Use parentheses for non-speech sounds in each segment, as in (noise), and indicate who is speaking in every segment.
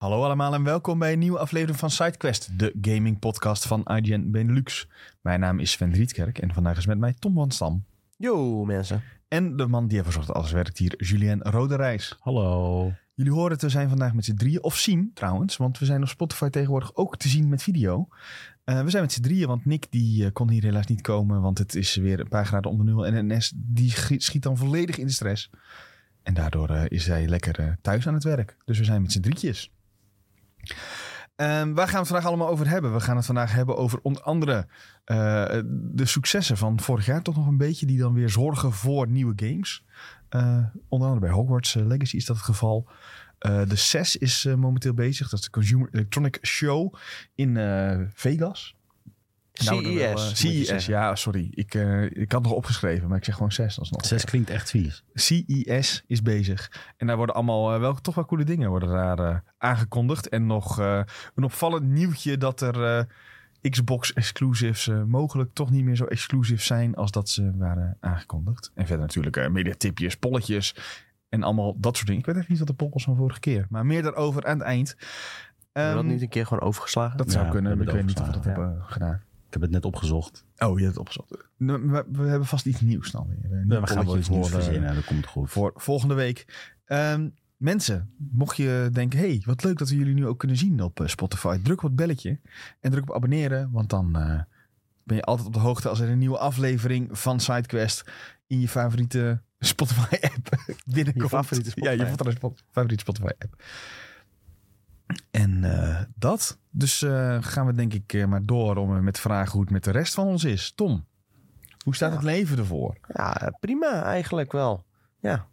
Speaker 1: Hallo allemaal en welkom bij een nieuwe aflevering van SideQuest, de gaming podcast van IGN Benelux. Mijn naam is Sven Rietkerk en vandaag is met mij Tom van Stam.
Speaker 2: Yo mensen.
Speaker 1: En de man die ervoor zorgt dat alles werkt hier, Julien Roderijs.
Speaker 3: Hallo.
Speaker 1: Jullie horen het, we zijn vandaag met z'n drieën, of zien trouwens, want we zijn op Spotify tegenwoordig ook te zien met video. Eh, we zijn met z'n drieën, want Nick die eh, kon hier helaas niet komen, want het is weer een paar graden onder nul. En NS die schi- schiet dan volledig in de stress. En daardoor eh, is hij lekker eh, thuis aan het werk. Dus we zijn met z'n drietjes. Ehm, waar gaan we het vandaag allemaal over hebben? We gaan het vandaag hebben over onder andere eh, de successen van vorig jaar toch nog een beetje. Die dan weer zorgen voor nieuwe games. Eh, onder andere bij Hogwarts eh, Legacy is dat het geval. Eh, de CES is eh, momenteel bezig. Dat is de Consumer Electronic Show in eh, Vegas. Nou, dan wel, eh,
Speaker 2: CES.
Speaker 1: CES, ja, sorry. Ik, eh, ik had nog opgeschreven, maar ik zeg gewoon CES alsnog.
Speaker 3: Zes klinkt echt vies.
Speaker 2: Ehm,
Speaker 1: CES is bezig. En daar worden allemaal eh, wel toch wel coole dingen worden daar eh, aangekondigd. En nog eh, een opvallend nieuwtje dat er eh, Xbox exclusives eh, mogelijk toch niet meer zo exclusief zijn als dat ze waren aangekondigd. En verder natuurlijk eh mediatipjes, polletjes en allemaal dat soort dingen. Ik weet echt niet wat de poll was van vorige keer. Maar meer daarover aan het eind.
Speaker 2: Hebben we
Speaker 1: Ehm,
Speaker 2: dat niet een keer gewoon overgeslagen?
Speaker 1: dat
Speaker 3: Ja,
Speaker 1: zou
Speaker 3: we
Speaker 1: kunnen.
Speaker 3: hebben
Speaker 1: Ik weet
Speaker 3: het
Speaker 1: niet of we dat
Speaker 2: overgeslagen,
Speaker 1: hebben eh, gedaan.
Speaker 3: Ik heb het net opgezocht.
Speaker 1: Oh, je hebt het opgezocht. Nee, We, we hebben vast iets nieuws dan weer. Een nieuw
Speaker 3: we gaan wel
Speaker 1: polletje
Speaker 3: iets nieuws
Speaker 1: voor, eh,
Speaker 3: verzinnen. Dat komt goed.
Speaker 1: voor volgende week. Ehm, mensen, mocht je denken, hey, wat leuk dat we jullie nu ook kunnen zien op eh, Spotify. Druk op het belletje en druk op abonneren, want dan eh, ben je altijd op de hoogte als er een nieuwe aflevering van SideQuest in je favoriete (laughs) Spotify-app binnenkomt.
Speaker 2: favoriete
Speaker 1: Ja, je
Speaker 2: Spotify-app.
Speaker 1: favoriete Spot- favoriete Spotify-app. En eh, dat. Dus eh, gaan we denk ik eh, maar door om eh, met te vragen hoe het met de rest van ons is. Tom, hoe staat
Speaker 2: Ja.
Speaker 1: het leven ervoor?
Speaker 2: Ja, prima eigenlijk wel. Ja.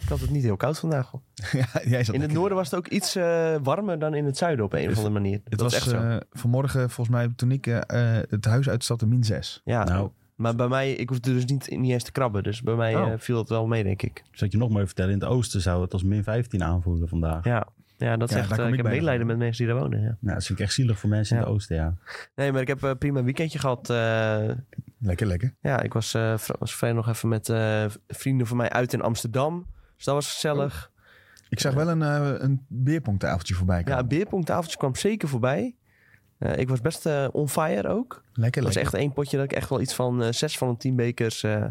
Speaker 2: Ik had het niet heel koud vandaag. hoor.
Speaker 1: (laughs) ja, jij zat
Speaker 2: In het
Speaker 1: lekker-
Speaker 2: noorden was het ook iets eh, warmer dan in het zuiden op een of andere manier.
Speaker 1: Het
Speaker 2: dat
Speaker 1: was
Speaker 2: is echt zo.
Speaker 1: eh, vanmorgen, volgens mij, toen ik eh, eh, het huis uitstapte, min 6.
Speaker 2: ja.
Speaker 3: Nou,
Speaker 2: Maar bij mij, ik hoefde dus niet, niet eens te krabben. Dus bij mij
Speaker 1: Oh.
Speaker 2: eh, viel het wel mee, denk ik.
Speaker 3: zal ik je nog maar even vertellen. In het oosten zou het als min 15 aanvoelen vandaag.
Speaker 2: Ja, ja dat
Speaker 1: Ja,
Speaker 2: is echt.
Speaker 1: daar kom
Speaker 2: eh,
Speaker 1: ik
Speaker 2: ik heb
Speaker 1: bij.
Speaker 2: medelijden met mensen die daar wonen. Ja.
Speaker 3: Nou, dat vind ik echt zielig voor mensen in
Speaker 2: Ja.
Speaker 3: het oosten, ja.
Speaker 2: Nee, maar ik heb eh, prima een weekendje gehad. eh,
Speaker 1: Lekker, lekker.
Speaker 2: ja, ik was, eh, vri- was vrijdag nog even met eh, vrienden van mij uit in Amsterdam. Dus dat was gezellig.
Speaker 1: Oh. Ik zag wel een, eh een beerpongtafeltje voorbij komen.
Speaker 2: Ja, een beerpongtafeltje kwam zeker voorbij. Eh, ik was best eh, on fire ook.
Speaker 1: lekker,
Speaker 2: Er was
Speaker 1: lekker.
Speaker 2: echt één potje dat ik echt wel iets van eh, zes van de tien bekers eh,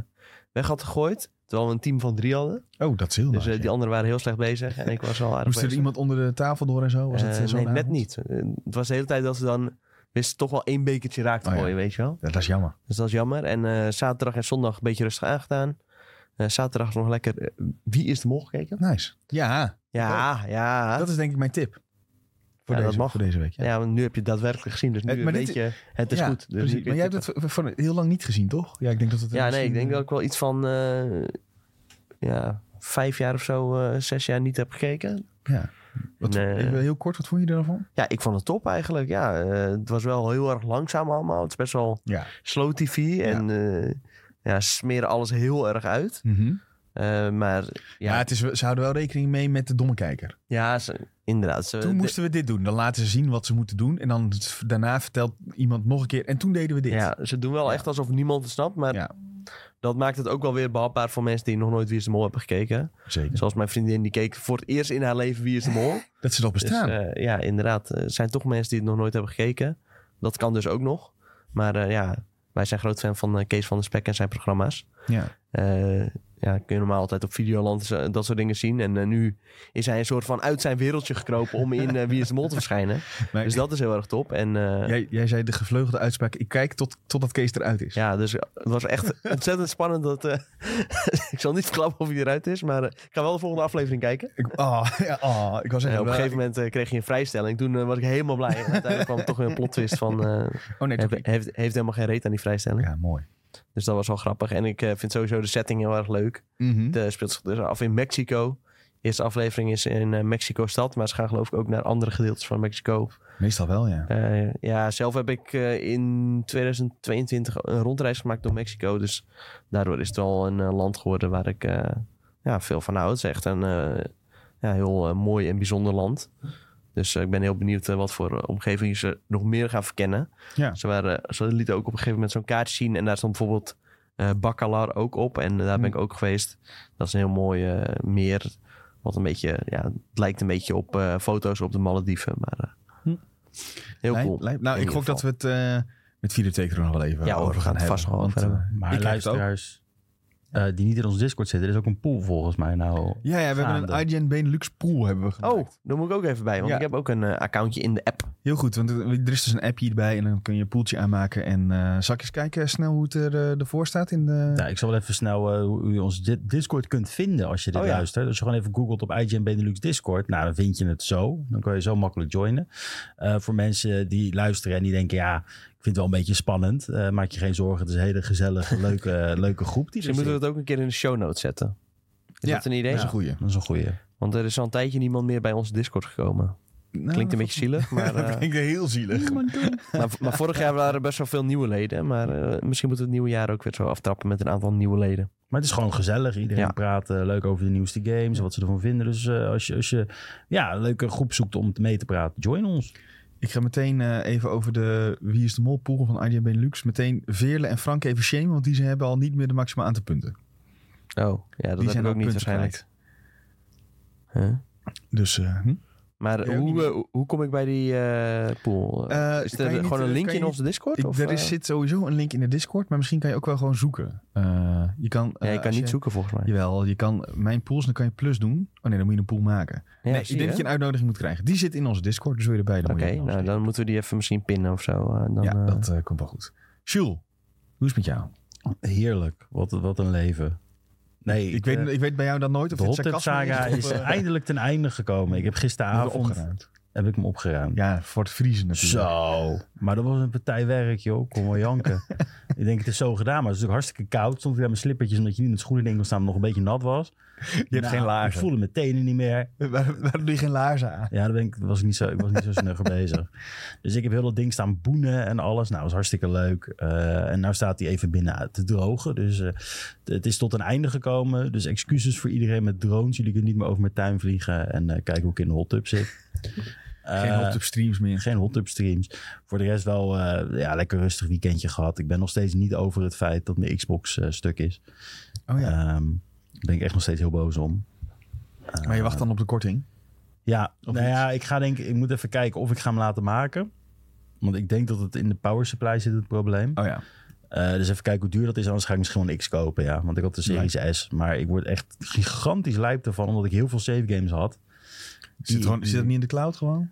Speaker 2: weg had gegooid. Terwijl we een team van drie hadden.
Speaker 1: Oh, dat is heel
Speaker 2: Dus
Speaker 1: nice,
Speaker 2: eh,
Speaker 1: ja.
Speaker 2: die anderen waren heel slecht bezig. En ik was al aardig
Speaker 1: Moest er
Speaker 2: bezig.
Speaker 1: iemand onder de tafel door en zo? Was dat
Speaker 2: Eh,
Speaker 1: eh, zo'n
Speaker 2: nee, net
Speaker 1: avond?
Speaker 2: niet. Eh, het was de hele tijd dat ze dan wisten toch wel één bekertje raak te
Speaker 1: Oh ja.
Speaker 2: gooien, weet je wel.
Speaker 1: Ja, dat is jammer.
Speaker 2: Dus dat is jammer. En eh, zaterdag en zondag een beetje rustig aangedaan. Eh, zaterdag nog lekker eh, Wie is de Mol gekeken.
Speaker 1: Nice. Ja,
Speaker 2: Ja, ja.
Speaker 1: dat is denk ik mijn tip. Voor,
Speaker 2: Ja,
Speaker 1: deze,
Speaker 2: dat mag.
Speaker 1: voor deze week. Ja.
Speaker 2: ja, want nu heb je het daadwerkelijk gezien. Dus
Speaker 1: Eh,
Speaker 2: nu
Speaker 1: maar dit-
Speaker 2: weet je, het is
Speaker 1: Ja,
Speaker 2: goed. Dus nu
Speaker 1: precies.
Speaker 2: kun je
Speaker 1: Maar jij hebt
Speaker 2: tippen.
Speaker 1: het voor, voor heel lang niet gezien, toch? Ja, ik denk dat het... eh,
Speaker 2: Ja, nee,
Speaker 1: misschien-
Speaker 2: ik denk dat ik wel iets van eh, ja, vijf jaar of zo, eh, zes jaar niet heb gekeken.
Speaker 1: Ja. Wat,
Speaker 2: Nee.
Speaker 1: even heel kort, wat vond je daarvan?
Speaker 2: Ja, ik vond het top eigenlijk. Ja, eh, het was wel heel erg langzaam allemaal. Het is best wel
Speaker 1: Ja.
Speaker 2: slow tv en eh, ja, ze smeren alles heel erg uit. Eh, maar
Speaker 1: Ja,
Speaker 2: ja,
Speaker 1: Mhm. het is, ze houden wel rekening mee met de domme kijker.
Speaker 2: ja ze- inderdaad. Ze,
Speaker 1: Toen moesten we dit doen. Dan laten ze zien wat ze moeten doen. En dan v- daarna vertelt iemand nog een keer. En toen deden we dit.
Speaker 2: ja, ze doen wel echt alsof niemand het snapt, maar
Speaker 1: Ja.
Speaker 2: dat maakt het ook wel weer behapbaar voor mensen die nog nooit Wie is de Mol hebben gekeken.
Speaker 1: zeker. Dus
Speaker 2: Zoals mijn vriendin, die keek voor het eerst in haar leven Wie is de Mol.
Speaker 1: Dat ze nog
Speaker 2: Dus,
Speaker 1: bestaan.
Speaker 2: eh, ja, inderdaad. Er zijn toch mensen die het nog nooit hebben gekeken. Dat kan dus ook nog. Maar eh, ja, wij zijn groot fan van eh, Kees van der Spek en zijn programma's.
Speaker 1: ja.
Speaker 2: Eh, ja, kun je normaal altijd op Videoland zo- dat soort dingen zien. En eh, nu is hij een soort van uit zijn wereldje gekropen om in eh, Wie is de Mol te verschijnen.
Speaker 1: Maar
Speaker 2: Dus dat is heel erg top. En eh,
Speaker 1: jij, jij zei de gevleugelde uitspraak. Ik kijk tot, totdat Kees eruit is.
Speaker 2: ja, dus het was echt ontzettend spannend. Dat, eh, (laughs) ik zal niet verklappen of hij eruit is, maar eh, ik ga wel de volgende aflevering kijken.
Speaker 1: Ik, oh, (laughs) ja, oh, ik was
Speaker 2: Eh,
Speaker 1: zeggen.
Speaker 2: op een gegeven moment eh, kreeg je een vrijstelling. Toen eh, was ik helemaal blij. En uiteindelijk kwam toch weer een plot twist van...
Speaker 1: (laughs)
Speaker 2: eh,
Speaker 1: Oh nee, toch
Speaker 2: Heeft,
Speaker 1: niet.
Speaker 2: heeft, heeft helemaal geen reet aan die vrijstelling.
Speaker 1: Ja, mooi.
Speaker 2: Dus dat was wel grappig. En ik eh, vind sowieso de setting heel erg leuk.
Speaker 1: Mhm.
Speaker 2: Het eh, speelt zich dus af in Mexico. De eerste aflevering is in eh, Mexico-stad. Maar ze gaan geloof ik ook naar andere gedeeltes van Mexico.
Speaker 1: Meestal wel, ja.
Speaker 2: Eh, ja, zelf heb ik eh, in 2022 een rondreis gemaakt door Mexico. Dus daardoor is het wel een eh, land geworden waar ik eh, ja, veel van hou. Het is echt een eh, ja, heel eh, mooi en bijzonder land. Dus eh, ik ben heel benieuwd eh, wat voor eh, omgevingen ze nog meer gaan verkennen.
Speaker 1: Ja.
Speaker 2: Ze, waren, eh, ze lieten ook op een gegeven moment zo'n kaart zien. En daar stond bijvoorbeeld
Speaker 1: Mm.
Speaker 2: eh Bacalar ook op. En daar ben ik ook geweest. Dat is een heel mooi eh, meer Wat een beetje, ja, het lijkt een beetje op eh, foto's op de Malediven, maar eh,
Speaker 3: Hm.
Speaker 2: heel
Speaker 1: Lijp,
Speaker 2: cool.
Speaker 1: lijp. Nou,
Speaker 2: In
Speaker 1: ik
Speaker 2: ieder
Speaker 1: gok dat we
Speaker 2: geval.
Speaker 1: het eh, met videotheek er nog wel even
Speaker 2: Ja, hoor, we
Speaker 1: over
Speaker 2: gaan
Speaker 1: gaan
Speaker 2: het
Speaker 1: hebben.
Speaker 2: vast wel over
Speaker 1: want,
Speaker 2: hebben.
Speaker 1: eh,
Speaker 3: Maar
Speaker 1: ik heb het ook.
Speaker 3: luisteraars eh, die niet in ons Discord zitten, er is ook een pool volgens mij nou.
Speaker 1: Ja, ja, we hebben een
Speaker 3: Gaande.
Speaker 1: IGN Benelux pool hebben we
Speaker 2: Oh,
Speaker 1: gemaakt.
Speaker 2: daar moet ik ook even bij, want
Speaker 1: Ja.
Speaker 2: ik heb ook een eh, accountje in de app.
Speaker 1: Heel goed, want er er is dus een appje erbij en dan kun je een poeltje aanmaken. En eh zal ik eens kijken snel hoe het er, eh, ervoor staat in de...
Speaker 3: Ja, nou, ik zal wel even snel eh, hoe hoe je ons di- Discord kunt vinden als je dit
Speaker 2: Oh ja.
Speaker 3: luistert. Als je gewoon even googelt op IGN Benelux Discord, nou dan vind je het zo. Dan kan je zo makkelijk joinen. Eh, voor mensen die luisteren en die denken, ja, ik vind het wel een beetje spannend. Eh, maak je geen zorgen, het is een hele gezellige, (laughs) leuke, leuke groep. Die
Speaker 2: Misschien
Speaker 3: er
Speaker 2: moeten
Speaker 3: zit.
Speaker 2: we het ook een keer in de show notes zetten. Is
Speaker 1: Ja.
Speaker 2: dat een idee?
Speaker 1: Dat is een goeie.
Speaker 3: Dat is een goeie.
Speaker 2: Want er is al een tijdje niemand meer bij onze Discord gekomen.
Speaker 1: Nou.
Speaker 2: Klinkt een beetje
Speaker 1: (laughs)
Speaker 2: zielig, maar, eh,
Speaker 1: Klinkt heel zielig.
Speaker 2: maar, maar vorig jaar waren er best wel veel nieuwe leden. Maar eh, misschien moeten we het nieuwe jaar ook weer zo aftrappen met een aantal nieuwe leden.
Speaker 3: Maar het is gewoon gezellig. Iedereen
Speaker 2: Ja.
Speaker 3: praat eh, leuk over de nieuwste games en wat ze ervan vinden. Dus eh, als, je, als je ja, een leuke groep zoekt om mee te praten, join ons.
Speaker 1: Ik ga meteen eh, even over de Wie is de Mol pool van IGN Benelux. Meteen Veerle en Frank even shamen, want die ze hebben al niet meer de maxima aantal punten.
Speaker 2: Oh, ja, dat
Speaker 1: Die
Speaker 2: heb
Speaker 1: zijn
Speaker 2: ik
Speaker 1: ook
Speaker 2: ook niet
Speaker 1: punten
Speaker 2: waarschijnlijk. Huh?
Speaker 1: Dus eh,
Speaker 2: Oh,
Speaker 1: hm?
Speaker 2: Maar
Speaker 1: ook niet
Speaker 2: hoe,
Speaker 1: meer.
Speaker 2: eh, hoe- hoe kom ik bij die eh, pool?
Speaker 1: Eh,
Speaker 2: is
Speaker 1: kan
Speaker 2: er
Speaker 1: je niet, eh,
Speaker 2: gewoon een
Speaker 1: kan
Speaker 2: linkje
Speaker 1: je
Speaker 2: in onze Discord?
Speaker 1: Ik-
Speaker 2: of,
Speaker 1: er is-
Speaker 2: eh?
Speaker 1: zit sowieso een link in de Discord, maar misschien kan je ook wel gewoon zoeken. Eh, je kan,
Speaker 2: Ja,
Speaker 1: eh,
Speaker 2: je kan
Speaker 1: als
Speaker 2: niet zoeken volgens mij.
Speaker 1: Jawel, je kan mijn pools, dan kan je plus doen. Oh nee, dan moet je een pool maken.
Speaker 2: Ja,
Speaker 1: nee, ik
Speaker 2: zie
Speaker 1: denk dat
Speaker 2: je?
Speaker 1: je een uitnodiging moet krijgen. Die zit in onze Discord, dus wil je erbij dan
Speaker 2: Oké,
Speaker 1: moet je die
Speaker 2: nou
Speaker 1: uitnodigen.
Speaker 2: dan moeten we die even misschien pinnen of zo. eh, dan,
Speaker 1: Ja,
Speaker 2: eh,
Speaker 1: dat eh, komt wel goed. Jules, hoe is het met jou?
Speaker 3: Heerlijk. Wat, wat een leven. Nee,
Speaker 1: Ik weet,
Speaker 3: eh,
Speaker 1: ik weet bij jou dan nooit of
Speaker 3: de
Speaker 1: het
Speaker 3: Hot Tub
Speaker 1: sarcasme
Speaker 3: Saga
Speaker 1: of,
Speaker 3: is
Speaker 1: eh,
Speaker 3: eindelijk ten einde gekomen. Ik heb
Speaker 1: wordt
Speaker 3: gisteravond
Speaker 1: opgeruimd.
Speaker 3: heb ik hem opgeruimd.
Speaker 1: Ja, voor het vriezen natuurlijk.
Speaker 3: Zo. Maar dat was een partij werk, joh. Kom wel
Speaker 1: (laughs)
Speaker 3: janken. ik denk, het is zo gedaan, maar het is natuurlijk hartstikke koud. Stond ik aan mijn slippertjes omdat je niet met schoenen in kon staan, omdat het nog een beetje nat was. Nou,
Speaker 1: Je hebt geen
Speaker 3: Ik
Speaker 1: laarzen.
Speaker 3: voelde mijn tenen niet meer.
Speaker 1: (laughs) Waar, waarom doe je geen laarzen aan?
Speaker 3: Ja, daar ben ik, was ik, niet zo, ik was niet zo
Speaker 1: (laughs)
Speaker 3: snugger bezig. Dus ik heb heel dat ding staan boenen en alles. Nou, was hartstikke leuk. Eh, en nou staat hij even binnen te drogen. Dus eh, t- het is tot een einde gekomen. Dus excuses voor iedereen met drones. Jullie kunnen niet meer over mijn tuin vliegen en eh, kijken hoe ik in de hot tub zit.
Speaker 1: (laughs) Geen
Speaker 3: Eh,
Speaker 1: hot tub streams meer.
Speaker 3: geen hot tub streams. Voor de rest wel eh, ja, lekker rustig weekendje gehad. Ik ben nog steeds niet over het feit dat mijn Xbox eh, stuk is.
Speaker 1: Oh ja,
Speaker 3: Ehm, daar ben ik echt nog steeds heel boos om.
Speaker 2: Ah.
Speaker 1: maar je wacht dan op de korting.
Speaker 3: Ja,
Speaker 1: Of
Speaker 3: nou
Speaker 1: iets?
Speaker 3: ja, ik ga denk ik moet even kijken of ik ga hem laten maken. Want ik denk dat het in de power supply zit het probleem.
Speaker 1: Oh ja.
Speaker 3: Eh, dus even kijken hoe duur dat is. Anders ga ik misschien wel een X kopen, ja. Want ik had de Series S. Maar ik word echt gigantisch lijp ervan. Omdat ik heel veel save games had.
Speaker 1: Zit, het gewoon, zit het niet in de cloud gewoon?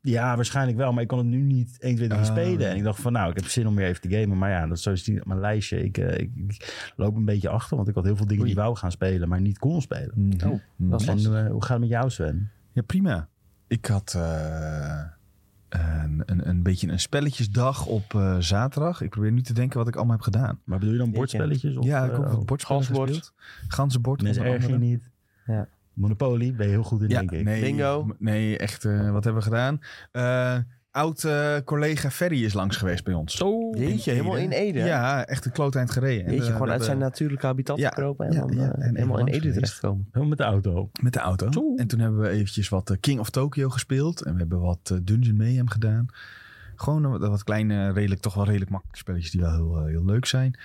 Speaker 3: Ja, waarschijnlijk wel. Maar ik kan het nu niet 1, 2, 3
Speaker 1: Oh.
Speaker 3: spelen. En ik dacht van nou, ik heb zin om weer even te gamen. Maar ja, dat is sowieso niet op mijn lijstje. Ik, eh, ik, ik loop een beetje achter. Want ik had heel veel dingen
Speaker 1: Oei.
Speaker 3: die wou gaan spelen. Maar niet kon spelen.
Speaker 2: Mm-hmm.
Speaker 1: Mhm.
Speaker 2: dat is
Speaker 3: En
Speaker 2: lastig.
Speaker 3: eh, hoe gaat het met jou, Sven?
Speaker 1: Ja, prima. Ik had eh, een, een, een beetje een spelletjesdag op eh, zaterdag. Ik probeer nu te denken wat ik allemaal heb gedaan.
Speaker 3: Maar bedoel je dan
Speaker 2: Jeetje.
Speaker 3: bordspelletjes? Of,
Speaker 1: ja, ik heb
Speaker 3: eh,
Speaker 1: op het bord
Speaker 2: Ganzenbord.
Speaker 1: gespeeld. Ganzenbord.
Speaker 3: Mensen
Speaker 1: onder
Speaker 3: erg je
Speaker 1: andere.
Speaker 3: niet.
Speaker 2: Ja.
Speaker 3: Monopoly ben je heel goed in,
Speaker 1: Ja,
Speaker 3: denk ik.
Speaker 1: nee,
Speaker 2: Bingo.
Speaker 1: m- Nee, echt, eh, wat hebben we gedaan? Eh, oud eh, collega Ferry is langs geweest bij ons.
Speaker 3: Zo.
Speaker 1: Ede.
Speaker 2: Jeetje, helemaal in Ede.
Speaker 1: Ja, echt een kloot eind gereden. En,
Speaker 2: Jeetje,
Speaker 1: eh,
Speaker 2: gewoon
Speaker 1: we
Speaker 2: uit zijn
Speaker 1: hebben
Speaker 2: natuurlijke habitat
Speaker 1: Ja,
Speaker 2: gekropen en
Speaker 1: ja,
Speaker 2: dan
Speaker 1: ja,
Speaker 2: eh,
Speaker 1: en even
Speaker 2: helemaal in
Speaker 1: langs
Speaker 2: Ede
Speaker 1: geweest.
Speaker 2: terechtkomen.
Speaker 3: Helemaal met de auto.
Speaker 1: Met de auto.
Speaker 3: Zo.
Speaker 1: En toen hebben we eventjes wat eh, King of Tokyo gespeeld. En we hebben wat eh, Dungeon Mayhem gedaan. Gewoon een- wat kleine, redelijk, toch wel redelijk makkelijke spelletjes die wel heel, eh, heel leuk zijn.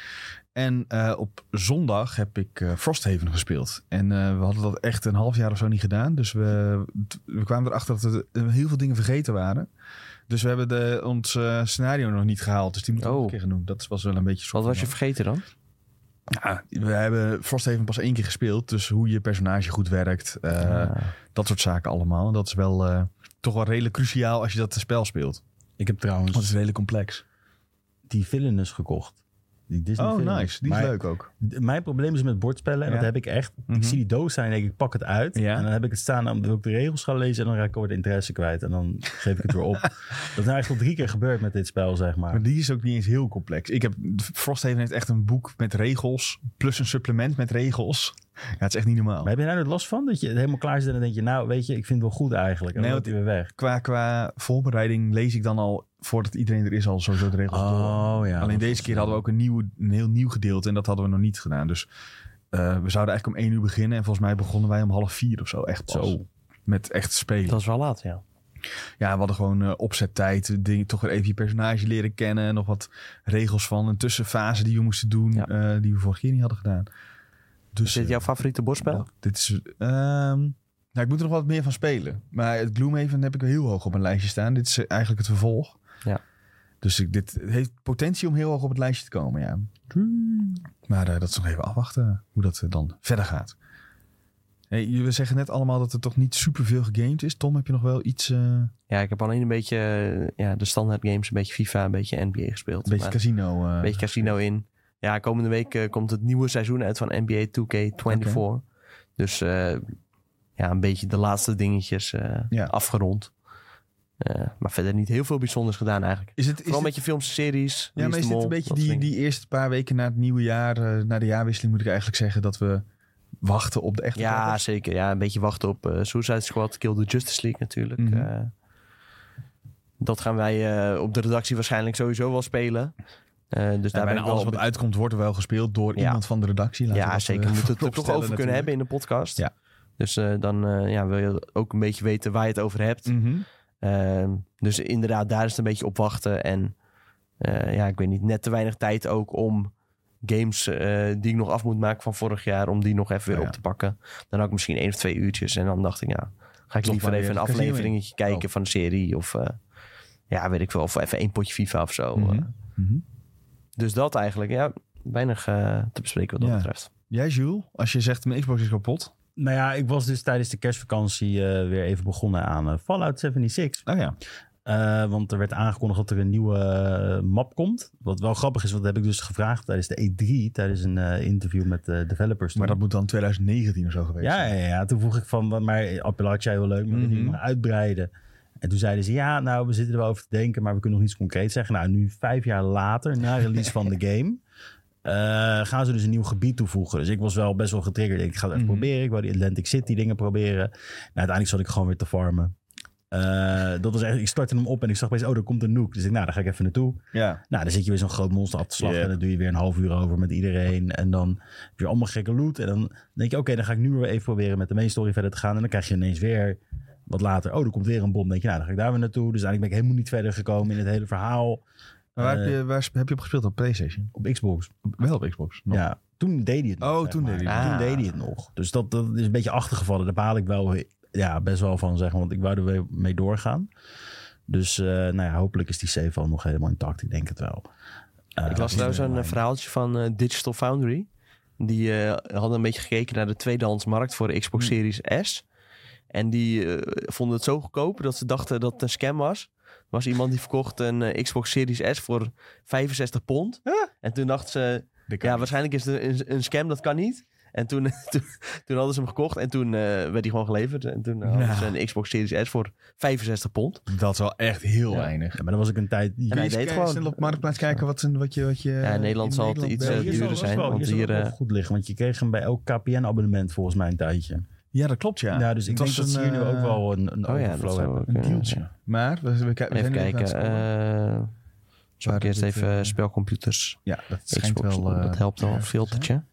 Speaker 1: En eh, op zondag heb ik eh, Frosthaven gespeeld. En eh, we hadden dat echt een half jaar of zo niet gedaan. Dus we, t- we kwamen erachter dat er heel veel dingen vergeten waren. Dus we hebben de, ons eh, scenario nog niet gehaald. Dus die moeten we
Speaker 2: Oh.
Speaker 1: nog een keer genoemd. Dat was wel een beetje...
Speaker 2: Wat
Speaker 1: zonde.
Speaker 2: was je vergeten dan?
Speaker 1: Ja, we hebben Frosthaven pas één keer gespeeld. Dus hoe je personage goed werkt. eh,
Speaker 2: Ah.
Speaker 1: dat soort zaken allemaal. En dat is wel eh, toch wel redelijk cruciaal als je dat spel speelt. Oh,
Speaker 3: Ik heb
Speaker 1: Want het is
Speaker 3: trouwens
Speaker 1: redelijk complex.
Speaker 3: Oh, die Villainous gekocht. Die Disney
Speaker 1: Oh,
Speaker 3: Villainous.
Speaker 1: nice. Die is
Speaker 3: Maar
Speaker 1: leuk ook.
Speaker 3: d- Mijn probleem is met bordspellen. En
Speaker 1: Ja.
Speaker 3: dat heb ik echt.
Speaker 1: Mhm.
Speaker 3: Ik zie die doos staan en denk ik, pak het uit.
Speaker 1: Ja.
Speaker 3: En dan heb ik het staan omdat ik de regels ga lezen. En dan raak ik alweer de interesse kwijt. En dan geef ik het weer
Speaker 1: (laughs)
Speaker 3: op. dat is nou echt al drie keer gebeurd met dit spel, zeg maar.
Speaker 1: Maar die is ook niet eens heel complex. Ik heb, Frosthaven heeft echt een boek met regels. Plus een supplement met regels. Ja, het is echt niet normaal.
Speaker 3: Maar heb je daar nooit last van? Dat je helemaal klaar zit en dan denk je, nou weet je, ik vind het wel goed eigenlijk. En dan
Speaker 1: Nee,
Speaker 3: loopt hij weer weg.
Speaker 1: Qua, qua voorbereiding lees ik dan al, voordat iedereen er is, al sowieso de regels door.
Speaker 3: Oh, ja.
Speaker 1: Oh, Alleen
Speaker 3: dat is
Speaker 1: deze keer hadden we ook een, nieuw, een heel nieuw gedeelte. En dat hadden we nog niet gedaan. Dus eh, we zouden eigenlijk om één uur beginnen. En volgens mij begonnen wij om half vier of zo. Echt pas.
Speaker 3: Zo.
Speaker 1: Met echt spelen.
Speaker 2: Dat was wel laat, ja.
Speaker 1: Ja, we hadden gewoon eh, opzettijd. Dingen, toch weer even je personage leren kennen. Nog wat regels van een tussenfase die we moesten doen.
Speaker 2: Ja.
Speaker 1: eh, die we vorige keer niet hadden gedaan. Dus
Speaker 2: Is dit
Speaker 1: eh,
Speaker 2: jouw favoriete bordspel?
Speaker 1: dit is... ehm, Nou, ik moet er nog wat meer van spelen. Maar het Gloomhaven heb ik heel hoog op mijn lijstje staan. Dit is eh, eigenlijk het vervolg.
Speaker 2: Ja.
Speaker 1: Dus ik, dit heeft potentie om heel hoog op het lijstje te komen, ja. Maar eh, dat is nog even afwachten hoe dat eh, dan verder gaat. Hey, jullie zeggen net allemaal dat er toch niet superveel gegamed is. Tom, heb je nog wel iets, eh, een
Speaker 2: Ja, ik heb alleen een beetje eh, ja, de standaard games, een beetje FIFA, een beetje NBA gespeeld.
Speaker 1: beetje
Speaker 2: maar
Speaker 1: casino? eh,
Speaker 2: een beetje casino in. Ja, komende week eh, komt het nieuwe seizoen uit van NBA 2K24. Dus eh, ja, een beetje de laatste dingetjes eh,
Speaker 1: Ja.
Speaker 2: afgerond. Eh, maar verder niet heel veel bijzonders gedaan eigenlijk.
Speaker 1: Is het, is
Speaker 2: Vooral
Speaker 1: het-
Speaker 2: met je films en series. Wie
Speaker 1: Ja, maar is
Speaker 2: de
Speaker 1: dit
Speaker 2: Mol,
Speaker 1: een beetje
Speaker 2: dat
Speaker 1: die,
Speaker 2: soort dingen.
Speaker 1: die eerste paar weken na het nieuwe jaar, eh, na de jaarwisseling moet ik eigenlijk zeggen, dat we wachten op de echte
Speaker 2: Ja,
Speaker 1: trappers?
Speaker 2: zeker. Ja, een beetje wachten op eh Suicide Squad, Kill the Justice League natuurlijk.
Speaker 1: Mhm.
Speaker 2: Eh, dat gaan wij eh, op de redactie waarschijnlijk sowieso wel spelen. Eh, dus
Speaker 1: Ja,
Speaker 2: daar ben
Speaker 1: bijna
Speaker 2: ik wel
Speaker 1: alles wat
Speaker 2: op-
Speaker 1: uitkomt wordt er wel gespeeld door
Speaker 2: Ja.
Speaker 1: iemand van de redactie. Laten we
Speaker 2: Ja,
Speaker 1: dat,
Speaker 2: zeker.
Speaker 1: eh,
Speaker 2: We moeten het er toch over
Speaker 1: vooropstellen
Speaker 2: kunnen hebben in de podcast.
Speaker 1: Ja.
Speaker 2: Dus eh, dan eh, ja, wil je ook een beetje weten waar je het over hebt.
Speaker 1: natuurlijk. Mhm.
Speaker 2: Ehm, dus inderdaad, daar is het een beetje op wachten. En eh, ja, ik weet niet, net te weinig tijd ook om games eh, die ik nog af moet maken van vorig jaar, om die nog even weer
Speaker 1: Oh ja.
Speaker 2: op te pakken. Dan had ik misschien één of twee uurtjes. En dan dacht ik, ja, ga ik
Speaker 1: Nog
Speaker 2: liever
Speaker 1: maar
Speaker 2: even
Speaker 1: weer
Speaker 2: een
Speaker 1: het casino
Speaker 2: afleveringetje
Speaker 1: in. Oh.
Speaker 2: kijken van de serie. Of eh, ja, weet ik wel, of even één potje FIFA of zo.
Speaker 1: Mhm.
Speaker 2: Eh,
Speaker 1: Mhm.
Speaker 2: dus dat eigenlijk, ja, weinig eh, te bespreken wat dat
Speaker 1: Ja.
Speaker 2: betreft.
Speaker 1: Jij, Jules, als je zegt mijn Xbox is kapot.
Speaker 3: Nou ja, ik was dus tijdens de kerstvakantie eh, weer even begonnen aan eh, Fallout 76.
Speaker 1: Oh ja.
Speaker 3: Eh, want er werd aangekondigd dat er een nieuwe eh, map komt. Wat wel grappig is, want dat heb ik dus gevraagd tijdens de E3, tijdens een eh, interview met de developers.
Speaker 1: Maar
Speaker 3: toen.
Speaker 1: dat moet dan 2019 of zo geweest
Speaker 3: Ja,
Speaker 1: zijn.
Speaker 3: ja, ja. Toen vroeg ik van, wat- maar eh, Appalachia heel leuk, maar willen jullie
Speaker 1: Mhm.
Speaker 3: nog uitbreiden? En toen zeiden ze, ja, nou, we zitten er wel over te denken, maar we kunnen nog niets concreets zeggen. Nou, nu vijf jaar later, na release van
Speaker 1: (laughs)
Speaker 3: de game, eh, gaan ze dus een nieuw gebied toevoegen. Dus ik was wel best wel getriggerd. Ik ga het echt
Speaker 1: Mhm.
Speaker 3: proberen. Ik wou die Atlantic City dingen proberen. Nou, uiteindelijk zat ik gewoon weer te farmen. Eh, dat was echt, ik startte hem op en ik zag opeens, oh, daar komt een nook. Dus ik, nou, daar ga ik even naartoe.
Speaker 1: Ja.
Speaker 3: Nou, dan zit je weer zo'n groot monster af te slachten.
Speaker 1: Ja.
Speaker 3: En dan doe je weer een half uur over met iedereen. En dan heb je allemaal gekke loot. En dan denk je, oké, dan ga ik nu weer even proberen met de main story verder te gaan. En dan krijg je ineens weer wat later. Oh, er komt weer een bom. Dan denk je, nou, dan ga ik daar weer naartoe. Dus eigenlijk ben ik helemaal niet verder gekomen in het hele verhaal
Speaker 1: Maar waar, heb
Speaker 3: Eh.
Speaker 1: je, waar sp- heb je op gespeeld? Op PlayStation?
Speaker 3: op Xbox.
Speaker 1: Wel op Xbox. nog.
Speaker 3: Ja, toen deed hij het nog.
Speaker 1: Oh,
Speaker 3: zeg
Speaker 1: toen
Speaker 3: maar.
Speaker 1: deed hij
Speaker 2: het nog.
Speaker 3: Toen
Speaker 2: Ah.
Speaker 3: deed hij het nog. Dus dat, dat is een beetje achtergevallen. Daar baal ik wel ja, best wel van, zeg maar. Want ik wou er weer mee doorgaan. Dus eh, nou ja, hopelijk is die save al nog helemaal intact. Ik denk het wel. Eh,
Speaker 2: Ik las trouwens een eh, verhaaltje van eh, Digital Foundry. Die eh, hadden een beetje gekeken naar de tweedehandsmarkt voor de Xbox
Speaker 1: Hmm.
Speaker 2: Series S. En die eh, vonden het zo goedkoop dat ze dachten dat het een scam was. Er was iemand die verkocht een eh, Xbox Series S voor 65 pond. En toen dachten ze,
Speaker 1: Dat kan
Speaker 2: ja,
Speaker 1: niet.
Speaker 2: waarschijnlijk is het een, een scam, dat kan niet. En toen, (laughs) toen, toen hadden ze hem gekocht en toen eh, werd hij gewoon geleverd. En toen eh, hadden
Speaker 1: Nou.
Speaker 2: ze een Xbox Series S voor 65 pond.
Speaker 1: Dat is wel echt heel
Speaker 2: Ja.
Speaker 1: weinig.
Speaker 3: Ja, maar dat was ik een tijd.
Speaker 2: hij
Speaker 1: Kun je
Speaker 2: deed
Speaker 1: eens
Speaker 2: gewoon-
Speaker 1: snel op Marktplaats kijken wat, een- wat je, wat je...
Speaker 2: Ja, in Nederland zal het iets, eh,
Speaker 1: belt.
Speaker 2: duurder
Speaker 3: zal het
Speaker 2: zijn,
Speaker 3: wel-
Speaker 2: want
Speaker 3: Oh, zal het
Speaker 2: hier,
Speaker 3: wel
Speaker 2: eh,
Speaker 3: goed liggen, want je kreeg hem bij elk KPN-abonnement volgens mij een tijdje.
Speaker 1: Ja, dat klopt, ja.
Speaker 3: Ja, dus
Speaker 1: Het
Speaker 3: ik denk
Speaker 1: was
Speaker 3: dat ze hier nu
Speaker 1: eh,
Speaker 3: ook wel een, een
Speaker 2: Oh ja,
Speaker 3: overflow
Speaker 2: dat zou
Speaker 3: hebben.
Speaker 2: ook
Speaker 1: Een
Speaker 2: kunnen,
Speaker 1: dealtje.
Speaker 2: ja.
Speaker 1: Maar we, we, we zijn
Speaker 2: Even
Speaker 1: nu even aan
Speaker 2: kijken.
Speaker 1: het scrollen.
Speaker 2: eh zal
Speaker 1: Waar
Speaker 2: ik eerst
Speaker 1: dit,
Speaker 2: even
Speaker 1: eh,
Speaker 2: spelcomputers...
Speaker 1: ja, dat schijnt
Speaker 2: Xbox,
Speaker 1: wel... eh,
Speaker 2: dat helpt wel, een
Speaker 1: erg te zijn.
Speaker 2: filtertje.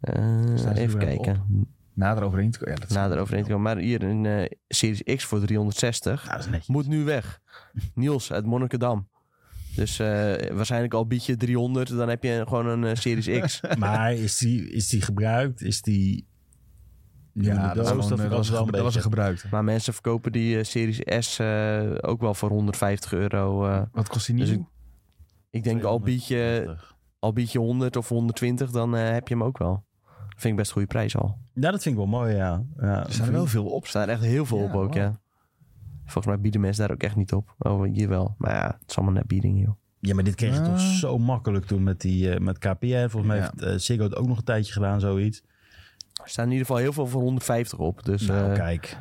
Speaker 2: Eh,
Speaker 1: Staan ze
Speaker 2: even
Speaker 1: er wel
Speaker 2: kijken.
Speaker 1: Nader overeen te komen. Ja, dat is-
Speaker 2: Nader overeen te komen. Maar hier een eh, Series X voor 360
Speaker 3: Ja, Nou, dat is netjes.
Speaker 2: moet nu weg. Niels uit Monnikendam. Dus eh, waarschijnlijk al bied je 300, dan heb je gewoon een eh, Series
Speaker 1: (laughs)
Speaker 2: X.
Speaker 3: Maar is die, is die gebruikt? Is die.
Speaker 1: Ja, dat, was,
Speaker 3: vind ik
Speaker 1: dat, was,
Speaker 3: altijd
Speaker 1: een, dat was een gebruikte.
Speaker 2: maar mensen verkopen die eh, Series S eh, ook wel voor 150 euro. eh.
Speaker 1: Wat kost die
Speaker 2: Dus
Speaker 1: nieuw?
Speaker 2: ik denk al bied, je,
Speaker 3: 250.
Speaker 2: al bied je 100 of 120, dan eh, heb je hem ook wel. Vind ik best een goede prijs al.
Speaker 3: Ja, Nou, dat vind ik wel mooi, ja. ja
Speaker 1: er staan er wel veel op.
Speaker 2: Er staan echt heel veel
Speaker 1: Ja,
Speaker 2: op ook,
Speaker 1: wauw.
Speaker 2: ja. Volgens mij bieden mensen daar ook echt niet op. Oh, hier wel. Maar ja, het is allemaal net bieding, joh.
Speaker 3: Ja, maar dit kreeg je toch
Speaker 1: Ah.
Speaker 3: zo makkelijk toen met, die, eh, met KPN. Volgens mij
Speaker 1: Ja.
Speaker 3: heeft eh, Ziggo het ook nog een tijdje gedaan, zoiets.
Speaker 2: Er staan in ieder geval heel veel voor 150 op. Dus
Speaker 3: nou,
Speaker 2: eh,
Speaker 3: kijk.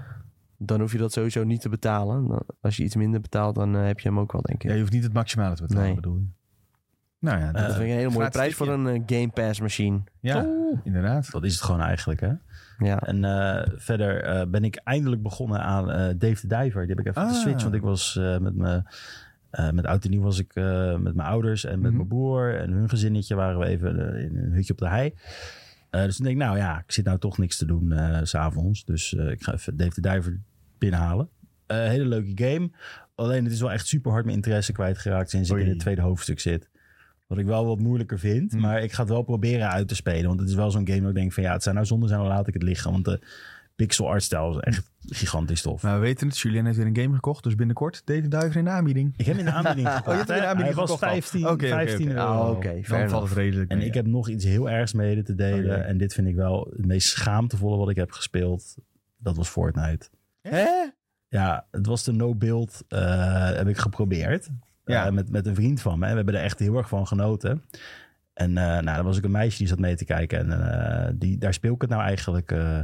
Speaker 2: dan hoef je dat sowieso niet te betalen. Dan- Als je iets minder betaalt, dan eh, heb je hem ook wel, denk ik.
Speaker 1: Ja, je hoeft niet het maximale te betalen,
Speaker 2: Nee. Eh,
Speaker 1: bedoel je? Nou ja,
Speaker 2: dat
Speaker 1: dat-
Speaker 2: vind ik een hele mooie
Speaker 1: gratis
Speaker 2: prijs voor
Speaker 1: tipje.
Speaker 2: een eh, Game Pass machine.
Speaker 1: ja inderdaad.
Speaker 3: Dat is het gewoon eigenlijk, hè?
Speaker 2: Ja.
Speaker 3: En eh, verder eh, ben ik eindelijk begonnen aan eh, Dave de Diver. Die heb ik even op de
Speaker 1: Ah.
Speaker 3: Switch, want ik was eh, met mijn... eh, met oud en nieuw was ik eh, met mijn ouders en met
Speaker 1: Mhm.
Speaker 3: mijn broer en hun gezinnetje waren we even eh, in een hutje op de hei. Eh, dus toen denk ik, nou ja, ik zit nou toch niks te doen eh, s s'avonds. Dus eh, ik ga even Dave de Diver binnenhalen. Eh, hele leuke game. Alleen het is wel echt super hard mijn interesse kwijtgeraakt sinds ik
Speaker 1: Oei.
Speaker 3: in het tweede hoofdstuk zit. Wat ik wel wat moeilijker vind.
Speaker 1: Hmm.
Speaker 3: Maar ik ga het wel proberen uit te spelen. Want het is wel zo'n game dat ik denk van ja, het zijn nou zonde zijn, dan laat ik het liggen. Want eh, pixel art stijl is echt gigantisch tof.
Speaker 1: Nou, we weten het. Julien heeft weer een game gekocht. Dus binnenkort deed de duiver in de aanbieding.
Speaker 3: Ik heb hem in de aanbieding
Speaker 1: (laughs)
Speaker 3: gekocht.
Speaker 1: Oh, je hebt hem in de
Speaker 3: hè.
Speaker 1: aanbieding
Speaker 3: Hij was
Speaker 1: gekocht al.
Speaker 3: 15,
Speaker 1: Oké, oké,
Speaker 3: 15
Speaker 1: oké.
Speaker 3: euro.
Speaker 2: Ah, oké. fair
Speaker 1: Dan valt het redelijk
Speaker 3: En
Speaker 1: mee,
Speaker 3: ik
Speaker 1: ja.
Speaker 3: heb nog iets heel ergs mede te delen.
Speaker 1: Oh, jee.
Speaker 3: En dit vind ik wel het meest schaamtevolle wat ik heb gespeeld. Dat was Fortnite.
Speaker 2: Hè?
Speaker 3: Ja, het was de no-build. eh, heb ik geprobeerd.
Speaker 1: Ja.
Speaker 3: Eh, met, met een vriend van me. We hebben er echt heel erg van genoten. En eh, nou, er was ook een meisje die zat mee te kijken. En eh, die, daar speel ik het nou eigenlijk eh,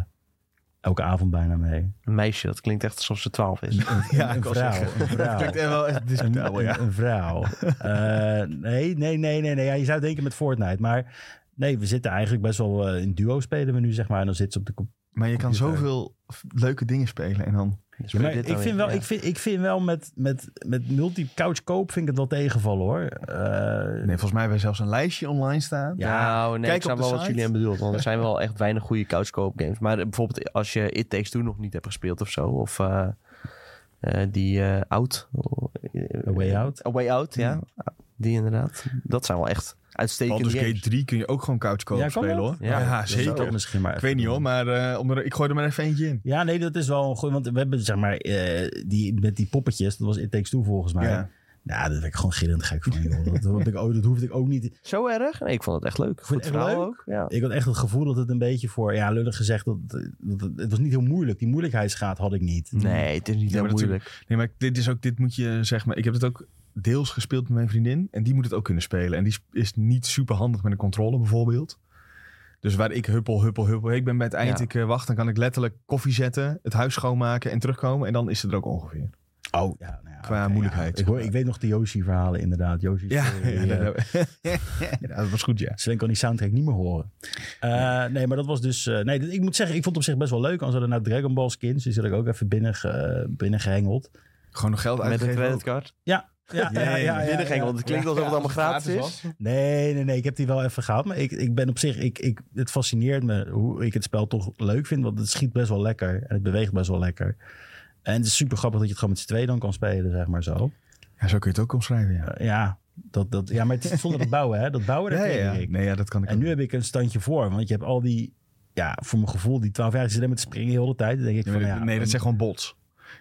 Speaker 3: elke avond bijna mee.
Speaker 2: Een meisje, dat klinkt echt alsof ze 12 is.
Speaker 1: Ja,
Speaker 3: een
Speaker 1: ik wou
Speaker 3: vrouw,
Speaker 1: zeggen.
Speaker 3: een vrouw.
Speaker 1: Dat (laughs) klinkt echt wel echt discutabel,
Speaker 3: een,
Speaker 1: Oh ja.
Speaker 3: een- een vrouw. Eh, nee, nee, nee, nee. nee. Ja, je zou denken met Fortnite. Maar nee, we zitten eigenlijk best wel eh, in duo spelen we nu, zeg maar. En dan zit ze op de computer.
Speaker 1: Maar je kan
Speaker 3: Computer.
Speaker 1: zoveel f- leuke dingen spelen. En dan...
Speaker 2: Dus
Speaker 3: Ja,
Speaker 2: moet
Speaker 3: maar
Speaker 2: je dit
Speaker 3: ik,
Speaker 2: dan
Speaker 3: vind
Speaker 2: weer-
Speaker 3: wel,
Speaker 2: ja.
Speaker 3: ik, vind, ik vind wel met, met, met multi-couch koop vind ik het wel tegenvallen, hoor. Eh,
Speaker 1: Nee, volgens mij hebben we zelfs een lijstje online staan.
Speaker 3: Ja,
Speaker 2: nou, nee,
Speaker 1: kijk
Speaker 2: ik snap
Speaker 1: op de
Speaker 2: wel wat
Speaker 1: site.
Speaker 2: Julian bedoelt. Want er
Speaker 1: (laughs)
Speaker 2: zijn wel echt weinig goede couchcoop games. Maar eh, bijvoorbeeld als je It Takes Two nog niet hebt gespeeld of zo. Of eh, eh, die eh, Out. eh,
Speaker 3: A Way Out.
Speaker 2: A Way Out, ja. Die inderdaad. Dat zijn wel echt uitstekende
Speaker 1: Baldur's
Speaker 2: games.
Speaker 1: Gate 3 kun je ook gewoon couchcoop
Speaker 3: Ja, kan
Speaker 1: spelen
Speaker 3: dat?
Speaker 1: hoor.
Speaker 2: Ja,
Speaker 3: dat zou ik ook
Speaker 1: zeker.
Speaker 3: misschien maar
Speaker 1: Ik weet niet hoor, maar eh, om er, ik gooi er maar even eentje in.
Speaker 3: Ja, nee, dat is wel een goeie. Want we hebben, zeg maar, eh, die, met die poppetjes, dat was It Takes Two volgens mij.
Speaker 1: Ja.
Speaker 3: Nou, daar werd ik gewoon gillend gek van, joh. Dat, hoefde ik, ook- dat hoefde ik ook niet.
Speaker 2: Zo erg? Nee, ik vond het echt leuk.
Speaker 3: je het
Speaker 2: Goed
Speaker 3: echt
Speaker 2: verhaal
Speaker 3: leuk?
Speaker 2: ook. Ja.
Speaker 3: Ik had echt het gevoel dat het een beetje voor, ja, lullig gezegd, dat, dat, dat- het was niet heel moeilijk. Die moeilijkheidsgraad had ik niet.
Speaker 2: Nee, het is niet
Speaker 1: Ja,
Speaker 2: heel
Speaker 1: maar natuurlijk-
Speaker 2: moeilijk.
Speaker 1: Nee, maar dit is ook, dit moet je zeg maar. Ik heb het ook deels gespeeld met mijn vriendin. En die moet het ook kunnen spelen. En die is- is niet super handig met een controle bijvoorbeeld. Dus waar ik huppel, huppel, huppel. Ik ben bij het eind,
Speaker 2: Ja.
Speaker 1: ik eh, wacht. Dan kan ik letterlijk koffie zetten, het huis schoonmaken en terugkomen. En dan is het er ook ongeveer.
Speaker 3: Oh, ja, nou ja,
Speaker 1: Qua
Speaker 3: oké,
Speaker 1: moeilijkheid.
Speaker 3: ja. Ik, hoor, ik weet nog de Yoshi-verhalen inderdaad. Yoshi
Speaker 1: Ja,
Speaker 3: Story,
Speaker 1: ja,
Speaker 3: eh,
Speaker 1: dat, (laughs) ja, dat was goed, ja.
Speaker 3: Sven kan die soundtrack niet meer horen. Eh, Nee, maar dat was dus... eh, nee, dat- ik moet zeggen, ik vond het op zich best wel leuk. Als er nou Dragon Ball skins, die zat ik ook even binnen, ge- binnen gehengeld.
Speaker 1: Gewoon nog geld
Speaker 2: Met een
Speaker 1: uitgegeven. ook.
Speaker 2: creditcard.
Speaker 3: (laughs) Ja,
Speaker 2: binnen gehengeld. Het klinkt alsof het allemaal gratis is. Nou,
Speaker 3: Nee, nee, nee. Ik heb die wel even gehaald. Maar ik, ik ben op zich... Ik, ik, het fascineert me hoe ik het spel toch leuk vind. Want het schiet best wel lekker. En het beweegt best wel lekker. En het is super grappig dat je het gewoon met z'n tweeën dan kan spelen, zeg maar zo.
Speaker 1: Ja, zo kun je het ook omschrijven, ja.
Speaker 3: Eh, ja, dat, dat, ja, maar het is zonder dat bouwen, hè. Dat bouwen, dat
Speaker 1: Ja,
Speaker 3: ken
Speaker 1: ja, ja.
Speaker 3: ik.
Speaker 1: Nee, ja, dat kan ik
Speaker 3: En
Speaker 1: ook.
Speaker 3: nu heb ik een standje voor. Want je hebt al die... Ja, voor mijn gevoel, die 12 jaar zitten met te springen de hele tijd. Dan denk ik
Speaker 1: Ja,
Speaker 3: van,
Speaker 1: maar dat-
Speaker 3: ja,
Speaker 1: nee, dat
Speaker 3: dan-
Speaker 1: zijn gewoon bots.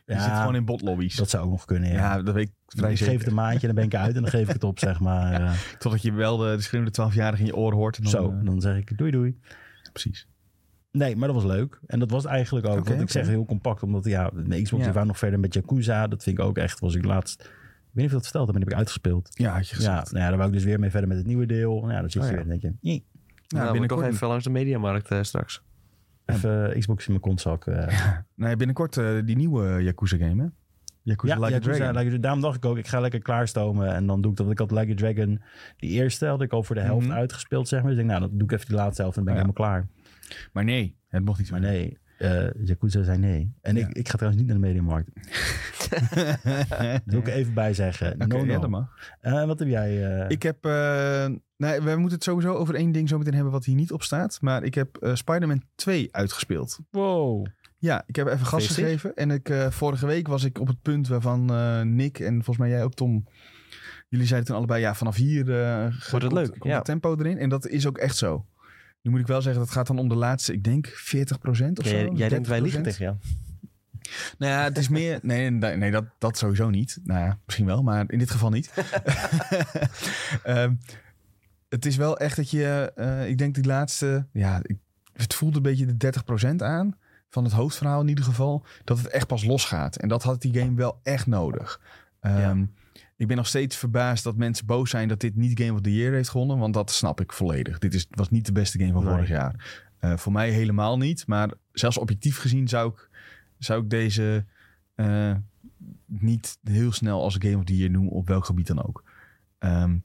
Speaker 1: Je
Speaker 3: ja,
Speaker 1: zit gewoon in botlobby's.
Speaker 3: Dat zou ook nog kunnen,
Speaker 1: ja.
Speaker 3: ja.
Speaker 1: dat weet ik vrij
Speaker 3: ik geef het
Speaker 1: zeker.
Speaker 3: een maandje en dan ben ik uit en dan geef ik het op,
Speaker 1: (laughs)
Speaker 3: zeg maar. eh.
Speaker 1: Totdat je wel de, de schreeuwende 12-jarige in je oor hoort. en dan,
Speaker 3: zo,
Speaker 1: eh,
Speaker 3: dan zeg ik doei doei.
Speaker 1: precies.
Speaker 3: Nee, maar dat was leuk. En dat was het eigenlijk ook.
Speaker 1: Oké,
Speaker 3: want ik
Speaker 1: oké.
Speaker 3: zeg heel compact, omdat ja, de Xbox
Speaker 1: Ja.
Speaker 3: die waren nog verder met Yakuza. Dat vind ik ook echt, was ik laatst... Ik weet niet of ik dat verteld heb, maar die heb ik uitgespeeld.
Speaker 1: Ja, had je gezegd.
Speaker 3: Ja, nou ja, daar wou ik dus weer mee verder met het nieuwe deel. Nou ja, dan zit
Speaker 2: Oh
Speaker 3: je
Speaker 2: ja.
Speaker 3: weer en denk je...
Speaker 2: Nou,
Speaker 3: "Jee,
Speaker 1: nou,
Speaker 2: we toch
Speaker 1: binnenkort,
Speaker 2: even langs de mediamarkt eh, straks.
Speaker 3: Even eh, Xbox in mijn
Speaker 1: (laughs)
Speaker 3: kontzak. eh.
Speaker 1: nee, binnenkort eh, die nieuwe Yakuza game, hè? Yakuza
Speaker 3: ja,
Speaker 1: Like a
Speaker 3: Yakuza,
Speaker 1: Dragon.
Speaker 3: Like a Dragon. Daarom dacht ik ook, ik ga lekker klaarstomen. En dan doe ik dat. Want ik had Like a Dragon, die eerste had ik al voor de helft
Speaker 1: Mhm. Oh
Speaker 3: uitgespeeld, zeg maar. Dus ik denk, nou, dan doe ik even die laatste helft en dan ben ik
Speaker 1: Ja.
Speaker 3: helemaal klaar.
Speaker 1: Maar nee, het mocht niet.
Speaker 3: Maar
Speaker 1: (laughs)
Speaker 3: nee, eh Yakuza zei nee. En
Speaker 1: Ja.
Speaker 3: ik, ik ga trouwens niet naar de mediamarkt. Dat wil ik er even bij zeggen.
Speaker 1: Oké,
Speaker 3: no,
Speaker 1: ja,
Speaker 3: no.
Speaker 1: dat mag.
Speaker 3: Eh, wat heb jij? eh
Speaker 1: Ik heb... eh, nee, we moeten het sowieso over één ding zometeen hebben wat hier niet op staat. Maar ik heb eh, Spider-Man 2 uitgespeeld.
Speaker 3: Wow.
Speaker 1: Ja, ik heb even gas
Speaker 2: Gefeliciteerd.
Speaker 1: gegeven. En ik, eh, vorige week was ik op het punt waarvan eh, Nick en volgens mij jij ook Tom... Jullie zeiden toen allebei, ja, vanaf hier eh,
Speaker 2: Wordt het
Speaker 1: komt-
Speaker 2: leuk,
Speaker 1: komt
Speaker 2: ja.
Speaker 1: het tempo erin. En dat is ook echt zo. Nu moet ik wel zeggen, dat gaat dan om de laatste, ik denk 40% of zo.
Speaker 2: Jij, jij denkt wij liegen
Speaker 1: 30%.
Speaker 2: tegen jou.
Speaker 1: Nou ja, het is
Speaker 2: (laughs)
Speaker 1: meer... Nee, nee, nee, dat, dat sowieso niet. Nou ja, misschien wel, maar in dit geval
Speaker 2: (laughs)
Speaker 1: niet. Ehm, het is wel echt dat je... eh, ik denk die laatste... Ja, ik, het voelde een beetje de 30% aan. Van het hoofdverhaal in ieder geval. Dat het echt pas losgaat. En dat had die game wel echt nodig. Ehm, Ik ben nog steeds verbaasd dat mensen boos zijn... dat dit niet Game of the Year heeft gewonnen. Want dat snap ik volledig. Dit is, was niet de beste game van
Speaker 3: Nee.
Speaker 1: vorig jaar. Eh, voor mij helemaal niet. Maar zelfs objectief gezien zou ik, zou ik deze eh, niet heel snel als Game of the Year noemen, op welk gebied dan ook. Ehm,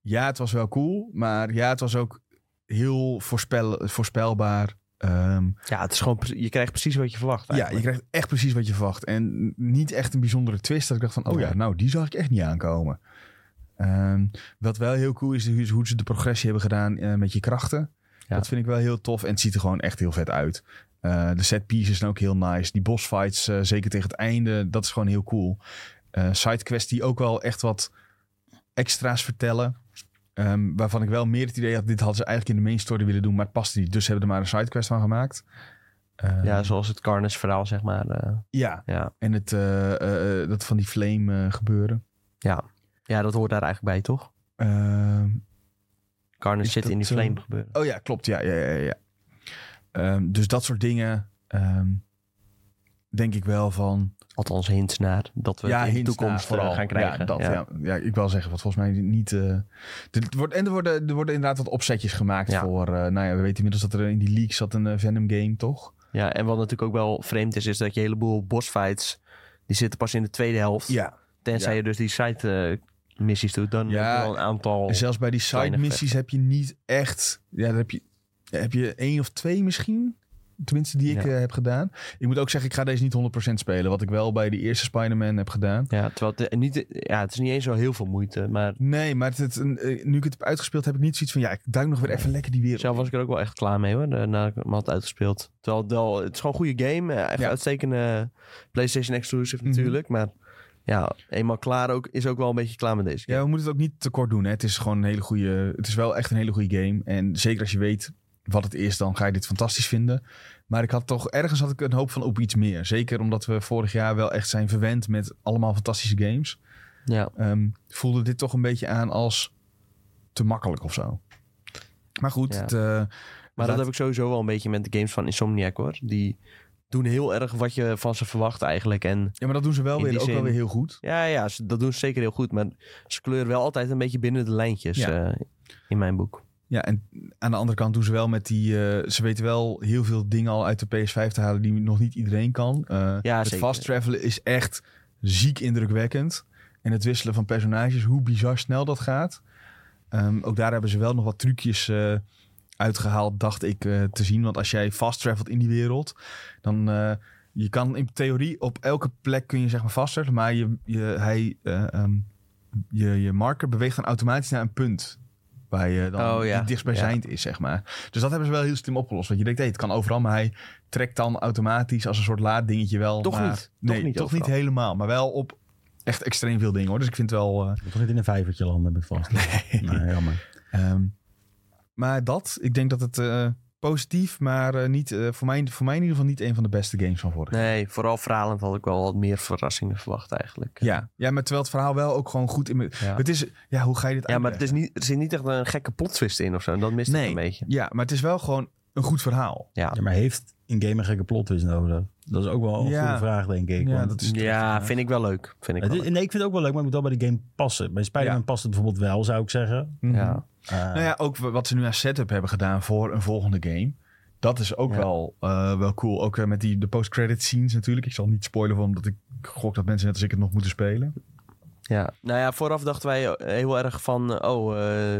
Speaker 1: ja, het was wel cool, maar ja, het was ook heel voorspel, voorspelbaar. Ehm,
Speaker 2: Ja, het is gewoon, pre- je krijgt precies wat je verwacht.
Speaker 1: ja, je
Speaker 2: eigenlijk.
Speaker 1: krijgt echt precies wat je verwacht. En niet echt een bijzondere twist. Dat ik dacht van, oh ja, nou, die zag ik echt niet aankomen. Ehm, wat wel heel cool is, is hoe ze de progressie hebben gedaan eh, met je krachten.
Speaker 2: Ja.
Speaker 1: Dat vind ik wel heel tof. En het ziet er gewoon echt heel vet uit. Eh, de set pieces zijn ook heel nice. Die boss fights, eh, zeker tegen het einde, dat is gewoon heel cool. Eh Sidequests die ook wel echt wat extra's vertellen. Ehm, waarvan ik wel meer het idee had, dit hadden ze eigenlijk in de main story willen doen, maar het paste niet. Dus ze hebben er maar een sidequest van gemaakt. Eh,
Speaker 2: Ja, zoals het Carnage verhaal, zeg maar. eh,
Speaker 1: ja.
Speaker 2: ja.
Speaker 1: en het, eh, eh, eh, dat van die flame eh, gebeuren.
Speaker 2: ja, dat hoort daar eigenlijk bij, toch?
Speaker 1: Ehm,
Speaker 2: Carnage
Speaker 1: Is
Speaker 2: zit in die
Speaker 1: dat,
Speaker 2: flame
Speaker 1: eh,
Speaker 2: gebeuren.
Speaker 1: oh ja, klopt. Ja, ja, ja, ja, ja. Ehm, dus dat soort dingen ehm, denk ik wel van...
Speaker 2: Althans, hints naar dat we het in de
Speaker 1: hints
Speaker 2: toekomst
Speaker 1: naar
Speaker 2: eh,
Speaker 1: vooral.
Speaker 2: gaan krijgen.
Speaker 1: Ja, dat, ja. Ja. ik wil zeggen, wat volgens mij niet... eh, dit wordt, en er worden, er worden inderdaad wat opzetjes gemaakt
Speaker 2: Ja.
Speaker 1: voor... eh, nou ja, we weten inmiddels dat er in die leak zat een eh, Venom game, toch?
Speaker 2: Ja, en wat natuurlijk ook wel vreemd is, is dat je een heleboel bossfights... die zitten pas in de tweede helft.
Speaker 1: Ja.
Speaker 2: tenzij
Speaker 1: ja.
Speaker 2: je dus die side eh, missies doet, dan
Speaker 1: Ja,
Speaker 2: heb je wel een aantal...
Speaker 1: En zelfs bij die side
Speaker 2: Weinig
Speaker 1: missies heb je niet echt... Ja, daar heb je, daar heb je één of twee misschien... Tenminste, die ik
Speaker 2: Ja.
Speaker 1: eh, heb gedaan. Ik moet ook zeggen, ik ga deze niet 100% spelen. Wat ik wel bij de eerste Spider-Man heb gedaan.
Speaker 2: Ja, terwijl het, eh, niet, ja, het is niet eens zo heel veel moeite, maar
Speaker 1: Nee, maar het, het- eh, nu ik het heb uitgespeeld, heb ik niet zoiets van... Ja, ik duik nog weer even lekker die wereld.
Speaker 2: zelf was ik er ook wel echt klaar mee hoor, eh, nadat ik hem had uitgespeeld. Terwijl het, wel, het is gewoon een goede game, eh, echt
Speaker 1: Ja.
Speaker 2: uitstekende PlayStation exclusive
Speaker 1: Mhm.
Speaker 2: natuurlijk, maar ja, eenmaal klaar ook, is ook wel een beetje klaar met deze
Speaker 1: Ja,
Speaker 2: game.
Speaker 1: we moeten het ook niet tekort doen. Hè. Het is gewoon een hele goede. Het is wel echt een hele goede game. En zeker als je weet wat het is, dan ga je dit fantastisch vinden. Maar ik had toch ergens had ik een hoop van op iets meer. Zeker omdat we vorig jaar wel echt zijn verwend met allemaal fantastische games.
Speaker 2: Ja,
Speaker 1: Ehm, voelde dit toch een beetje aan als te makkelijk of zo. Maar goed,
Speaker 2: Ja.
Speaker 1: het, eh,
Speaker 2: maar
Speaker 1: Laat-
Speaker 2: dat heb ik sowieso wel een beetje met de games van Insomniac hoor. Die doen heel erg wat je van ze verwacht eigenlijk en...
Speaker 1: ja, maar dat doen ze wel
Speaker 2: In
Speaker 1: weer,
Speaker 2: die
Speaker 1: ook wel
Speaker 2: zin-
Speaker 1: weer heel goed.
Speaker 2: Ja, ja, ze- dat doen ze zeker heel goed. Maar ze kleuren wel altijd een beetje binnen de lijntjes
Speaker 1: Ja.
Speaker 2: eh, in mijn boek.
Speaker 1: Ja, en aan de andere kant doen ze wel met die... eh, ze weten wel heel veel dingen al uit de PS5 te halen die nog niet iedereen kan. Eh,
Speaker 2: Ja,
Speaker 1: het
Speaker 2: zeker.
Speaker 1: fast travelen is echt ziek indrukwekkend. En het wisselen van personages, hoe bizar snel dat gaat. Ehm, ook daar hebben ze wel nog wat trucjes eh, uitgehaald, dacht ik, eh, te zien. Want als jij fast travelt in die wereld, dan... eh, je kan in theorie op elke plek kun je zeg maar fast travelen, maar je, je, hij, eh, ehm, je, je marker beweegt dan automatisch naar een punt. Waar je dan
Speaker 2: Oh, ja.
Speaker 1: die dichtstbijzijnd is, zeg maar. Dus dat hebben ze wel heel slim opgelost. Want je denkt, hé, het kan overal, maar hij trekt dan automatisch als een soort laaddingetje wel.
Speaker 2: Toch
Speaker 1: naar-
Speaker 2: niet. Toch
Speaker 1: Nee, toch,
Speaker 2: niet
Speaker 1: niet,
Speaker 2: overal.
Speaker 1: helemaal. Maar wel op echt extreem veel dingen hoor. Dus ik vind het wel. eh,
Speaker 3: Je moet toch niet in een vijvertje landen
Speaker 1: (laughs)
Speaker 3: met vast. (laughs) Nee, jammer.
Speaker 1: ehm, maar dat, ik denk dat het eh, positief, maar eh, niet, eh, voor, mij, voor mij in ieder geval niet een van de beste games van vorig
Speaker 2: Nee, vooral verhalend had ik wel wat meer verrassingen verwacht eigenlijk.
Speaker 1: Ja, ja, maar terwijl het verhaal wel ook gewoon goed in. me-
Speaker 2: Ja.
Speaker 1: Het is, ja, hoe ga je dit
Speaker 2: Ja, maar het
Speaker 1: uitleggen?
Speaker 2: is niet, er zit niet echt een gekke plot twist in of zo. En dat mist ik
Speaker 1: Nee.
Speaker 2: een beetje.
Speaker 1: Ja, maar het is wel gewoon een goed verhaal.
Speaker 2: Ja,
Speaker 3: Ja, maar heeft een game een gekke plot twist nodig? Dat is ook wel een
Speaker 1: Ja.
Speaker 3: goede vraag, denk ik.
Speaker 1: Ja,
Speaker 3: want-
Speaker 1: dat is
Speaker 2: ja, vind ik wel leuk. Vind ik
Speaker 3: Het
Speaker 2: wel
Speaker 3: is-
Speaker 2: leuk.
Speaker 3: nee, ik vind het ook wel leuk, maar het moet wel bij de game passen. Bij Spider-Man
Speaker 1: Ja.
Speaker 3: past het bijvoorbeeld wel, zou ik zeggen.
Speaker 1: Mhm.
Speaker 2: Ja.
Speaker 3: Eh,
Speaker 1: Nou ja, ook wat ze nu aan setup hebben gedaan voor een volgende game. Dat is ook
Speaker 2: Ja.
Speaker 1: wel, eh, wel cool. Ook eh, met die, de post-credit scenes natuurlijk. Ik zal niet spoilen, want omdat ik gok dat mensen net als ik het nog moeten spelen.
Speaker 2: Ja. Nou ja, vooraf dachten wij heel erg van... eh, Oh, eh,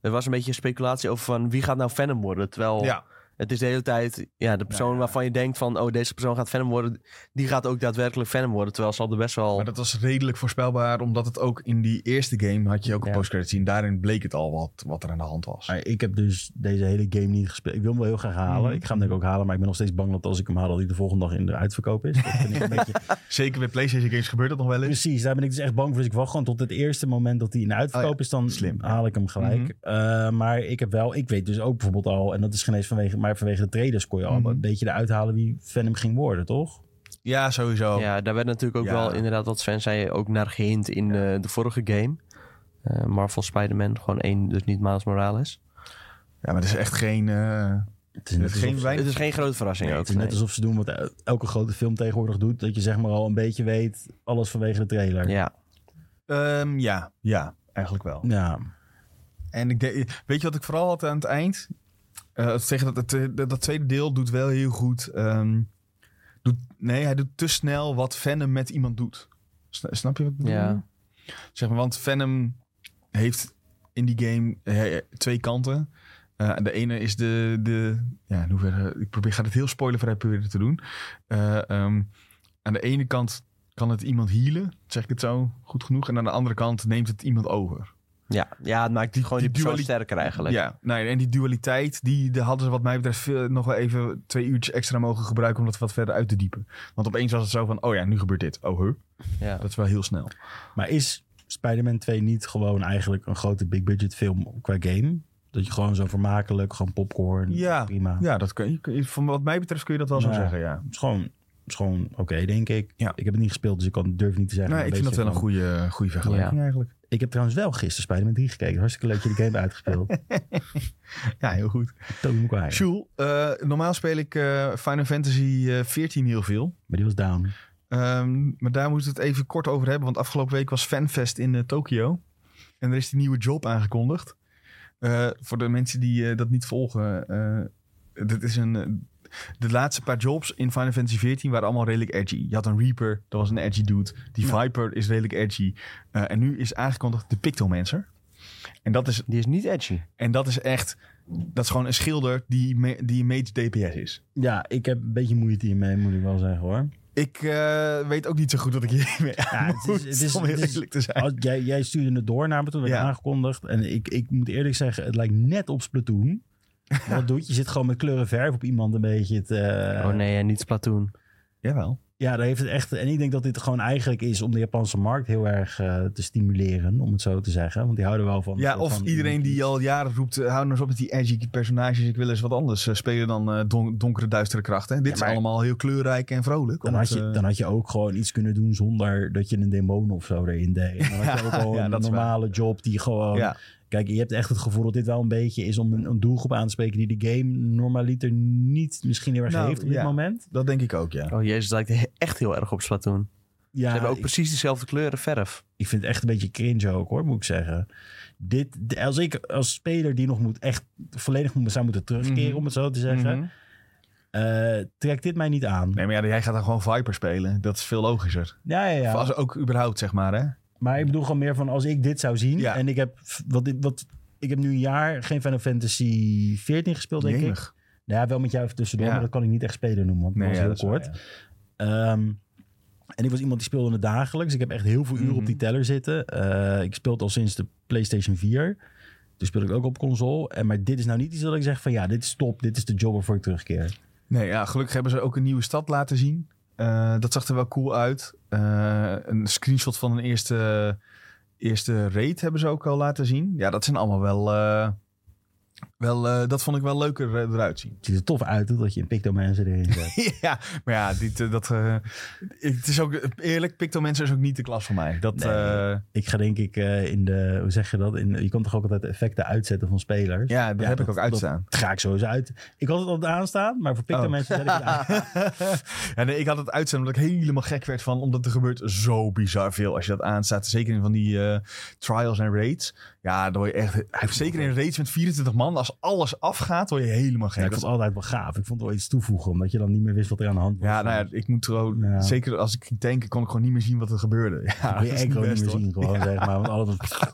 Speaker 2: er was een beetje speculatie over van wie gaat nou Venom worden. Terwijl
Speaker 1: Ja, Nou
Speaker 2: het is de hele tijd... Ja, de persoon
Speaker 1: Ja, ja.
Speaker 2: waarvan je denkt van... Oh, deze persoon gaat Venom worden. Die gaat ook daadwerkelijk Venom worden. Terwijl ze hadden best wel...
Speaker 1: maar dat was redelijk voorspelbaar, omdat het ook in die eerste game had je ook een
Speaker 2: Ja.
Speaker 1: post-credit scene. Daarin bleek het al wat, wat er aan de hand was.
Speaker 3: maar ik heb dus deze hele game niet gespeeld. Ik wil hem wel heel graag halen.
Speaker 1: Mhm.
Speaker 3: Ik ga hem denk ik ook halen, maar ik ben nog steeds bang dat als ik hem haal, dat hij de volgende dag in de uitverkoop is. Dat vind
Speaker 1: (laughs)
Speaker 3: ik een beetje...
Speaker 1: Zeker bij PlayStation games gebeurt dat nog wel eens.
Speaker 3: Precies, daar ben ik dus echt bang voor. Dus ik wacht gewoon tot het eerste moment dat hij in de uitverkoop
Speaker 1: Oh ja,
Speaker 3: is, dan
Speaker 1: slim.
Speaker 3: haal ik hem gelijk.
Speaker 1: Mhm.
Speaker 3: Eh, maar ik heb wel, ik weet dus ook bijvoorbeeld al, en dat is geen eens vanwege, maar vanwege de traders kon je al
Speaker 1: Mhm.
Speaker 3: een beetje eruit halen wie Venom ging worden, toch?
Speaker 1: Ja, sowieso.
Speaker 2: Ja, daar werd natuurlijk ook
Speaker 1: Ja.
Speaker 2: wel inderdaad, wat Sven zei, ook naar gehind in eh, de vorige game. Eh, Marvel Spider-Man, gewoon één, dus niet Miles Morales.
Speaker 1: Ja, maar het is echt geen... eh,
Speaker 3: Het
Speaker 1: Het
Speaker 3: is net,
Speaker 1: is
Speaker 3: alsof,
Speaker 1: geen
Speaker 3: ze-
Speaker 1: weinig-
Speaker 2: Het is geen grote verrassing
Speaker 3: nee,
Speaker 2: ook.
Speaker 3: het is net
Speaker 2: nee.
Speaker 3: alsof ze doen wat el- elke grote film tegenwoordig doet, dat je zeg maar al een beetje weet, alles vanwege de trailer. Ja.
Speaker 2: Ja,
Speaker 1: ehm, ja, ja, eigenlijk wel. En ik denk- weet je wat ik vooral had aan het eind? Eh, tegen dat, dat, dat tweede deel doet wel heel goed. ehm, doet, nee, hij doet te snel wat Venom met iemand doet. Sna- Snap je wat ik bedoel?
Speaker 2: Ja.
Speaker 1: Zeg maar, want Venom heeft in die game eh, twee kanten. Eh, de ene is de... de ja, in hoeverre, ik probeer, ga dit heel spoilervrij proberen te doen. Eh, ehm, aan de ene kant kan het iemand healen, zeg ik het zo goed genoeg. En aan de andere kant neemt het iemand over.
Speaker 2: ja, ja, het maakt gewoon die,
Speaker 1: die
Speaker 2: persoon
Speaker 1: duali-
Speaker 2: sterker eigenlijk.
Speaker 1: Ja, nee, en die dualiteit, die, die hadden ze wat mij betreft veel, nog wel even twee uurtjes extra mogen gebruiken om dat wat verder uit te diepen. Want opeens was het zo van, oh ja, nu gebeurt dit. Oh, huh.
Speaker 2: Ja.
Speaker 1: Dat is wel heel snel.
Speaker 3: Maar is Spider-Man 2 niet gewoon eigenlijk een grote big budget film qua game? Dat je gewoon zo vermakelijk, gewoon popcorn,
Speaker 1: Ja.
Speaker 3: prima.
Speaker 1: Ja, dat kun je, kun je- van wat mij betreft kun je dat wel
Speaker 3: Ja.
Speaker 1: zo zeggen, ja.
Speaker 3: Het is gewoon, het is gewoon oké, denk ik.
Speaker 1: Ja.
Speaker 3: Ik heb het niet gespeeld, dus ik kan, durf niet te zeggen.
Speaker 1: Nee,
Speaker 3: maar
Speaker 1: ik vind dat
Speaker 3: beetje
Speaker 1: wel een
Speaker 3: van-
Speaker 1: goede, eh, goede vergelijking eigenlijk.
Speaker 3: Ik heb trouwens wel gisteren Spider-Man 3 gekeken. Hartstikke leuk dat je die game (laughs) uitgespeeld.
Speaker 1: Ja, heel goed.
Speaker 3: Toby Maguire.
Speaker 1: Sjoel, eh, normaal speel ik eh, Final Fantasy eh 14 heel veel.
Speaker 3: Maar die was down.
Speaker 1: Ehm, maar daar moeten we het even kort over hebben. Want afgelopen week was FanFest in eh, Tokio. En er is die nieuwe job aangekondigd. Eh, voor de mensen die eh, dat niet volgen. eh, dit is een, eh, de laatste paar jobs in Final Fantasy XIV waren allemaal redelijk edgy. Je had een Reaper, dat was een edgy dude. Die Viper is redelijk edgy. Eh, en nu is aangekondigd de Pictomancer. En dat is
Speaker 2: Die is niet edgy.
Speaker 1: En dat is echt... Dat is gewoon een schilder die, me- die mage DPS is.
Speaker 3: Ja, ik heb een beetje moeite hiermee, moet ik wel zeggen hoor.
Speaker 1: Ik eh, weet ook niet zo goed wat ik (laughs) hiermee aan
Speaker 3: het is-
Speaker 1: moet,
Speaker 3: het is-
Speaker 1: om heel
Speaker 3: het is- Oh,
Speaker 1: eerlijk te zijn. (laughs)
Speaker 3: Als, jij, jij stuurde het door naar me toen werd
Speaker 1: Ja.
Speaker 3: aangekondigd. En ik, ik moet eerlijk zeggen, het lijkt net
Speaker 1: (laughs)
Speaker 3: op Splatoon. Wat doet je? Je zit gewoon met kleuren verf op iemand een beetje te... eh,
Speaker 2: oh nee, en niet Splatoon.
Speaker 1: Jawel.
Speaker 3: Ja, daar heeft het echt. En ik denk dat dit gewoon eigenlijk is om de Japanse markt heel erg eh, te stimuleren, om het zo te zeggen. Want die houden wel van.
Speaker 1: Ja,
Speaker 3: van-
Speaker 1: of
Speaker 3: van-
Speaker 1: iedereen die al jaren roept... eh, hou nou eens op met die edgy personages, ik wil eens wat anders eh, spelen dan eh, don- donkere, duistere krachten. En dit
Speaker 3: Ja, maar-
Speaker 1: is allemaal heel kleurrijk en vrolijk.
Speaker 3: Dan had,
Speaker 1: omdat,
Speaker 3: je,
Speaker 1: eh,
Speaker 3: dan had je ook gewoon iets kunnen doen zonder dat je een demon of zo erin deed. Dan had
Speaker 1: (laughs)
Speaker 3: je ook gewoon
Speaker 1: ja,
Speaker 3: een
Speaker 1: dat is waar.
Speaker 3: normale job die gewoon...
Speaker 1: ja,
Speaker 3: Kijk, je hebt echt het gevoel dat dit wel een beetje is om een, een doelgroep aan te spreken... die de game normaliter niet misschien heel erg
Speaker 1: Nou,
Speaker 3: heeft op
Speaker 1: ja.
Speaker 3: dit moment.
Speaker 1: dat denk ik ook, ja.
Speaker 2: Oh jezus, dat lijkt echt heel erg op Splatoon.
Speaker 3: Ja,
Speaker 2: Ze hebben ook
Speaker 3: ik-
Speaker 2: precies dezelfde kleuren verf.
Speaker 3: ik vind het echt een beetje cringe ook hoor, moet ik zeggen. Dit, de- als ik als speler die nog moet echt volledig moet- zou moeten terugkeren,
Speaker 1: Mhm.
Speaker 3: om het zo te zeggen...
Speaker 1: Mhm.
Speaker 3: eh, trekt dit mij niet aan.
Speaker 1: Nee, maar ja, jij gaat dan gewoon Viper spelen. Dat is veel logischer.
Speaker 3: Ja, ja,
Speaker 1: Of
Speaker 3: ja.
Speaker 1: Als ook überhaupt, zeg maar, hè.
Speaker 3: Maar ik bedoel gewoon meer van als ik dit zou zien
Speaker 1: Ja.
Speaker 3: en ik heb wat, dit- wat ik heb nu een jaar geen Final Fantasy 14 gespeeld denk ik.
Speaker 1: Jemig.
Speaker 3: Nou ja, wel met jou even tussendoor,
Speaker 1: Ja.
Speaker 3: maar dat kan ik niet echt spelen noemen, want dat
Speaker 1: Nee,
Speaker 3: was
Speaker 1: ja, dat is
Speaker 3: heel
Speaker 1: waar,
Speaker 3: kort. Ehm, en ik was iemand die speelde het dagelijks. Ik heb echt heel veel uren op
Speaker 1: Mhm.
Speaker 3: die teller zitten. Eh, ik speel het al sinds de PlayStation 4. Toen speel ik ook op console. En, maar dit is nou niet iets dat ik zeg van ja, dit is top. Dit is de job waarvoor ik terugkeer.
Speaker 1: Nee, ja, gelukkig hebben ze ook een nieuwe stad laten zien. Eh, dat zag er wel cool uit. Eh, een screenshot van een eerste, eerste raid hebben ze ook al laten zien. Ja, dat zijn allemaal wel... eh, wel eh, dat vond ik wel leuker eh, eruit zien. (laughs)
Speaker 3: Het ziet er tof uit hoor, dat je een Pictomancer erin zet.
Speaker 1: ja, maar ja, dit, eh, dat, eh, het is ook, eerlijk, Pictomancer is ook niet de klas voor mij. Dat,
Speaker 3: Nee.
Speaker 1: eh,
Speaker 3: Ik ga denk ik eh, in de, hoe zeg je dat? In, je kan toch ook altijd effecten uitzetten van spelers?
Speaker 1: ja, dat
Speaker 3: Ja,
Speaker 1: heb ik
Speaker 3: dat-
Speaker 1: ook uitstaan.
Speaker 3: Dat ga ik sowieso uit. Ik had het altijd aanstaan, maar voor Picto
Speaker 1: Oh.
Speaker 3: mensen zet ik het
Speaker 1: (laughs)
Speaker 3: aan.
Speaker 1: ja, nee, ik had het uitstaan omdat ik helemaal gek werd van... omdat er gebeurt zo bizar veel als je dat aanstaat. Zeker in van die eh, trials en raids. Ja, dan word je echt... Zeker in raids met 24 man. Als alles afgaat, word je helemaal
Speaker 3: Ja,
Speaker 1: gek.
Speaker 3: ik vond het altijd wel gaaf. Ik vond het wel iets toevoegen, omdat je dan niet meer wist wat er aan de hand was.
Speaker 1: Ja, nou ja, ik moet gewoon...
Speaker 3: Ja.
Speaker 1: Zeker als ik ging tanken, kon ik gewoon niet meer zien wat er gebeurde. (laughs) Ja,
Speaker 3: Dan kon je
Speaker 1: dat is
Speaker 3: enkel niet
Speaker 1: best,
Speaker 3: meer
Speaker 1: hoor.
Speaker 3: zien, gewoon zeg maar. Want alles
Speaker 1: (laughs)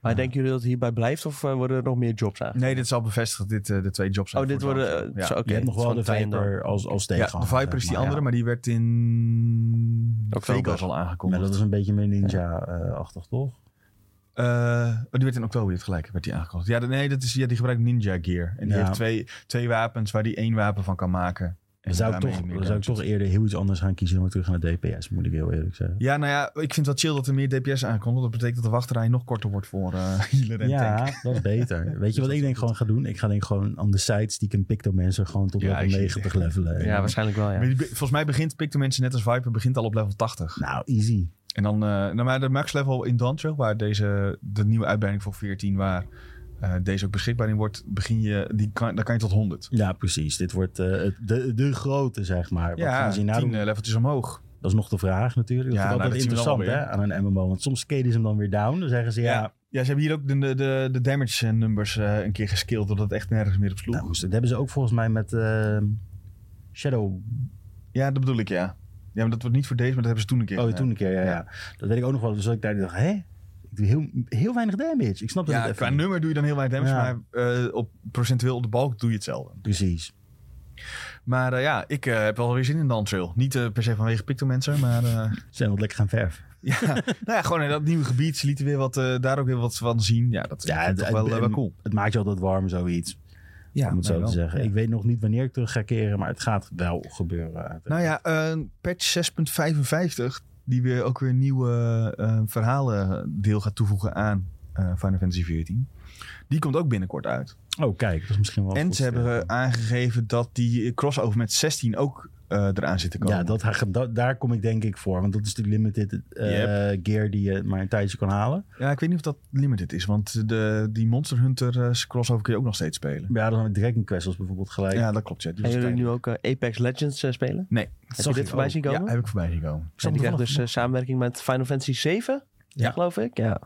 Speaker 2: Maar denken jullie dat het hierbij blijft of eh, worden er nog meer jobs aan?
Speaker 1: Nee, dit is al bevestigd. Dit, eh, de twee jobs zijn
Speaker 2: oh, dit
Speaker 1: voortaan.
Speaker 2: worden... eh,
Speaker 1: Ja.
Speaker 2: zo, oké,
Speaker 3: je hebt nog
Speaker 2: het is
Speaker 3: wel
Speaker 2: gewoon
Speaker 3: de
Speaker 2: twee en dan.
Speaker 3: Viper als, als
Speaker 1: Ja,
Speaker 3: tegenhanger.
Speaker 1: de Viper is
Speaker 3: zeg
Speaker 1: die
Speaker 3: maar.
Speaker 1: andere, maar die werd in
Speaker 2: Oktober.
Speaker 1: Vegas al
Speaker 3: Ja. Maar
Speaker 1: aangekondigd.
Speaker 3: dat is een beetje meer ninja-achtig, toch?
Speaker 1: Eh, oh, die werd in oktober dit gelijk werd die aangekondigd. Ja, de- nee, dat is, ja, die gebruikt ninja gear. En die
Speaker 3: Ja.
Speaker 1: heeft twee, twee wapens waar die één wapen van kan maken. En
Speaker 3: Dan zou ik,
Speaker 1: daarmee
Speaker 3: toch,
Speaker 1: meer
Speaker 3: dan zou ik
Speaker 1: damage
Speaker 3: toch
Speaker 1: doet.
Speaker 3: eerder heel iets anders gaan kiezen dan weer terug naar DPS, moet ik heel eerlijk zeggen.
Speaker 1: Ja, nou ja, ik vind het wel chill dat er meer DPS aankomt. Want dat betekent dat de wachtrij nog korter wordt voor eh (laughs) healer en tank.
Speaker 3: Ja, dat is
Speaker 1: (laughs)
Speaker 3: beter. Weet je wat
Speaker 1: dat
Speaker 3: ik
Speaker 1: is
Speaker 3: denk gewoon ga doen? Ik ga denk ik gewoon aan de sites die ik een Pictomancer gewoon tot
Speaker 1: Ja, ik
Speaker 3: level
Speaker 1: zie het
Speaker 3: 90
Speaker 1: echt.
Speaker 3: levelen.
Speaker 2: Ja, waarschijnlijk wel, ja.
Speaker 1: Maar die be- volgens mij begint Pictomancer net als Viper begint al op level 80.
Speaker 3: Nou, easy.
Speaker 1: En dan, eh nou, maar de max level in Dancho, waar deze, de nieuwe uitbreiding voor 14, waar eh, deze ook beschikbaar in wordt, begin je, die kan, dan kan je tot 100.
Speaker 3: Ja, precies. Dit wordt eh, het- de, de grote, zeg maar. Wat
Speaker 1: Ja,
Speaker 3: gaan ze
Speaker 1: 10
Speaker 3: hierna doen?
Speaker 1: eh, leveltjes omhoog.
Speaker 3: Dat is nog de vraag natuurlijk. Dat
Speaker 1: Ja,
Speaker 3: is
Speaker 1: nou,
Speaker 3: altijd
Speaker 1: dat zien we dan
Speaker 3: interessant
Speaker 1: wel
Speaker 3: hè, aan een MMO. Want soms skaten ze hem dan weer down. Dan zeggen ze, ja,
Speaker 1: Ja. Ja, ze hebben hier ook de, de- de, de damage eh, numbers eh, een keer geskild, doordat het echt nergens meer op sloeg.
Speaker 3: nou, dat hebben ze ook volgens mij met eh, Shadow
Speaker 1: Ja, dat bedoel ik, ja. Ja, maar dat wordt niet voor deze, maar dat hebben ze toen een keer
Speaker 3: Oh,
Speaker 1: gedaan.
Speaker 3: toen een keer, ja, ja.
Speaker 1: Ja.
Speaker 3: Dat weet ik ook nog wel. Dus dat ik daar dacht, hè? Ik doe heel, heel weinig damage. Ik snap dat
Speaker 1: Ja,
Speaker 3: het
Speaker 1: qua
Speaker 3: even niet.
Speaker 1: nummer doe je dan heel weinig damage,
Speaker 3: Ja.
Speaker 1: maar eh, op procentueel op de balk doe je hetzelfde.
Speaker 3: Precies.
Speaker 1: Maar eh, ja, ik eh, heb wel weer zin in Dantrail. Niet eh, per se vanwege Pictomancer, maar... eh, (laughs)
Speaker 3: Ze Zijn wat lekker gaan verven.
Speaker 1: ja, nou ja, gewoon in dat nieuwe gebied. Ze lieten weer wat, eh, daar ook weer wat van zien. Ja, dat
Speaker 3: Ja,
Speaker 1: ja,
Speaker 3: het-
Speaker 1: toch
Speaker 3: het-
Speaker 1: wel, eh, wel
Speaker 3: en-
Speaker 1: cool.
Speaker 3: Het maakt je altijd warm, zoiets.
Speaker 1: Ja,
Speaker 3: om het zo
Speaker 1: wel.
Speaker 3: te zeggen.
Speaker 1: Ja.
Speaker 3: Ik weet nog niet wanneer ik terug ga keren, maar het gaat wel gebeuren.
Speaker 1: Nou ja, eh, patch 6.55, die weer ook weer nieuwe eh, verhalen deel gaat toevoegen aan eh, Final Fantasy XIV. Die komt ook binnenkort uit.
Speaker 3: Oh, kijk, dat is misschien wel.
Speaker 1: en
Speaker 3: goed.
Speaker 1: ze hebben eh, aangegeven dat die crossover met 16 ook eh, eraan zit te komen.
Speaker 3: Ja, dat, da- daar kom ik denk ik voor. Want dat is de limited eh, gear die je maar een tijdje kan halen.
Speaker 1: Ja, ik weet niet of dat limited is, want de, die Monster Hunter eh, crossover kun je ook nog steeds spelen.
Speaker 3: Ja, dan met Dragon Quest was bijvoorbeeld gelijk.
Speaker 1: Ja, dat klopt. Ja. Die
Speaker 2: Gaan
Speaker 1: was
Speaker 2: jullie
Speaker 1: tijdelijk.
Speaker 2: nu ook eh, Apex Legends eh, spelen?
Speaker 1: Nee.
Speaker 2: Heb je dit voorbij zien komen?
Speaker 1: Ja, heb ik voorbij gekomen.
Speaker 2: Ja, die krijgt dus eh, samenwerking met Final Fantasy 7,
Speaker 1: Ja.
Speaker 2: geloof ik. Ja.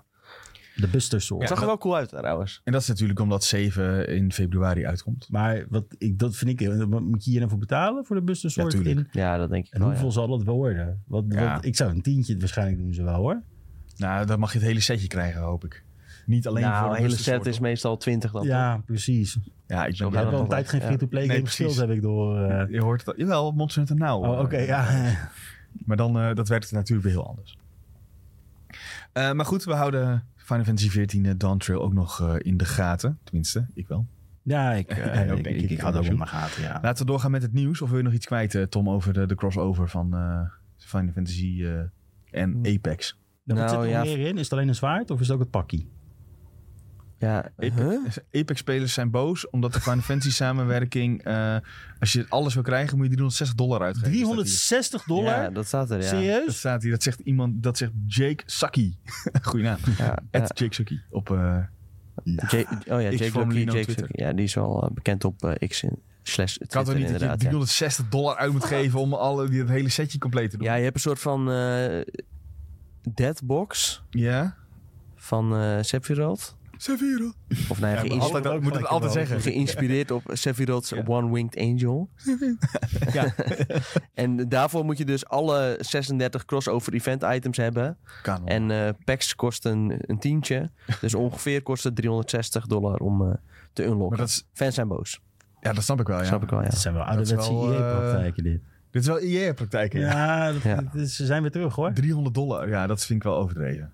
Speaker 2: Het
Speaker 3: De Buster Sword.
Speaker 2: zag er wel cool uit trouwens.
Speaker 1: En dat is natuurlijk omdat 7 in februari uitkomt.
Speaker 3: Maar wat ik, dat vind ik, heel- moet je hier dan voor betalen voor de Buster Sword?
Speaker 1: tuurlijk.
Speaker 3: in?
Speaker 2: Ja, dat denk ik
Speaker 3: En
Speaker 2: wel.
Speaker 3: hoeveel
Speaker 2: ja.
Speaker 3: zal dat worden? Want,
Speaker 1: Ja.
Speaker 3: want ik zou een tientje waarschijnlijk doen ze wel hoor.
Speaker 1: Nou, dan mag je het hele setje krijgen, hoop ik. Niet alleen
Speaker 2: nou,
Speaker 1: voor
Speaker 2: een
Speaker 1: de
Speaker 2: hele
Speaker 1: booster
Speaker 2: set is
Speaker 1: soort,
Speaker 2: meestal 20 dan. toch?
Speaker 3: Ja, precies. Ik
Speaker 1: hoor. Ja, ik ben
Speaker 2: Zo gaat
Speaker 1: blij
Speaker 3: heb al een
Speaker 2: dat
Speaker 3: tijd
Speaker 2: wel.
Speaker 3: geen
Speaker 2: Ja.
Speaker 3: free-to-play
Speaker 1: Nee,
Speaker 3: game
Speaker 1: precies.
Speaker 3: gespeeld, heb ik door. eh.
Speaker 1: dat- Je hoort het al. Jawel, Monster Hunter Now. Eh,
Speaker 3: oh, oké, ja. (laughs)
Speaker 1: Maar dan, eh, dat werkt natuurlijk weer heel anders. Eh, maar goed, we houden Final Fantasy XIV Dawn Trail ook nog eh, in de gaten. Tenminste, ik wel.
Speaker 3: Ja, ik, eh,
Speaker 1: Ja,
Speaker 3: ik,
Speaker 1: oké,
Speaker 3: ik,
Speaker 1: ik-
Speaker 3: ik had ook in mijn gaten, ja.
Speaker 1: Laten we doorgaan met het nieuws. Of wil je nog iets kwijt, eh, Tom, over de, de crossover van eh, Final Fantasy eh,
Speaker 3: Hmm.
Speaker 1: en Apex?
Speaker 3: Nou, wat zit
Speaker 2: Nou,
Speaker 3: er
Speaker 2: ja.
Speaker 3: meer in? Is het alleen een zwaard of is het ook het pakkie?
Speaker 2: Ja, huh?
Speaker 1: Apex-spelers Dus zijn boos omdat de Final Fantasy (laughs) samenwerking... eh, als je alles wil krijgen, moet je 360 dollar uitgeven.
Speaker 3: 360 dollar?
Speaker 2: Ja, dat staat er, ja.
Speaker 1: Dat
Speaker 3: Serieus?
Speaker 1: staat hier. Dat zegt iemand. Dat zegt Jake Saki. (laughs) Goeie naam.
Speaker 2: Ja, ja.
Speaker 1: At Jake Saki op eh,
Speaker 2: Jake- oh ja,
Speaker 1: Ik
Speaker 2: Jake
Speaker 1: formulier
Speaker 2: Lucky,
Speaker 1: op
Speaker 2: Jake
Speaker 1: Twitter.
Speaker 2: Lucky. Ja, die is wel eh, bekend op eh, X in slash
Speaker 1: Ik had
Speaker 2: Twitter
Speaker 1: toch niet dat je
Speaker 2: inderdaad. ja.
Speaker 1: 360 dollar uit
Speaker 2: (laughs)
Speaker 1: moet geven om alle, die, het hele setje compleet te doen.
Speaker 2: Ja, je hebt een soort van eh deadbox
Speaker 1: Ja?
Speaker 2: van eh Sephiroth.
Speaker 1: Severo.
Speaker 2: Of nou
Speaker 1: Ja,
Speaker 2: ja, geïns-
Speaker 1: maar altijd,
Speaker 3: Ook
Speaker 1: dat moet ik
Speaker 3: gelijk
Speaker 1: altijd
Speaker 3: wel.
Speaker 1: zeggen.
Speaker 2: geïnspireerd
Speaker 1: (laughs)
Speaker 2: op Sephiroth's
Speaker 1: Ja.
Speaker 2: One-Winged Angel.
Speaker 1: (laughs) Ja.
Speaker 2: (laughs) En daarvoor moet je dus alle 36 crossover event items hebben.
Speaker 1: Kan wel.
Speaker 2: En eh, packs kosten een tientje.
Speaker 1: (laughs)
Speaker 2: Dus ongeveer kost het 360 dollar om eh, te unlocken.
Speaker 1: Maar dat is,
Speaker 2: Fans zijn boos.
Speaker 1: ja, dat snap ik wel. Ja.
Speaker 2: Snap
Speaker 1: (laughs)
Speaker 2: ik wel, ja.
Speaker 3: Dat zijn wel
Speaker 1: Dat is
Speaker 3: ouderwetse
Speaker 1: wel, eh,
Speaker 3: EA-praktijken dit.
Speaker 1: Dit is wel IE-praktijk. hè?
Speaker 3: Ja, dat,
Speaker 2: Ja.
Speaker 3: dat is- ze zijn weer terug hoor.
Speaker 1: 300 dollar. Ja, dat vind ik wel overdreven.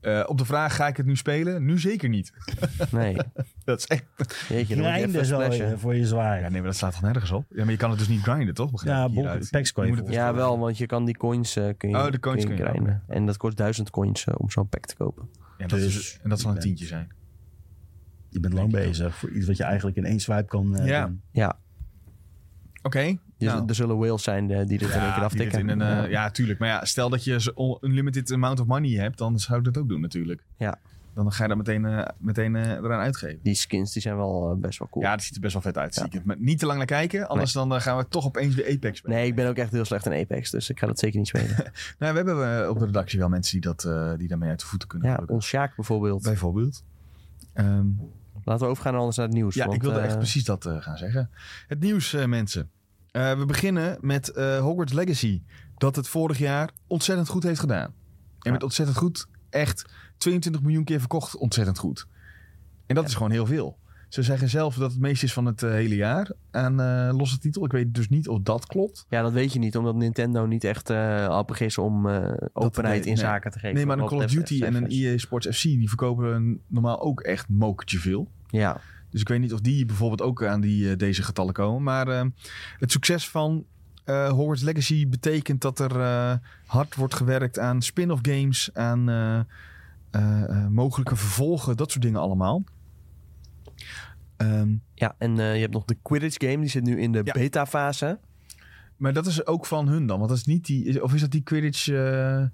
Speaker 1: Eh, op de vraag, ga ik het nu spelen? Nu zeker niet.
Speaker 2: Nee.
Speaker 1: Dat is echt...
Speaker 2: Jeetje, dan moet je even
Speaker 3: Grinden zo
Speaker 2: splashen.
Speaker 3: je eh, voor je
Speaker 1: Ja,
Speaker 3: zwaard.
Speaker 1: nee, maar dat slaat toch nergens op? Ja, maar je kan het dus niet grinden, toch? Begrijp
Speaker 3: Ja,
Speaker 1: ik
Speaker 3: bon-
Speaker 1: hieruit?
Speaker 3: packs kan je
Speaker 1: moet het
Speaker 3: voor-
Speaker 1: dus-
Speaker 2: Ja, wel, want je kan die coins, eh, kun je,
Speaker 1: Oh, de coins
Speaker 2: kun je
Speaker 1: kun je
Speaker 2: grinden. En dat kost 1000 coins eh, om zo'n pack te kopen.
Speaker 1: Ja, dat is-
Speaker 3: Dus-
Speaker 1: en dat zal een tientje zijn.
Speaker 3: Je bent lang bezig voor iets wat je eigenlijk in één swipe kan eh,
Speaker 1: Ja.
Speaker 3: doen.
Speaker 2: Ja,
Speaker 1: Oké.
Speaker 2: dus
Speaker 1: nou.
Speaker 2: er zullen whales zijn eh, die dit in één keer
Speaker 1: die dit
Speaker 2: aftikken.
Speaker 1: in een, eh,
Speaker 2: ja.
Speaker 1: ja. tuurlijk. Maar ja, stel dat je zo- on- unlimited amount of money hebt, dan zou ik dat ook doen natuurlijk.
Speaker 2: Ja.
Speaker 1: Dan ga je dat meteen, eh, meteen eh, eraan uitgeven.
Speaker 2: Die skins die zijn wel eh, best wel cool.
Speaker 1: Ja, dat ziet er best wel vet uit. stiekem. Maar niet te lang naar kijken, anders dan eh, gaan we toch opeens weer Apex spelen.
Speaker 2: Nee, ik ben ook echt heel slecht in Apex, dus ik ga dat zeker niet
Speaker 1: (laughs)
Speaker 2: spelen.
Speaker 1: Nou, we hebben eh, op de redactie wel mensen die, dat, eh, die daarmee uit de voeten kunnen.
Speaker 2: ja,
Speaker 1: gelukkig.
Speaker 2: ons Sjaak bijvoorbeeld.
Speaker 1: Bijvoorbeeld. Ehm,
Speaker 2: Laten we overgaan anders naar het nieuws.
Speaker 1: ja,
Speaker 2: want,
Speaker 1: ik wilde
Speaker 2: eh,
Speaker 1: echt precies dat eh, gaan zeggen. Het nieuws, eh, mensen. Eh, we beginnen met eh, Hogwarts Legacy. Dat het vorig jaar ontzettend goed heeft gedaan. En met ontzettend goed, echt 22 miljoen keer verkocht, ontzettend goed. En dat is gewoon heel veel. Ze zeggen zelf dat het meest is van het eh, hele jaar aan eh, losse titel. Ik weet dus niet of dat klopt.
Speaker 2: Ja, dat weet je niet, omdat Nintendo niet echt eh appig is om eh, openheid
Speaker 1: nee,
Speaker 2: in
Speaker 1: nee.
Speaker 2: zaken te geven.
Speaker 1: Nee, maar een
Speaker 2: wat
Speaker 1: Call of
Speaker 2: betreft
Speaker 1: Duty en een
Speaker 2: cijfers.
Speaker 1: EA Sports FC... die verkopen normaal ook echt mokertje veel.
Speaker 2: Ja,
Speaker 1: Dus ik weet niet of die bijvoorbeeld ook aan die, eh, deze getallen komen. Maar eh, het succes van eh Hogwarts Legacy betekent dat er eh, hard wordt gewerkt aan spin-off games, aan eh, eh, eh, mogelijke vervolgen, dat soort dingen allemaal. Ehm,
Speaker 2: ja, en eh, je hebt nog de Quidditch game, die zit nu in de
Speaker 1: Ja.
Speaker 2: beta-fase.
Speaker 1: maar dat is ook van hun dan, want dat is niet die, is- of is dat die Quidditch eh, eh,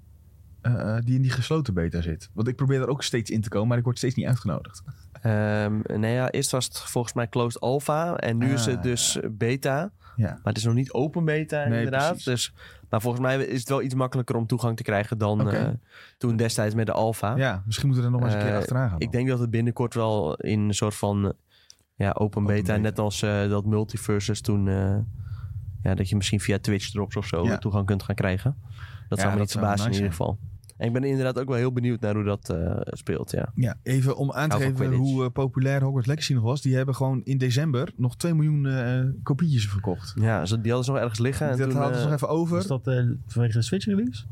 Speaker 1: eh, die in die gesloten beta zit? Want ik probeer daar ook steeds in te komen, maar ik word steeds niet uitgenodigd.
Speaker 2: Ehm nou ja, eerst was het volgens mij closed alpha en nu is het
Speaker 1: Ah,
Speaker 2: dus beta.
Speaker 1: Ja.
Speaker 2: Maar het is nog niet open beta
Speaker 1: Nee,
Speaker 2: inderdaad.
Speaker 1: precies.
Speaker 2: Dus, maar volgens mij is het wel iets makkelijker om toegang te krijgen dan
Speaker 1: Oké.
Speaker 2: eh, toen destijds met de alpha.
Speaker 1: Ja, misschien moeten we er nog maar eens een
Speaker 2: Eh,
Speaker 1: keer achteraan gaan.
Speaker 2: Ik denk dat het binnenkort wel in een soort van eh, ja, open, beta,
Speaker 1: beta.
Speaker 2: net als eh, dat multiverses toen, eh, ja, dat je misschien via Twitch drops of zo
Speaker 1: Ja.
Speaker 2: toegang kunt gaan krijgen.
Speaker 1: Ja,
Speaker 2: Dat zou me
Speaker 1: dat
Speaker 2: niet
Speaker 1: zou wel
Speaker 2: verbazen in
Speaker 1: nice
Speaker 2: ieder geval. En ik ben inderdaad ook wel heel benieuwd naar hoe dat eh, speelt, ja.
Speaker 1: Ja, even om aan te
Speaker 2: Hou van
Speaker 1: geven
Speaker 2: Quidditch.
Speaker 1: hoe eh, populair Hogwarts Legacy nog was. Die hebben gewoon in december nog 2 miljoen eh, kopietjes verkocht.
Speaker 2: Dus Ja, ze- die hadden ze nog ergens liggen. En
Speaker 1: dat
Speaker 2: toen,
Speaker 1: hadden ze
Speaker 2: eh,
Speaker 1: nog even
Speaker 3: Is
Speaker 1: over.
Speaker 3: dat eh, vanwege de Switch release?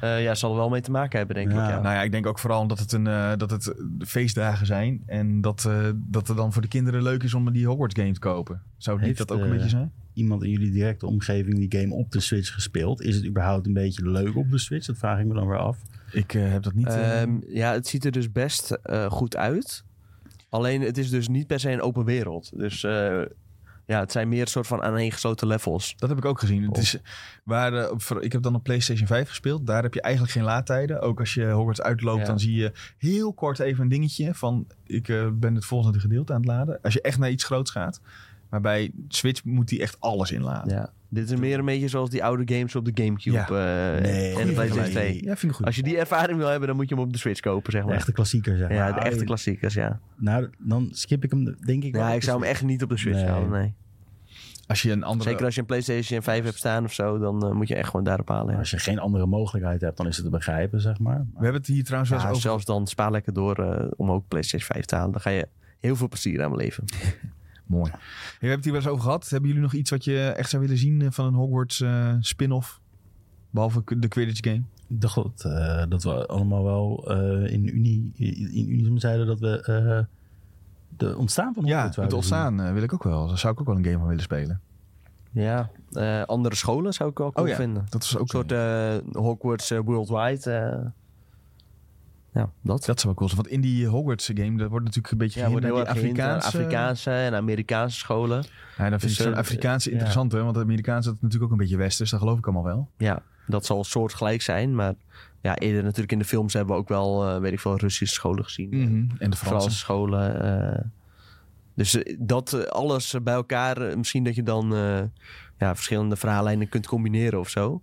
Speaker 2: Eh, ja, zal er wel mee te maken hebben, denk
Speaker 3: Ja.
Speaker 2: ik. Ja.
Speaker 1: Nou ja, ik denk ook vooral omdat het, een, eh, dat het feestdagen zijn. En dat, eh, dat het dan voor de kinderen leuk is om die Hogwarts game te kopen. Zou het niet
Speaker 3: Heeft,
Speaker 1: dat ook een
Speaker 3: eh,
Speaker 1: beetje zijn?
Speaker 3: iemand in jullie directe omgeving die game op de Switch gespeeld? Is het überhaupt een beetje leuk op de Switch? Dat vraag ik me dan weer af.
Speaker 1: Ik eh, heb dat niet... eh,
Speaker 2: Ehm, ja, het ziet er dus best eh, goed uit. Alleen het is dus niet per se een open wereld. Dus eh, ja, het zijn meer een soort van aaneengesloten levels.
Speaker 1: Dat heb ik ook gezien. Het
Speaker 2: Oh.
Speaker 1: is, waar, eh, op- voor- ik heb dan op PlayStation 5 gespeeld. Daar heb je eigenlijk geen laadtijden. Ook als je Hogwarts uitloopt,
Speaker 2: Ja.
Speaker 1: dan zie je heel kort even een dingetje van... ik eh, ben het volgende gedeelte aan het laden. Als je echt naar iets groots gaat. Maar bij Switch moet die echt alles inladen.
Speaker 2: Ja. Dit is meer een beetje zoals die oude games op de Gamecube
Speaker 1: Ja.
Speaker 2: eh,
Speaker 3: Nee,
Speaker 2: en de
Speaker 3: goeie
Speaker 2: PlayStation 2.
Speaker 3: vergelijking.
Speaker 1: Ja, vind ik goed.
Speaker 2: Als je die ervaring wil hebben, dan moet je hem op de Switch kopen, zeg
Speaker 3: De
Speaker 2: maar.
Speaker 3: echte klassieker, zeg maar.
Speaker 2: ja, de
Speaker 3: Ah,
Speaker 2: echte klassiekers, ja.
Speaker 3: Nou, dan skip ik hem denk ik wel.
Speaker 2: Ja, ik zou hem echt niet op de Switch
Speaker 3: Nee.
Speaker 2: halen, nee.
Speaker 1: Als je een andere...
Speaker 2: Zeker als je een PlayStation 5 hebt staan of zo, dan eh, moet je echt gewoon daarop halen. ja.
Speaker 3: Als je geen andere mogelijkheid hebt, dan is het te begrijpen, zeg maar.
Speaker 1: We hebben het hier trouwens wel
Speaker 2: Ja,
Speaker 1: eens over
Speaker 2: Zelfs dan spaar lekker door eh, om ook PlayStation 5 te halen. Dan ga je heel veel plezier aan beleven.
Speaker 1: Mooi. Hey, we hebben het hier wel eens over gehad. Hebben jullie nog iets wat je echt zou willen zien eh, van een Hogwarts eh, spin-off? Behalve k- de Quidditch game.
Speaker 3: Ik dacht dat, eh, dat we allemaal wel eh, in, uni, in unisem zeiden dat we eh, de ontstaan van
Speaker 1: ja,
Speaker 3: Hogwarts
Speaker 1: het
Speaker 3: wouden
Speaker 1: ontstaan eh, wil ik ook wel. Daar zou ik ook wel een game van willen spelen.
Speaker 2: Ja, eh, andere scholen zou ik wel cool
Speaker 1: Oh ja.
Speaker 2: vinden.
Speaker 1: Dat was ook
Speaker 2: Een soort eh, Hogwarts eh, Worldwide. eh. ja, dat.
Speaker 1: Dat zou wel cool zijn. Want in die Hogwarts game, dat wordt natuurlijk een beetje
Speaker 2: Ja, wordt
Speaker 1: gehind
Speaker 2: heel
Speaker 1: naar
Speaker 2: erg
Speaker 1: die
Speaker 2: gehind aan
Speaker 1: Afrikaanse...
Speaker 2: Afrikaanse en Amerikaanse scholen.
Speaker 1: Ja, dan vind
Speaker 2: Dus,
Speaker 1: ik zo'n
Speaker 2: eh,
Speaker 1: Afrikaanse
Speaker 3: ja.
Speaker 1: interessant, hè? Want de Amerikaanse dat is natuurlijk ook een beetje westers. Dat geloof ik allemaal wel.
Speaker 2: Ja, dat zal soortgelijk zijn. Maar ja, eerder natuurlijk in de films hebben we ook wel, eh, weet ik veel, Russische scholen gezien.
Speaker 1: Mhm, En de
Speaker 2: Franse,
Speaker 1: Fransen.
Speaker 2: scholen. eh. dus eh, dat eh, alles bij elkaar, eh, misschien dat je dan eh, ja, verschillende verhaallijnen kunt combineren of zo.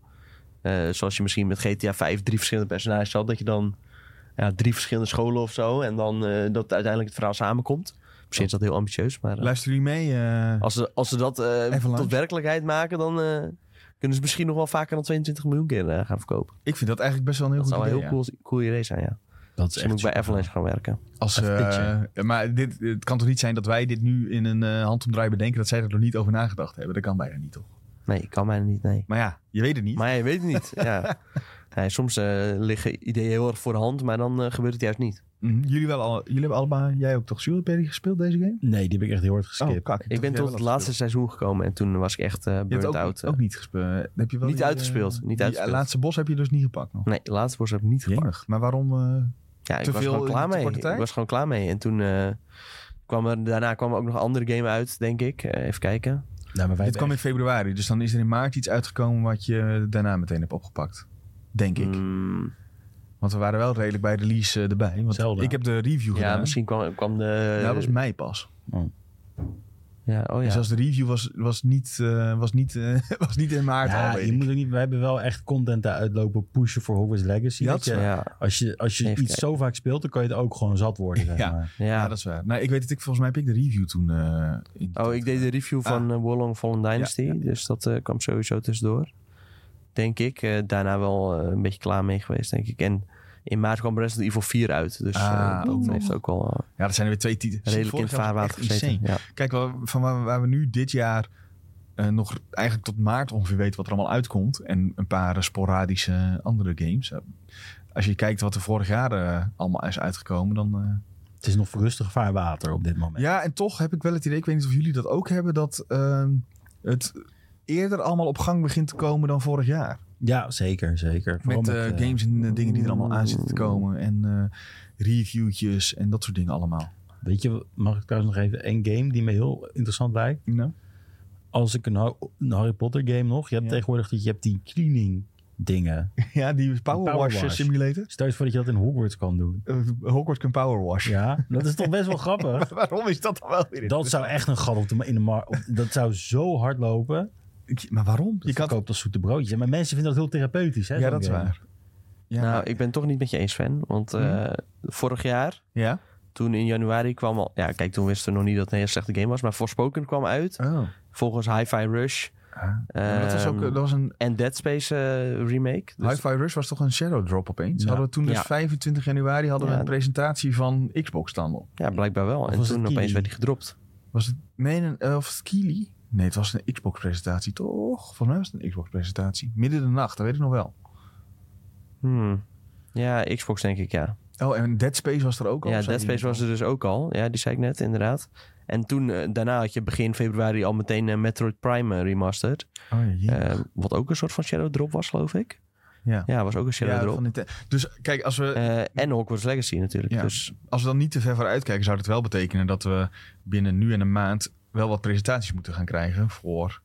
Speaker 2: Eh, zoals je misschien met GTA 5 drie verschillende personages had, dat je dan ja, drie verschillende scholen of zo en dan eh, dat uiteindelijk het verhaal samenkomt. Misschien is dat heel ambitieus, maar eh,
Speaker 1: Luisteren jullie mee? eh,
Speaker 2: als, ze, als ze dat eh,
Speaker 1: Even langs.
Speaker 2: tot werkelijkheid maken, dan eh, kunnen ze misschien nog wel vaker dan 22 miljoen keer eh, gaan verkopen.
Speaker 1: ik vind dat eigenlijk best wel een heel
Speaker 2: Dat
Speaker 1: goed
Speaker 2: zou een
Speaker 1: idee.
Speaker 2: heel
Speaker 1: ja.
Speaker 2: cool, cool idee zijn, ja.
Speaker 3: zien. Dat is
Speaker 2: Dus dan
Speaker 3: echt
Speaker 2: moet ik bij
Speaker 3: super.
Speaker 2: Avalanche gaan werken.
Speaker 1: Als,
Speaker 3: Even
Speaker 1: eh,
Speaker 3: pitchen.
Speaker 1: maar dit, het kan toch niet zijn dat wij dit nu in een eh, handomdraai bedenken... dat zij er nog niet over nagedacht hebben? Dat kan bijna niet, toch?
Speaker 2: Nee, ik kan bijna niet, nee.
Speaker 1: Maar ja, je weet het niet.
Speaker 2: (laughs) Maar ja, je weet het niet.
Speaker 1: (laughs)
Speaker 2: ja. Nee, soms eh, liggen ideeën heel erg voor de hand, maar dan eh, gebeurt het juist niet.
Speaker 1: Mhm. Jullie, wel al, jullie hebben allemaal, jij ook toch Sureberry gespeeld deze game?
Speaker 3: Nee, die heb ik echt heel hard geskipt.
Speaker 1: Oh, kak.
Speaker 2: Ik ben
Speaker 1: dacht
Speaker 2: tot
Speaker 1: jij
Speaker 2: het
Speaker 1: wel
Speaker 2: laatste seizoen gekomen en toen was ik echt eh
Speaker 1: had speelde. Je hebt
Speaker 2: burnt
Speaker 1: ook,
Speaker 2: out. eh.
Speaker 1: ook niet gespeeld. Heb je wel
Speaker 2: Niet
Speaker 1: die, eh,
Speaker 2: uitgespeeld, niet
Speaker 1: die
Speaker 2: uitgespeeld.
Speaker 1: laatste bos heb je dus niet gepakt nog.
Speaker 2: Nee, de laatste was heb ik niet gepakt.
Speaker 1: Jemig. Maar waarom? eh,
Speaker 2: Ja, ik
Speaker 1: Te
Speaker 2: was
Speaker 1: veel
Speaker 2: gewoon
Speaker 1: in
Speaker 2: klaar
Speaker 1: te
Speaker 2: mee.
Speaker 1: korte tijd?
Speaker 2: Ik was gewoon klaar mee. En toen eh, kwam er, daarna kwam er ook nog een andere game uit, denk ik. Eh, even kijken.
Speaker 3: Nou, maar wij
Speaker 1: dit kwam
Speaker 3: hebben
Speaker 1: in februari, dus dan is er in maart iets uitgekomen wat je daarna meteen hebt opgepakt. Denk ik.
Speaker 2: Mm,
Speaker 1: Want we waren wel redelijk bij de release eh, erbij. Want
Speaker 3: Zelda.
Speaker 1: ik heb de review
Speaker 2: ja,
Speaker 1: gedaan.
Speaker 2: misschien kwam, kwam de...
Speaker 1: Nou, dat was mei pas.
Speaker 2: ja, oh ja.
Speaker 1: Dus als de review was, was, niet, eh, was, niet, eh, (laughs) was niet in maart al,
Speaker 3: Ja,
Speaker 1: weet
Speaker 3: je
Speaker 1: ik.
Speaker 3: moet ook niet, we hebben wel echt content daaruit lopen pushen voor Hogwarts Legacy.
Speaker 1: Ja,
Speaker 3: Dat
Speaker 1: dat is
Speaker 3: je-
Speaker 1: waar.
Speaker 2: ja,
Speaker 3: als je, als je
Speaker 2: Even
Speaker 3: iets
Speaker 2: kijken.
Speaker 3: zo vaak speelt, dan kan je het ook gewoon zat worden. Zeg
Speaker 1: Ja.
Speaker 3: maar.
Speaker 2: ja.
Speaker 1: Ja, dat is waar. Nou, ik weet het. Ik, volgens mij heb ik de review toen... eh, in-
Speaker 2: Oh, ik deed de
Speaker 1: Ah.
Speaker 2: review van eh, Warlong Fallen Dynasty. Dus dat eh, kwam sowieso tussendoor. Denk ik. Eh, daarna wel eh, een beetje klaar mee geweest, denk ik. En in maart kwam Resident Evil 4 uit. Dus eh,
Speaker 1: Ah, ook
Speaker 2: dat
Speaker 1: nog.
Speaker 2: heeft ook wel eh,
Speaker 1: Ja, dat zijn er weer twee titels.
Speaker 2: redelijk in
Speaker 1: Vorig
Speaker 2: het
Speaker 1: jaar was het
Speaker 2: vaarwater
Speaker 1: echt
Speaker 2: gezeten.
Speaker 1: insane.
Speaker 2: Ja.
Speaker 1: Kijk, waar, van waar, waar we nu dit jaar eh, nog eigenlijk tot maart ongeveer weten wat er allemaal uitkomt. En een paar eh, sporadische andere games. Eh, Als je kijkt wat er vorig jaar eh, allemaal is uitgekomen, dan... eh,
Speaker 3: Het is nog rustig vaarwater op dit moment.
Speaker 1: ja, en toch heb ik wel het idee, ik weet niet of jullie dat ook hebben, dat eh, het eerder allemaal op gang begint te komen dan vorig jaar.
Speaker 3: Ja, zeker, zeker. Vooral
Speaker 1: Met, eh,
Speaker 3: eh,
Speaker 1: games en eh, dingen die er allemaal aan zitten te komen. En eh, reviewtjes en dat soort dingen allemaal.
Speaker 3: Weet je, mag ik trouwens nog even één game die me heel interessant lijkt?
Speaker 1: Nou, (laughs)
Speaker 3: Als ik een, Har- een Harry Potter game nog, je hebt
Speaker 1: Ja.
Speaker 3: tegenwoordig dat je hebt die cleaning dingen.
Speaker 1: Ja, die Power,
Speaker 3: Power
Speaker 1: Wash, eh,
Speaker 3: Wash.
Speaker 1: Simulator.
Speaker 3: Stel je voor dat je dat in Hogwarts kan doen.
Speaker 1: Eh, Hogwarts kan Power Wash.
Speaker 3: Ja, dat is toch best wel
Speaker 1: (laughs)
Speaker 3: grappig.
Speaker 1: Waarom is dat dan wel weer
Speaker 3: Dat zou echt een gat op de, ma- in de markt. op- Dat zou zo hard lopen.
Speaker 1: Ik- Maar waarom?
Speaker 3: Je
Speaker 1: Je kan...
Speaker 3: koopt als zoete broodjes. Maar mensen vinden dat heel therapeutisch. Hè,
Speaker 1: Ja,
Speaker 3: zo'n
Speaker 1: dat is
Speaker 3: game.
Speaker 1: waar. Ja. Mhm.
Speaker 2: Nou, ik ben het toch niet met je eens, Sven. Want eh, vorig jaar,
Speaker 1: ja?
Speaker 2: toen in januari kwam al... Ja, kijk, toen wisten we nog niet dat het een hele slechte game was. Maar Forspoken kwam uit.
Speaker 1: Oh.
Speaker 2: Volgens Hi-Fi Rush.
Speaker 1: Ah. dat was ook eh,
Speaker 2: ehm,
Speaker 1: dat was een...
Speaker 2: En Dead Space eh, remake. Dus
Speaker 1: Hi-Fi Rush was toch een shadow drop opeens?
Speaker 3: Ja.
Speaker 1: Hadden we toen dus
Speaker 2: Ja.
Speaker 1: 25 januari hadden we
Speaker 2: Ja.
Speaker 1: een presentatie van Xbox dan op.
Speaker 2: ja, blijkbaar wel. En
Speaker 3: was het
Speaker 2: toen opeens
Speaker 3: Kiwi?
Speaker 2: werd die gedropt.
Speaker 1: Was het... Nee, een, eh, of was het Kili? Nee, het was een Xbox presentatie toch? Volgens mij was het een Xbox presentatie. Midden in de nacht, dat weet ik nog wel.
Speaker 2: Hmm. Ja, Xbox denk ik, ja.
Speaker 1: Oh, en Dead Space was er ook al?
Speaker 2: ja,
Speaker 1: of zei
Speaker 2: Dead
Speaker 1: die
Speaker 2: Space was er dus ook al. Ja, die zei ik net, inderdaad. En toen, eh, daarna had je begin februari al meteen eh, Metroid Prime eh, remastered.
Speaker 1: Oh, ja, jee.
Speaker 2: Eh, wat ook een soort van Shadow Drop was, geloof ik.
Speaker 1: Ja.
Speaker 2: Ja, was ook een Shadow
Speaker 1: Ja,
Speaker 2: Drop.
Speaker 1: van Nintendo. Dus kijk, als we,
Speaker 2: Eh, en Hogwarts Legacy natuurlijk.
Speaker 1: Ja.
Speaker 2: Dus
Speaker 1: als we dan niet te ver vooruit kijken, zou dat wel betekenen dat we binnen nu en een maand wel wat presentaties moeten gaan krijgen voor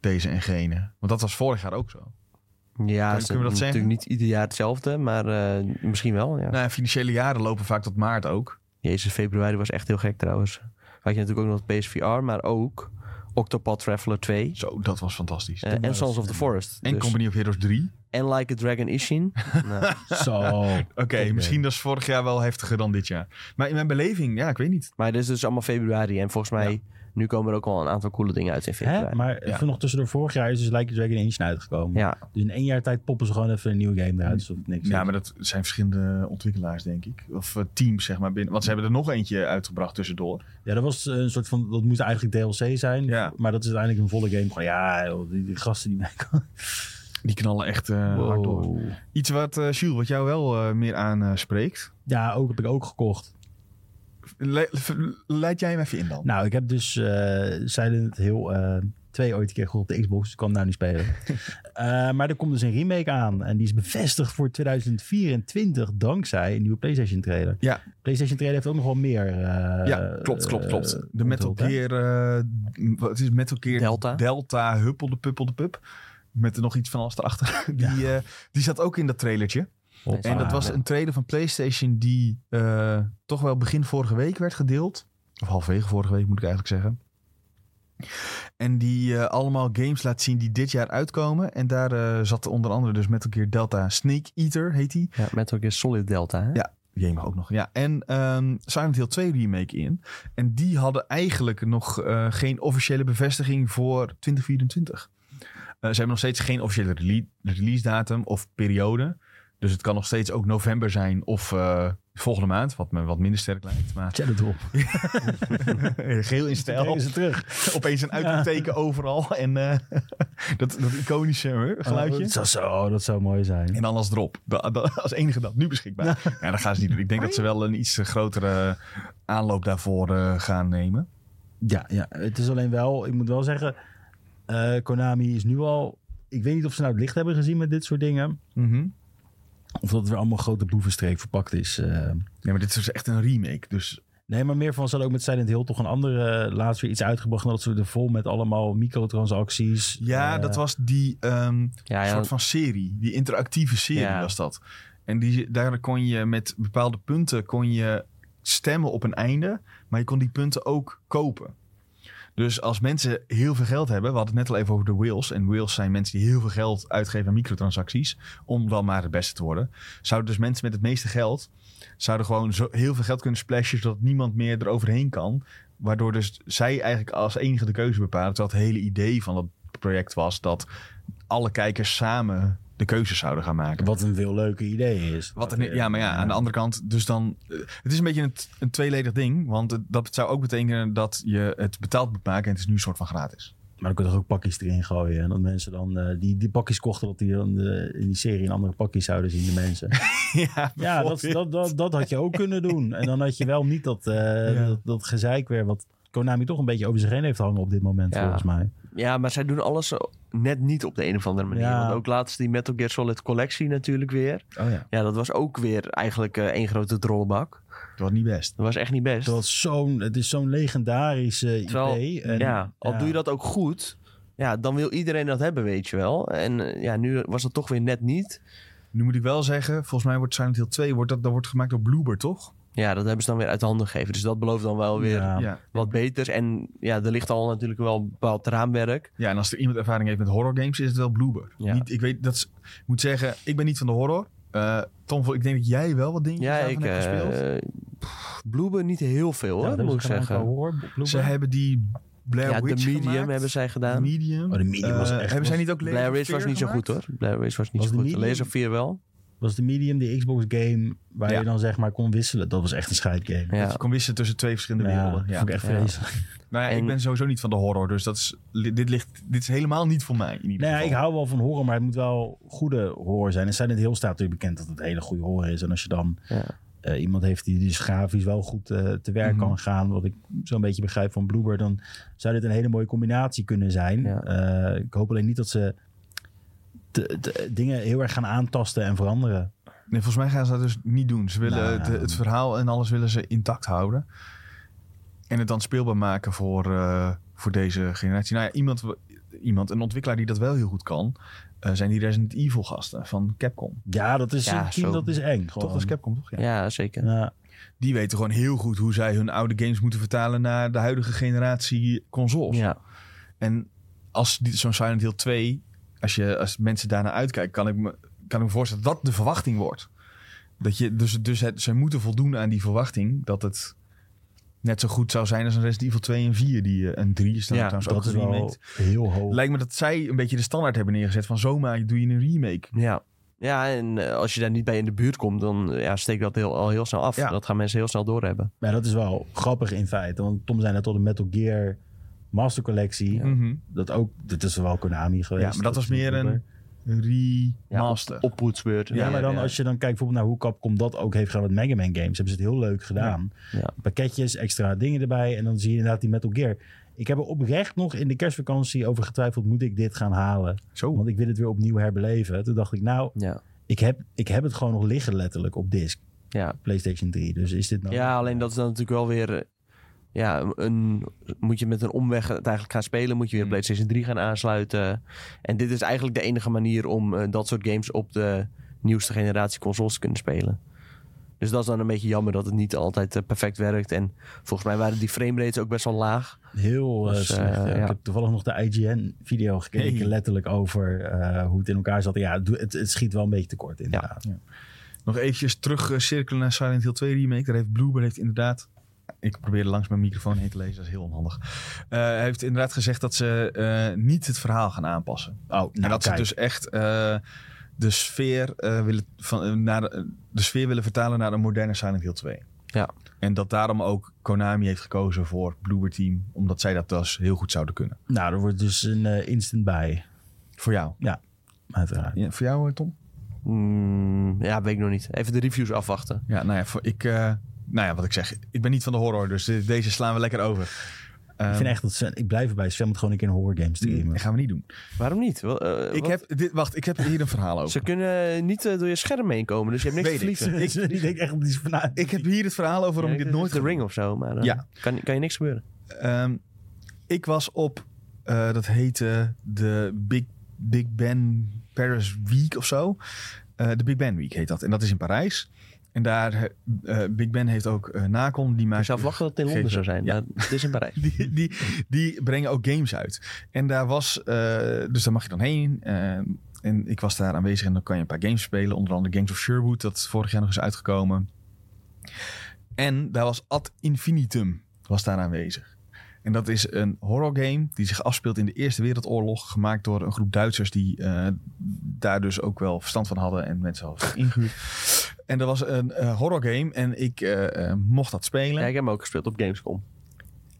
Speaker 1: deze en gene. Want dat was vorig jaar ook zo.
Speaker 2: ja,
Speaker 1: we
Speaker 2: is
Speaker 1: dat
Speaker 2: natuurlijk
Speaker 1: zeggen?
Speaker 2: niet ieder jaar hetzelfde, maar eh, misschien wel. Ja.
Speaker 1: Nou, ja, financiële jaren lopen vaak tot maart ook.
Speaker 2: Jezus, februari was echt heel gek trouwens. Had je natuurlijk ook nog PSVR, maar ook Octopath Traveler 2
Speaker 1: Zo, dat was fantastisch.
Speaker 2: eh, en Sons of the Forest.
Speaker 1: en
Speaker 2: Dus-
Speaker 1: Company of Heroes 3.
Speaker 2: en Like a Dragon
Speaker 1: (laughs)
Speaker 2: Ishin. nou,
Speaker 3: (laughs) Zo.
Speaker 1: Oké, misschien dat is vorig jaar wel heftiger dan dit jaar. Maar in mijn beleving, ja, ik weet niet.
Speaker 2: maar dit is dus allemaal februari en volgens mij nu komen er ook al een aantal coole dingen uit in
Speaker 3: Hè?
Speaker 2: februari.
Speaker 3: Maar
Speaker 1: Ja.
Speaker 3: even nog tussendoor, vorig jaar is dus Like a Dragon Engine uitgekomen.
Speaker 2: Ja,
Speaker 3: Dus in één jaar tijd poppen ze gewoon even een nieuwe game eruit. Of niks.
Speaker 1: Mm. Ja, maar dat zijn verschillende ontwikkelaars, denk ik. Of eh, teams, zeg maar. Binnen. Want ze hebben er nog eentje uitgebracht tussendoor.
Speaker 3: Ja, dat was eh, een soort van. Dat moest eigenlijk DLC zijn.
Speaker 1: Ja.
Speaker 3: Maar dat is uiteindelijk een volle game. Gewoon, ja, joh, die, die gasten die (laughs) meekomen.
Speaker 1: Die knallen echt eh, hard door. Iets wat, eh Jules, wat jou wel eh, meer aanspreekt.
Speaker 3: Ja, ook heb ik ook gekocht.
Speaker 1: Le- ver- leid jij hem even in dan.
Speaker 3: Nou, ik heb dus eh Silent Hill eh 2 ooit een keer gekocht op de Xbox. Dus ik kan hem nou niet spelen.
Speaker 1: (laughs)
Speaker 3: Eh, maar er komt dus een remake aan. En die is bevestigd voor 2024 dankzij een nieuwe PlayStation trailer.
Speaker 1: Ja.
Speaker 3: PlayStation trailer heeft ook nog wel meer. eh,
Speaker 1: ja, klopt, klopt,
Speaker 3: eh,
Speaker 1: klopt. de
Speaker 3: onthuld,
Speaker 1: Metal
Speaker 3: hè?
Speaker 1: Gear... eh, wat is het? Metal Gear
Speaker 2: Delta.
Speaker 1: Delta Huppel de Puppel de Pup. Met er nog iets van alles erachter. (laughs) Die, eh, die zat ook in dat trailertje.
Speaker 3: Hoppa.
Speaker 1: En dat
Speaker 2: Ah,
Speaker 1: was
Speaker 3: (laughs)
Speaker 2: ja.
Speaker 1: een trailer van PlayStation die eh, toch wel begin vorige week werd gedeeld. Of halverwege vorige week moet ik eigenlijk zeggen. En die eh, allemaal games laat zien die dit jaar uitkomen. En daar eh, zat onder andere dus Metal Gear Delta Snake Eater, heet die.
Speaker 2: ja met ook een Solid Delta. Hè?
Speaker 1: Ja. Jemig ook nog. Ja, en ehm Silent Hill 2 remake in. En die hadden eigenlijk nog eh, geen officiële bevestiging voor 2024. Eh, ze hebben nog steeds geen officiële rele- release datum of periode. Dus het kan nog steeds ook november zijn of eh, volgende maand. Wat me wat minder sterk lijkt.
Speaker 3: (laughs)
Speaker 1: Maar
Speaker 3: Shadow Drop.
Speaker 1: geel in
Speaker 3: Daar (laughs)
Speaker 1: stijl.
Speaker 3: is het terug.
Speaker 1: Opeens een uitroepteken overal. En eh, (laughs) dat, dat iconische hè,
Speaker 3: Oh,
Speaker 1: geluidje.
Speaker 3: dat, zou zo, dat zou mooi zijn.
Speaker 1: En dan als drop. Da- da- als enige dat nu beschikbaar. Ja. dat gaan ze niet doen. Ik denk dat ze wel een iets eh, grotere aanloop daarvoor eh, gaan nemen.
Speaker 3: Ja, ja, het is alleen wel, ik moet wel zeggen, eh, Konami is nu al. Ik weet niet of ze nou het licht hebben gezien met dit soort dingen.
Speaker 1: Mhm.
Speaker 3: Of dat het weer allemaal grote boevenstreek verpakt is. eh.
Speaker 1: Nee, maar dit is dus echt een remake. Dus
Speaker 3: nee, maar meer van ze hadden ook met Silent Hill toch een andere eh, laatst weer iets uitgebracht. En dat ze er vol met allemaal microtransacties.
Speaker 1: ja,
Speaker 3: eh,
Speaker 1: dat was die ehm,
Speaker 2: Ja, ja,
Speaker 1: soort van serie. Die interactieve serie
Speaker 2: Ja.
Speaker 1: was dat. En die, daar kon je met bepaalde punten kon je stemmen op een einde. Maar je kon die punten ook kopen. Dus als mensen heel veel geld hebben, we hadden het net al even over de whales. En whales zijn mensen die heel veel geld uitgeven aan microtransacties. Om dan maar het beste te worden. Zouden dus mensen met het meeste geld. zouden gewoon zo heel veel geld kunnen splashen. zodat niemand meer eroverheen kan. Waardoor dus zij eigenlijk als enige de keuze bepalen. Terwijl het hele idee van dat project was dat alle kijkers samen de keuzes zouden gaan maken.
Speaker 3: Wat een veel leuker idee is.
Speaker 1: Wat een- ja, maar ja, aan de andere kant, dus dan. eh, Het is een beetje een, t- een tweeledig ding. Want het- dat zou ook betekenen dat je het betaald moet maken. En het is nu een soort van gratis.
Speaker 3: Maar dan kun je toch ook pakjes erin gooien. En dat mensen dan eh, die, die pakjes kochten, dat die dan eh, in die serie een andere pakjes zouden zien, de
Speaker 1: (laughs)
Speaker 3: mensen.
Speaker 1: ja,
Speaker 3: Ja, dat, dat, dat, dat had je ook kunnen doen. En dan had je wel niet dat, eh,
Speaker 1: Ja.
Speaker 3: dat, dat gezeik weer wat Konami toch een beetje over zich heen heeft hangen op dit moment,
Speaker 2: Ja.
Speaker 3: volgens mij.
Speaker 2: Ja, maar zij doen alles zo- net niet op de een of andere manier.
Speaker 3: Ja.
Speaker 2: Want ook laatst die Metal Gear Solid collectie natuurlijk weer.
Speaker 1: Oh ja,
Speaker 2: Ja, dat was ook weer eigenlijk eh, één grote drollenbak.
Speaker 1: dat was niet best.
Speaker 2: Dat was echt niet best.
Speaker 3: Het, was zo'n, het is zo'n legendarische IP.
Speaker 2: Terwijl,
Speaker 3: en,
Speaker 2: ja, al doe je dat ook goed, ja, dan wil iedereen dat hebben, weet je wel. En eh, ja, nu was dat toch weer net niet.
Speaker 1: Nu moet ik wel zeggen, volgens mij wordt Silent Hill 2 wordt dat, dat wordt gemaakt door Bloober, toch?
Speaker 2: Ja, dat hebben ze dan weer uit de handen gegeven. Dus dat belooft dan wel weer
Speaker 3: Ja.
Speaker 1: Ja.
Speaker 2: wat beters. En ja, er ligt al natuurlijk wel een bepaald raamwerk.
Speaker 1: ja, en als er iemand ervaring heeft met horror games, is het wel Bloober.
Speaker 2: Ja.
Speaker 1: Niet, ik, weet, dat is- ik moet zeggen, ik ben niet van de horror. Eh, Tom, ik denk dat jij wel wat dingetjes
Speaker 2: Ja,
Speaker 1: daarvan
Speaker 2: ik...
Speaker 1: hebt gespeeld.
Speaker 2: eh pff, Bloober niet heel veel, hoor, moet ik zeggen.
Speaker 1: Ze hebben die Blair
Speaker 2: ja, de
Speaker 1: Witch
Speaker 2: medium
Speaker 1: gemaakt.
Speaker 2: hebben zij gedaan.
Speaker 1: Medium.
Speaker 3: Oh, de Medium was
Speaker 1: Eh,
Speaker 3: echt-
Speaker 1: Hebben zij niet ook Laser
Speaker 2: Blair Witch was niet zo goed hoor. Blair Witch was niet
Speaker 3: Was
Speaker 2: zo
Speaker 3: de
Speaker 2: goed.
Speaker 3: medium-
Speaker 2: Laser 4 wel.
Speaker 3: was de medium, de Xbox game, waar
Speaker 1: Ja.
Speaker 3: je dan zeg maar kon wisselen. Dat was echt een scheidgame. Nou
Speaker 1: Dat je kon wisselen tussen twee verschillende werelden.
Speaker 3: dat
Speaker 1: Ja.
Speaker 3: vond ik echt
Speaker 2: Ja.
Speaker 3: vreselijk.
Speaker 1: Nou ja,
Speaker 2: En-
Speaker 1: ik ben sowieso niet van de horror, dus dat is, li- dit, ligt, dit is helemaal niet voor mij. In ieder
Speaker 3: Nee, Nou ja,
Speaker 1: geval.
Speaker 3: ik hou wel van horror, maar het moet wel goede horror zijn. En Silent Hill staat natuurlijk bekend dat het hele goede horror is. En als je dan
Speaker 2: Ja.
Speaker 3: eh, iemand heeft die dus grafisch wel goed eh, te werk
Speaker 1: Mhm.
Speaker 3: kan gaan, wat ik zo'n beetje begrijp van Bloober, dan zou dit een hele mooie combinatie kunnen zijn.
Speaker 2: Ja.
Speaker 3: Eh, ik hoop alleen niet dat ze te- te- dingen heel erg gaan aantasten en veranderen.
Speaker 1: Nee, volgens mij gaan ze dat dus niet doen. Ze willen
Speaker 3: Nou,
Speaker 1: het,
Speaker 3: ja.
Speaker 1: het verhaal en alles willen ze intact houden. En het dan speelbaar maken voor, eh, voor deze generatie. Nou ja, iemand, iemand, een ontwikkelaar die dat wel heel goed kan, eh, zijn die Resident Evil gasten van Capcom.
Speaker 3: Ja, dat is
Speaker 2: Ja,
Speaker 3: een team,
Speaker 2: zo.
Speaker 3: dat is eng.
Speaker 1: Toch was Capcom, toch? Ja.
Speaker 2: ja, zeker.
Speaker 3: Ja.
Speaker 1: Die weten gewoon heel goed hoe zij hun oude games moeten vertalen naar de huidige generatie consoles.
Speaker 2: Ja,
Speaker 1: En als die- zo'n Silent Hill 2, als, je, als mensen daarna uitkijken, kan ik, me, kan ik me voorstellen dat dat de verwachting wordt. Dat je, dus dus het, ze moeten voldoen aan die verwachting dat het net zo goed zou zijn als een Resident Evil 2 en 4. Die, eh, en 3 is dan
Speaker 2: Ja,
Speaker 1: trouwens ook
Speaker 3: Dat is
Speaker 1: een remake.
Speaker 3: wel heel hoog.
Speaker 1: Lijkt me dat zij een beetje de standaard hebben neergezet van zomaar doe je een remake.
Speaker 2: ja. Ja, en eh, als je daar niet bij in de buurt komt, dan eh, ja, steekt dat heel, al heel snel af.
Speaker 1: Ja.
Speaker 2: Dat gaan mensen heel snel doorhebben.
Speaker 3: Maar dat is wel grappig in feite. Want Tom zei net al de Metal Gear Master Collectie.
Speaker 1: Ja,
Speaker 3: Dat ook, dit is wel Konami geweest.
Speaker 1: ja maar dat was
Speaker 3: is
Speaker 1: meer
Speaker 3: Bloober.
Speaker 1: een remaster.
Speaker 2: Oppoetsbeurt.
Speaker 3: Ja, maar dan als je dan kijkt bijvoorbeeld naar hoe Capcom dat ook heeft gedaan met Mega Man games, hebben ze het heel leuk gedaan.
Speaker 2: Ja.
Speaker 3: Pakketjes, extra dingen erbij en dan zie je inderdaad die Metal Gear. Ik heb er oprecht nog in de kerstvakantie over getwijfeld, moet ik dit gaan halen?
Speaker 1: Zo.
Speaker 3: Want ik wil het weer opnieuw herbeleven. Toen dacht ik, nou,
Speaker 2: Ja.
Speaker 3: ik heb, ik heb het gewoon nog liggen letterlijk op disc,
Speaker 2: Ja.
Speaker 3: PlayStation 3. Dus is dit nou...
Speaker 2: ja, alleen dat is dan natuurlijk wel weer... eh, Ja, een, moet je met een omweg het eigenlijk gaan spelen. Moet je weer
Speaker 1: Hmm.
Speaker 2: PlayStation 3 gaan aansluiten. En dit is eigenlijk de enige manier om eh, dat soort games op de nieuwste generatie consoles te kunnen spelen. Dus dat is dan een beetje jammer dat het niet altijd eh, perfect werkt. En volgens mij waren die framerates ook best wel laag.
Speaker 3: Heel eh,
Speaker 2: Dus, eh,
Speaker 3: slecht. ja.
Speaker 2: ja.
Speaker 3: Ik heb toevallig nog de IGN-video gekeken,
Speaker 1: Hey.
Speaker 3: letterlijk over eh, hoe het in elkaar zat. Ja, het, het, het schiet wel een beetje tekort inderdaad.
Speaker 1: Nog eventjes terug eh, cirkelen naar Silent Hill 2 remake. Daar heeft Bloober heeft inderdaad... Ik probeerde langs mijn microfoon heen te lezen, dat is heel onhandig. Eh, Hij heeft inderdaad gezegd dat ze eh, niet het verhaal gaan aanpassen.
Speaker 3: Oh, nou,
Speaker 1: en dat
Speaker 3: kijk.
Speaker 1: ze dus echt eh, de, sfeer, eh, willen van, eh, naar de, de sfeer willen vertalen naar een moderne Silent Hill 2.
Speaker 2: Ja.
Speaker 1: En dat daarom ook Konami heeft gekozen voor Bloober Team. Omdat zij dat dus heel goed zouden kunnen.
Speaker 3: Nou, er wordt dus een eh, instant bij,
Speaker 1: Voor jou.
Speaker 3: uiteraard.
Speaker 1: Ja, voor jou, eh, Tom?
Speaker 2: Hmm, ja, weet ik nog niet. Even de reviews afwachten.
Speaker 1: Ja, nou ja, voor, ik, eh, nou ja, wat ik zeg. Ik ben niet van de horror, dus de- deze slaan we lekker over.
Speaker 3: ik
Speaker 1: Ehm,
Speaker 3: vind echt dat Sven, ik blijf erbij. Sven moet gewoon een keer een horror game streamen. (laughs)
Speaker 1: Dat gaan we niet doen.
Speaker 2: Waarom niet? Wel, eh,
Speaker 1: Ik
Speaker 2: wat?
Speaker 1: heb, dit, wacht, ik heb hier een verhaal over.
Speaker 2: Ze kunnen niet eh, door je scherm heen komen, dus je hebt niks te
Speaker 1: Weet ik.
Speaker 2: verliezen.
Speaker 3: Ik, ik denk echt dat die vanuit.
Speaker 1: Ik heb hier het verhaal over waarom ik dit nooit
Speaker 2: de ring of zo, maar eh,
Speaker 1: Ja.
Speaker 2: kan, kan je niks gebeuren.
Speaker 1: Ehm, ik was op, eh, dat heette de Big, Big Ben Paris Week of zo. Eh, de Big Ben Week heet dat. En dat is in Parijs. En daar, eh, eh, Big Ben heeft ook eh Nacon. Die
Speaker 2: Ik
Speaker 1: maakt
Speaker 2: zou verwachten dat het in Londen
Speaker 1: Geef-
Speaker 2: zou zijn,
Speaker 1: ja.
Speaker 2: maar het is in
Speaker 1: (laughs)
Speaker 2: Parijs.
Speaker 1: die, die, die brengen ook games uit. En daar was, eh, dus daar mag je dan heen. eh, en ik was daar aanwezig en dan kan je een paar games spelen. Onder andere Games of Sherwood, dat is vorig jaar nog eens uitgekomen. En daar was Ad Infinitum, was daar aanwezig. En dat is een horror game die zich afspeelt in de Eerste Wereldoorlog. Gemaakt door een groep Duitsers die eh, daar dus ook wel verstand van hadden. En mensen hadden zich ingehuurd. En dat was een eh, horror game en ik eh, eh, mocht dat spelen.
Speaker 2: Ja, ik heb hem ook gespeeld op Gamescom.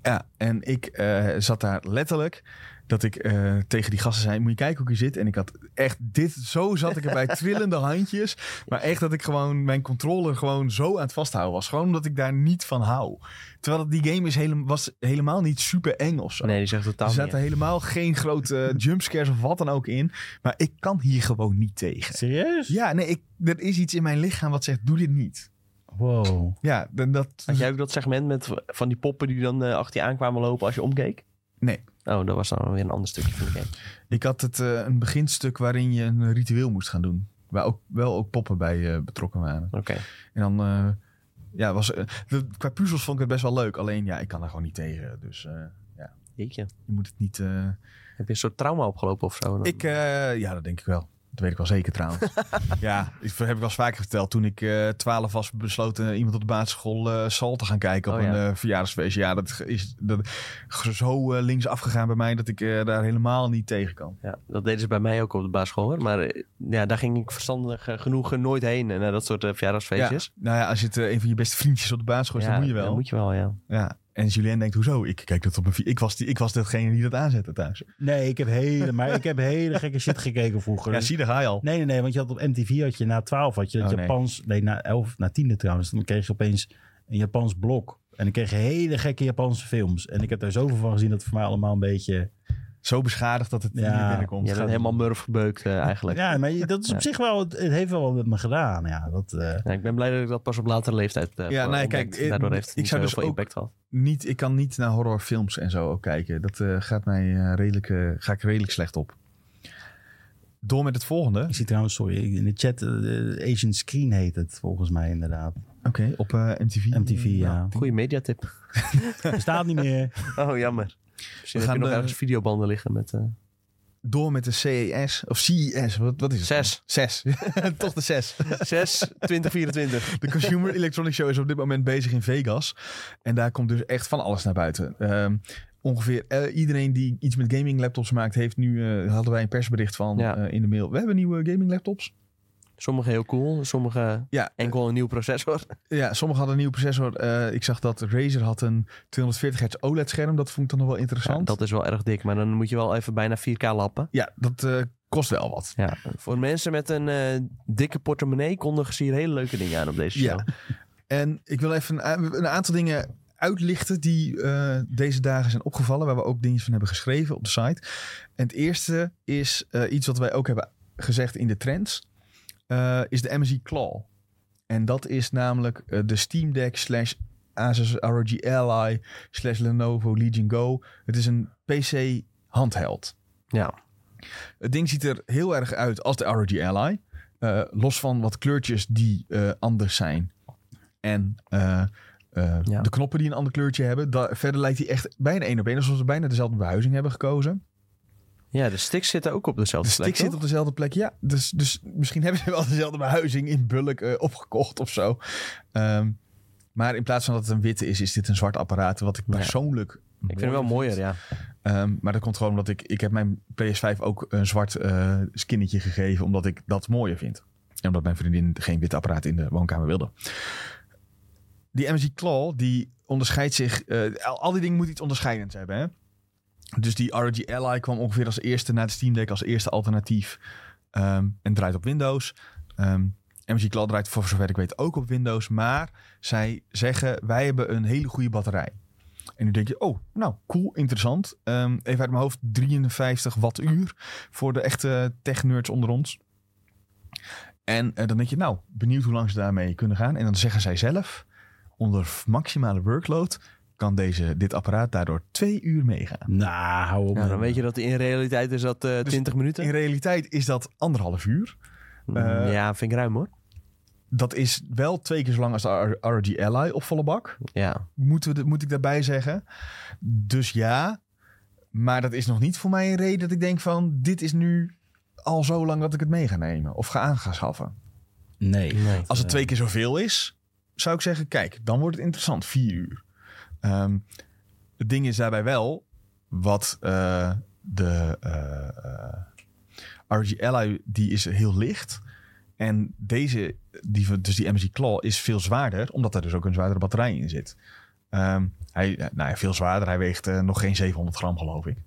Speaker 1: Ja, en ik eh, zat daar letterlijk dat ik eh, tegen die gasten zei: Moet je kijken hoe ik hier zit? En ik had echt dit, zo zat ik
Speaker 2: (laughs)
Speaker 1: erbij, trillende handjes. Maar echt dat ik gewoon mijn controller gewoon zo aan het vasthouden was. Gewoon omdat ik daar niet van hou. Terwijl het- die game is hele, was helemaal niet super eng of zo.
Speaker 2: Nee, die zegt totaal
Speaker 1: er
Speaker 2: niet.
Speaker 1: zaten helemaal geen
Speaker 2: (laughs)
Speaker 1: grote jumpscares of wat dan ook in. Maar ik kan hier gewoon niet tegen.
Speaker 3: Serieus?
Speaker 1: Ja, nee, ik, er is iets in mijn lichaam wat zegt: Doe dit niet.
Speaker 3: Wow.
Speaker 1: Ja, dan dat.
Speaker 2: Had jij ook dat segment met van die poppen die dan eh, achter je aankwamen lopen als je omkeek?
Speaker 1: Nee.
Speaker 2: Oh, dat was dan weer een ander stukje van de game.
Speaker 1: Ik had het eh, een beginstuk waarin je een ritueel moest gaan doen. Waar ook, wel ook poppen bij eh, betrokken waren.
Speaker 2: Oké.
Speaker 1: En dan, eh, ja, was, eh, de- qua puzzels vond ik het best wel leuk. Alleen, ja, ik kan daar gewoon niet tegen. Dus eh,
Speaker 2: Jeetje.
Speaker 1: je moet het niet... eh,
Speaker 2: Heb je een soort trauma opgelopen of zo? Dan-
Speaker 1: ik, eh, ja, dat denk ik wel. Dat weet ik wel zeker
Speaker 2: (laughs)
Speaker 1: trouwens. ja, ik, heb ik wel eens vaker verteld. Toen ik eh, twaalf was, besloten iemand op de basisschool eh Sal te gaan kijken op
Speaker 2: Oh, ja.
Speaker 1: een eh, verjaardagsfeestje. Ja, dat is dat, zo eh, links afgegaan bij mij dat ik eh, daar helemaal niet tegen kan.
Speaker 2: Ja, dat deden ze bij mij ook op de basisschool. hoor. Maar eh, ja, daar ging ik verstandig eh, genoeg eh, nooit heen eh, naar dat soort eh, verjaardagsfeestjes.
Speaker 1: Ja, nou ja, als je het, eh, een van je beste vriendjes op de basisschool is,
Speaker 2: Ja,
Speaker 1: dan moet je wel.
Speaker 2: Dat moet je wel, ja.
Speaker 1: Ja. En Julien denkt, hoezo? Ik kijk dat op mijn vi- ik was die, Ik was degene die dat aanzette thuis.
Speaker 3: Nee, ik heb hele, maar ik heb hele gekke shit gekeken vroeger.
Speaker 1: Ja,
Speaker 3: Dus-
Speaker 1: zie, daar ga je al.
Speaker 3: Nee, nee, nee, want je had op MTV had je na 12 had je het
Speaker 1: Oh, nee.
Speaker 3: Japans, nee, na 11, na 10 trouwens, dan kreeg je opeens een Japans blok. En dan kreeg je hele gekke Japanse films. En ik heb daar zoveel van gezien dat het voor mij allemaal een beetje...
Speaker 1: Zo beschadigd dat het
Speaker 3: Ja.
Speaker 1: hier binnenkomt.
Speaker 2: Je bent helemaal murf gebeukt eh, eigenlijk. Ja.
Speaker 3: Ja, maar je- dat is op
Speaker 2: Ja.
Speaker 3: zich wel, het het heeft wel wat met me gedaan. Ja, dat, eh,
Speaker 2: ik ben blij dat ik dat pas op latere leeftijd heb
Speaker 1: Ja,
Speaker 2: eh,
Speaker 1: nee,
Speaker 2: ontdekt.
Speaker 1: kijk, eh,
Speaker 2: Daardoor heeft het
Speaker 1: ik
Speaker 2: niet
Speaker 1: zou
Speaker 2: zo
Speaker 1: dus
Speaker 2: veel
Speaker 1: ook-
Speaker 2: impact gehad.
Speaker 1: niet, ik kan niet naar horrorfilms en zo ook kijken. Dat eh, gaat mij eh, redelijk, eh, ga ik redelijk slecht op. Door met het volgende.
Speaker 3: ik
Speaker 1: Oké,
Speaker 3: zie trouwens, sorry, in de chat, eh, Asian Screen heet het volgens mij inderdaad.
Speaker 1: op eh, MTV.
Speaker 3: MTV,
Speaker 1: Nou, (laughs)
Speaker 3: ja.
Speaker 2: Goeie mediatip.
Speaker 3: Bestaat niet meer.
Speaker 2: Oh, jammer. Misschien
Speaker 1: We
Speaker 2: heb
Speaker 1: gaan eh,
Speaker 2: je nog
Speaker 1: de-
Speaker 2: ergens videobanden liggen met... eh,
Speaker 1: Door met de CES. Of CES, wat, wat is het?
Speaker 2: Zes.
Speaker 1: Zes. (laughs) Toch de (laughs) zes.
Speaker 2: 6, 2024.
Speaker 1: De Consumer
Speaker 2: (laughs)
Speaker 1: Electronics Show is op dit moment bezig in Vegas. En daar komt dus echt van alles naar buiten. Ehm, ongeveer eh, iedereen die iets met gaming laptops maakt, heeft nu, eh, hadden wij een persbericht van
Speaker 2: Ja.
Speaker 1: eh, in de mail. We hebben nieuwe gaming laptops.
Speaker 2: Sommige heel cool, sommige
Speaker 1: Ja,
Speaker 2: enkel een nieuw
Speaker 1: (laughs)
Speaker 2: processor.
Speaker 1: Ja, sommigen hadden een nieuwe processor. Eh, ik zag dat Razer had een 240 hertz OLED-scherm. Dat vond ik dan nog wel
Speaker 2: Ja,
Speaker 1: interessant. Ja,
Speaker 2: dat is wel erg dik, maar dan moet je wel even bijna 4K lappen.
Speaker 1: dat eh, kost wel wat.
Speaker 2: Ja, voor mensen met een eh, dikke portemonnee kondigen ze hier hele leuke dingen aan op deze
Speaker 1: Ja.
Speaker 2: show.
Speaker 1: En ik wil even een, a- een aantal dingen uitlichten die eh, deze dagen zijn opgevallen. Waar we ook dingen van hebben geschreven op de site. En het eerste is eh, iets wat wij ook hebben gezegd in de trends. eh, is de MSI Claw. En dat is namelijk eh, de Steam Deck slash Asus ROG Ally slash Lenovo Legion Go. Het is een PC handheld.
Speaker 2: Ja.
Speaker 1: Het ding ziet er heel erg uit als de ROG Ally. Eh, los van wat kleurtjes die eh, anders zijn. En eh, eh,
Speaker 2: Ja.
Speaker 1: de knoppen die een ander kleurtje hebben. Da- verder lijkt hij echt bijna één op één. Alsof ze bijna dezelfde behuizing hebben gekozen.
Speaker 2: ja, de sticks zitten ook op
Speaker 1: De
Speaker 2: dezelfde
Speaker 1: stick
Speaker 2: plek,
Speaker 1: zit
Speaker 2: toch?
Speaker 1: op dezelfde plek. Ja, dus, dus misschien hebben ze wel dezelfde behuizing in bulk eh, opgekocht of zo. Ehm, maar in plaats van dat het een witte is, is dit een zwart apparaat. Wat ik
Speaker 2: Ja.
Speaker 1: persoonlijk...
Speaker 2: Ik vind hem wel mooier, ja.
Speaker 1: Ehm, maar dat komt gewoon omdat ik... Ik heb mijn PS5 ook een zwart eh skinnetje gegeven. Omdat ik dat mooier vind. En omdat mijn vriendin geen wit apparaat in de woonkamer wilde. Die MSI Claw, die onderscheidt zich... eh, al, al die dingen moet iets onderscheidends hebben, hè? Dus die ROG Ally kwam ongeveer als eerste naar de Steam Deck... als eerste alternatief. Ehm, en draait op Windows. Ehm MSI Claw draait voor zover ik weet ook op Windows. Maar zij zeggen, wij hebben een hele goede batterij. En nu denk je, oh, nou, cool, interessant. Ehm, even uit mijn hoofd, 53 wattuur voor de echte tech-nerds onder ons. En eh, dan denk je, nou, benieuwd hoe lang ze daarmee kunnen gaan. En dan zeggen zij zelf, onder maximale workload kan deze, dit apparaat daardoor twee uur meegaan.
Speaker 3: Nou, hou op.
Speaker 2: Nou, dan
Speaker 3: man.
Speaker 2: weet je dat in realiteit is dat eh
Speaker 1: Dus
Speaker 2: 20 minuten.
Speaker 1: In realiteit is dat anderhalf uur.
Speaker 2: Mm,
Speaker 1: eh,
Speaker 2: ja, vind ik ruim hoor.
Speaker 1: Dat is wel twee keer zo lang als de ROG Ally op volle bak.
Speaker 2: Ja,
Speaker 1: moeten we, de- moet ik daarbij zeggen. Dus ja, maar dat is nog niet voor mij een reden dat ik denk van... dit is nu al zo lang dat ik het mee ga nemen of ga aan gaan schaffen.
Speaker 3: Nee.
Speaker 2: Nee.
Speaker 1: Als het
Speaker 3: Eh,
Speaker 1: twee keer zoveel is, zou ik zeggen... kijk, dan wordt het interessant, vier uur. Ehm, het ding is daarbij wel wat eh, de eh eh, RG Ally, die is heel licht... En deze, die, van- dus die MSI Claw, is veel zwaarder, omdat er dus ook een zwaardere batterij in zit. Ehm, hij, eh, nou, ja, veel zwaarder, hij weegt eh, nog geen 700 gram, geloof ik.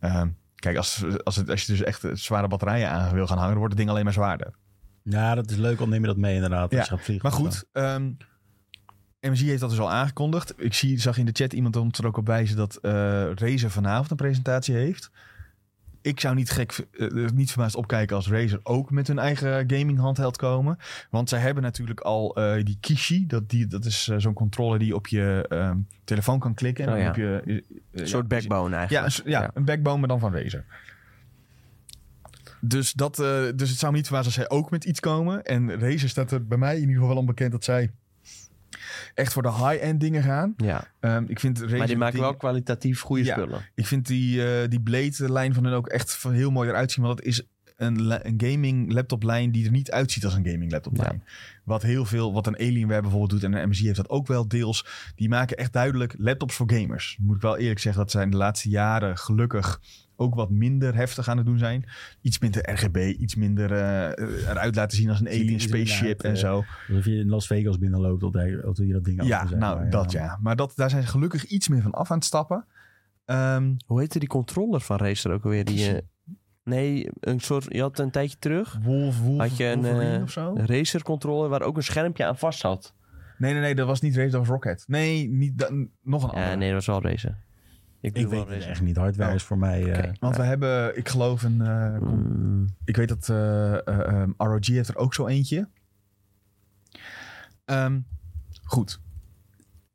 Speaker 1: Ehm, kijk, als, als, het, als je dus echt eh, zware batterijen aan wil gaan hangen, dan wordt het ding alleen maar zwaarder.
Speaker 3: Ja, dat is leuk, al neem je dat mee inderdaad.
Speaker 1: Ja,
Speaker 3: Als je gaat vliegen.
Speaker 1: Maar goed, ehm MSI heeft dat dus al aangekondigd. Ik zie, zag in de chat iemand ons er ook op wijzen dat eh Razer vanavond een presentatie heeft. Ik zou niet gek, eh, niet verbaasd opkijken als Razer ook met hun eigen gaming handheld komen. Want zij hebben natuurlijk al eh, die Kishi. Dat, die, dat is eh, zo'n controller die je op je ehm, telefoon kan klikken. En
Speaker 2: Oh
Speaker 1: dan
Speaker 2: ja.
Speaker 1: heb je, eh, eh,
Speaker 2: een soort
Speaker 1: ja,
Speaker 2: backbone
Speaker 1: ja, een
Speaker 2: eigenlijk.
Speaker 1: s- ja,
Speaker 2: Ja.
Speaker 1: een backbone, maar dan van Razer. Dus, dat, eh, dus het zou me niet verbazen als zij ook met iets komen. En Razer staat er bij mij in ieder geval wel onbekend dat zij echt voor de high-end dingen gaan.
Speaker 2: Ja,
Speaker 1: Ehm, ik vind Razer
Speaker 2: maar die maken
Speaker 1: dingen-
Speaker 2: wel kwalitatief goede
Speaker 1: Ja.
Speaker 2: spullen.
Speaker 1: Ik vind die, eh die Blade-lijn van hun ook echt van heel mooi eruit zien. Want dat is een, la- een gaming laptop lijn die er niet uitziet als een gaming laptop lijn. Wat heel veel, wat een Alienware bijvoorbeeld doet en een MSI heeft dat ook wel deels. Die maken echt duidelijk laptops voor gamers. Moet ik wel eerlijk zeggen dat zij in de laatste jaren gelukkig ook wat minder heftig aan het doen zijn. Iets minder RGB, iets minder eh, eruit laten zien als een
Speaker 3: Ziet er
Speaker 1: alien
Speaker 3: iets minder
Speaker 1: spaceship
Speaker 3: uit,
Speaker 1: en
Speaker 3: eh,
Speaker 1: zo.
Speaker 3: Alsof je in Las Vegas binnenloopt, dat, hij- dat je dat ding
Speaker 1: Ja,
Speaker 3: achter zijn,
Speaker 1: nou
Speaker 3: maar
Speaker 1: dat ja. Maar dat, daar zijn ze gelukkig iets meer van af aan het stappen. Ehm,
Speaker 2: Hoe heette die controller van Racer ook alweer? Die, eh, nee, een soort, je had een tijdje terug
Speaker 1: Wolf, Wolf,
Speaker 2: Had je een,
Speaker 1: Wolverine
Speaker 2: eh,
Speaker 1: of zo?
Speaker 2: een Racer controller waar ook een schermpje aan vast zat.
Speaker 1: Nee, nee, nee, dat was niet Race, dat was Rocket. Nee, niet, da- nog een andere.
Speaker 2: Ja, nee, dat was wel Racer.
Speaker 3: Ik
Speaker 2: bedoel
Speaker 3: weet
Speaker 2: wel
Speaker 3: het
Speaker 2: Racer.
Speaker 3: echt niet. Hardware
Speaker 1: Ja.
Speaker 3: is voor mij... eh,
Speaker 2: Oké.
Speaker 1: Want we hebben, ik geloof, een. eh,
Speaker 2: Mm,
Speaker 1: ik weet dat eh, eh, ehm, ROG heeft er ook zo eentje. Ehm, goed.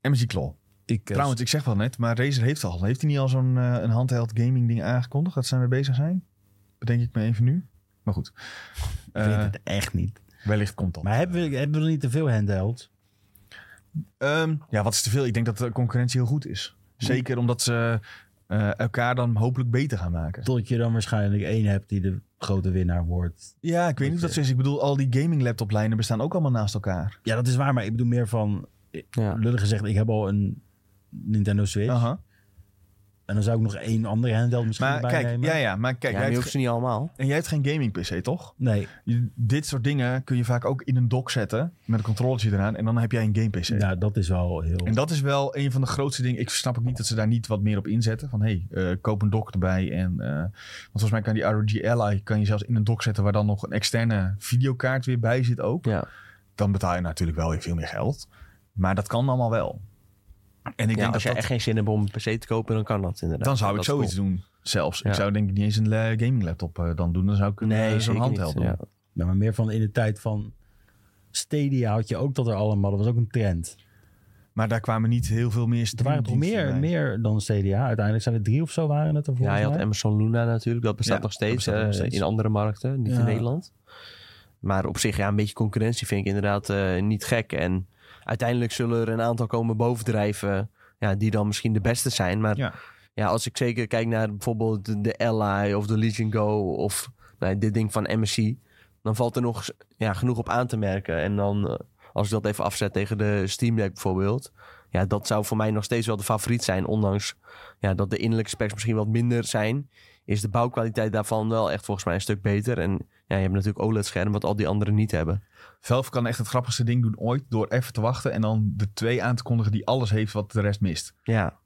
Speaker 1: MSI Claw.
Speaker 3: ik, eh,
Speaker 1: Trouwens, ik zeg wel net, maar Razer heeft al. Heeft hij niet al zo'n eh, een handheld gaming ding aangekondigd dat zij mee bezig zijn? Bedenk ik me even nu. Maar goed.
Speaker 3: ik weet
Speaker 1: Eh,
Speaker 3: het echt niet.
Speaker 1: wellicht komt dat.
Speaker 3: Maar hebben we, hebben we er niet te veel handheld?
Speaker 1: Ehm, ja, wat is te veel? Ik denk dat de concurrentie heel goed is.
Speaker 3: Hm.
Speaker 1: Zeker omdat ze eh, elkaar dan hopelijk beter gaan maken.
Speaker 3: Tot je dan waarschijnlijk één hebt die de grote winnaar wordt.
Speaker 1: Ja, ik weet niet of dat zo is. Ik bedoel, al die gaming laptoplijnen bestaan ook allemaal naast elkaar.
Speaker 3: Ja, dat is waar. Maar ik bedoel meer van...
Speaker 2: ja.
Speaker 3: Lullig gezegd, ik heb al een Nintendo Switch.
Speaker 1: Aha.
Speaker 3: En dan zou ik nog één andere handheld misschien
Speaker 1: Maar
Speaker 3: erbij
Speaker 1: kijk,
Speaker 3: nemen.
Speaker 1: ja, ja, maar kijk,
Speaker 2: ja,
Speaker 1: jij
Speaker 2: maar je
Speaker 1: hebt
Speaker 2: hoeft ze niet allemaal.
Speaker 1: ge- en jij hebt geen gaming PC, toch?
Speaker 3: Nee,
Speaker 1: Je- dit soort dingen kun je vaak ook in een dock zetten met een controllertje eraan en dan heb jij een game PC.
Speaker 3: nou, dat is wel heel...
Speaker 1: En dat is wel een van de grootste dingen. Ik snap ook niet dat ze daar niet wat meer op inzetten. Van hé, hey, eh, koop een dock erbij. En, eh, want volgens mij kan die ROG Ally kan je zelfs in een dock zetten waar dan nog een externe videokaart weer bij zit ook.
Speaker 2: Ja.
Speaker 1: Dan betaal je natuurlijk wel weer veel meer geld. Maar dat kan allemaal wel. En ik
Speaker 2: Ja,
Speaker 1: denk
Speaker 2: als
Speaker 1: dat
Speaker 2: je
Speaker 1: dat
Speaker 2: echt geen zin hebt om een PC te kopen, dan kan dat inderdaad.
Speaker 1: Dan zou
Speaker 2: Ja,
Speaker 1: ik
Speaker 2: dat is
Speaker 1: zoiets doen. Zelfs. Ik
Speaker 2: Ja.
Speaker 1: zou denk ik niet eens een la- gaming laptop eh, dan doen. Dan zou ik
Speaker 2: cool.
Speaker 1: een, eh,
Speaker 2: Nee,
Speaker 1: zo'n
Speaker 2: zeker
Speaker 1: handheld
Speaker 2: niet.
Speaker 1: doen.
Speaker 2: Ja.
Speaker 3: Ja, maar meer van in de tijd van Stadia had je ook dat er allemaal. Dat was ook een trend.
Speaker 1: Maar daar kwamen niet heel veel meer
Speaker 3: Er waren toch
Speaker 1: streamdiensten
Speaker 3: meer,
Speaker 1: bij.
Speaker 3: meer dan Stadia. Uiteindelijk zijn er drie of zo waren het er
Speaker 2: Ja,
Speaker 3: volgens
Speaker 2: je had
Speaker 3: mij.
Speaker 2: Amazon Luna natuurlijk. Dat bestaat
Speaker 1: Ja,
Speaker 2: nog steeds,
Speaker 1: dat bestaat
Speaker 2: eh,
Speaker 1: nog steeds.
Speaker 2: in andere markten, niet
Speaker 3: Ja.
Speaker 2: in Nederland. Maar op zich, ja, een beetje concurrentie vind ik inderdaad eh, niet gek. En uiteindelijk zullen er een aantal komen bovendrijven... Ja, die dan misschien de beste zijn. Maar
Speaker 1: Ja.
Speaker 2: ja. als ik zeker kijk naar bijvoorbeeld de- de Ally of de Legion Go... of nou, dit ding van MSI... dan valt er nog ja, genoeg op aan te merken. En dan, eh, als ik dat even afzet tegen de Steam Deck bijvoorbeeld... ja, dat zou voor mij nog steeds wel de favoriet zijn... ondanks ja, dat de innerlijke specs misschien wat minder zijn... is de bouwkwaliteit daarvan wel echt volgens mij een stuk beter. En ja, je hebt natuurlijk OLED-schermen wat al die anderen niet hebben.
Speaker 1: Valve kan echt het grappigste ding doen ooit door even te wachten en dan de twee aan te kondigen die alles heeft wat de rest mist.
Speaker 2: Ja.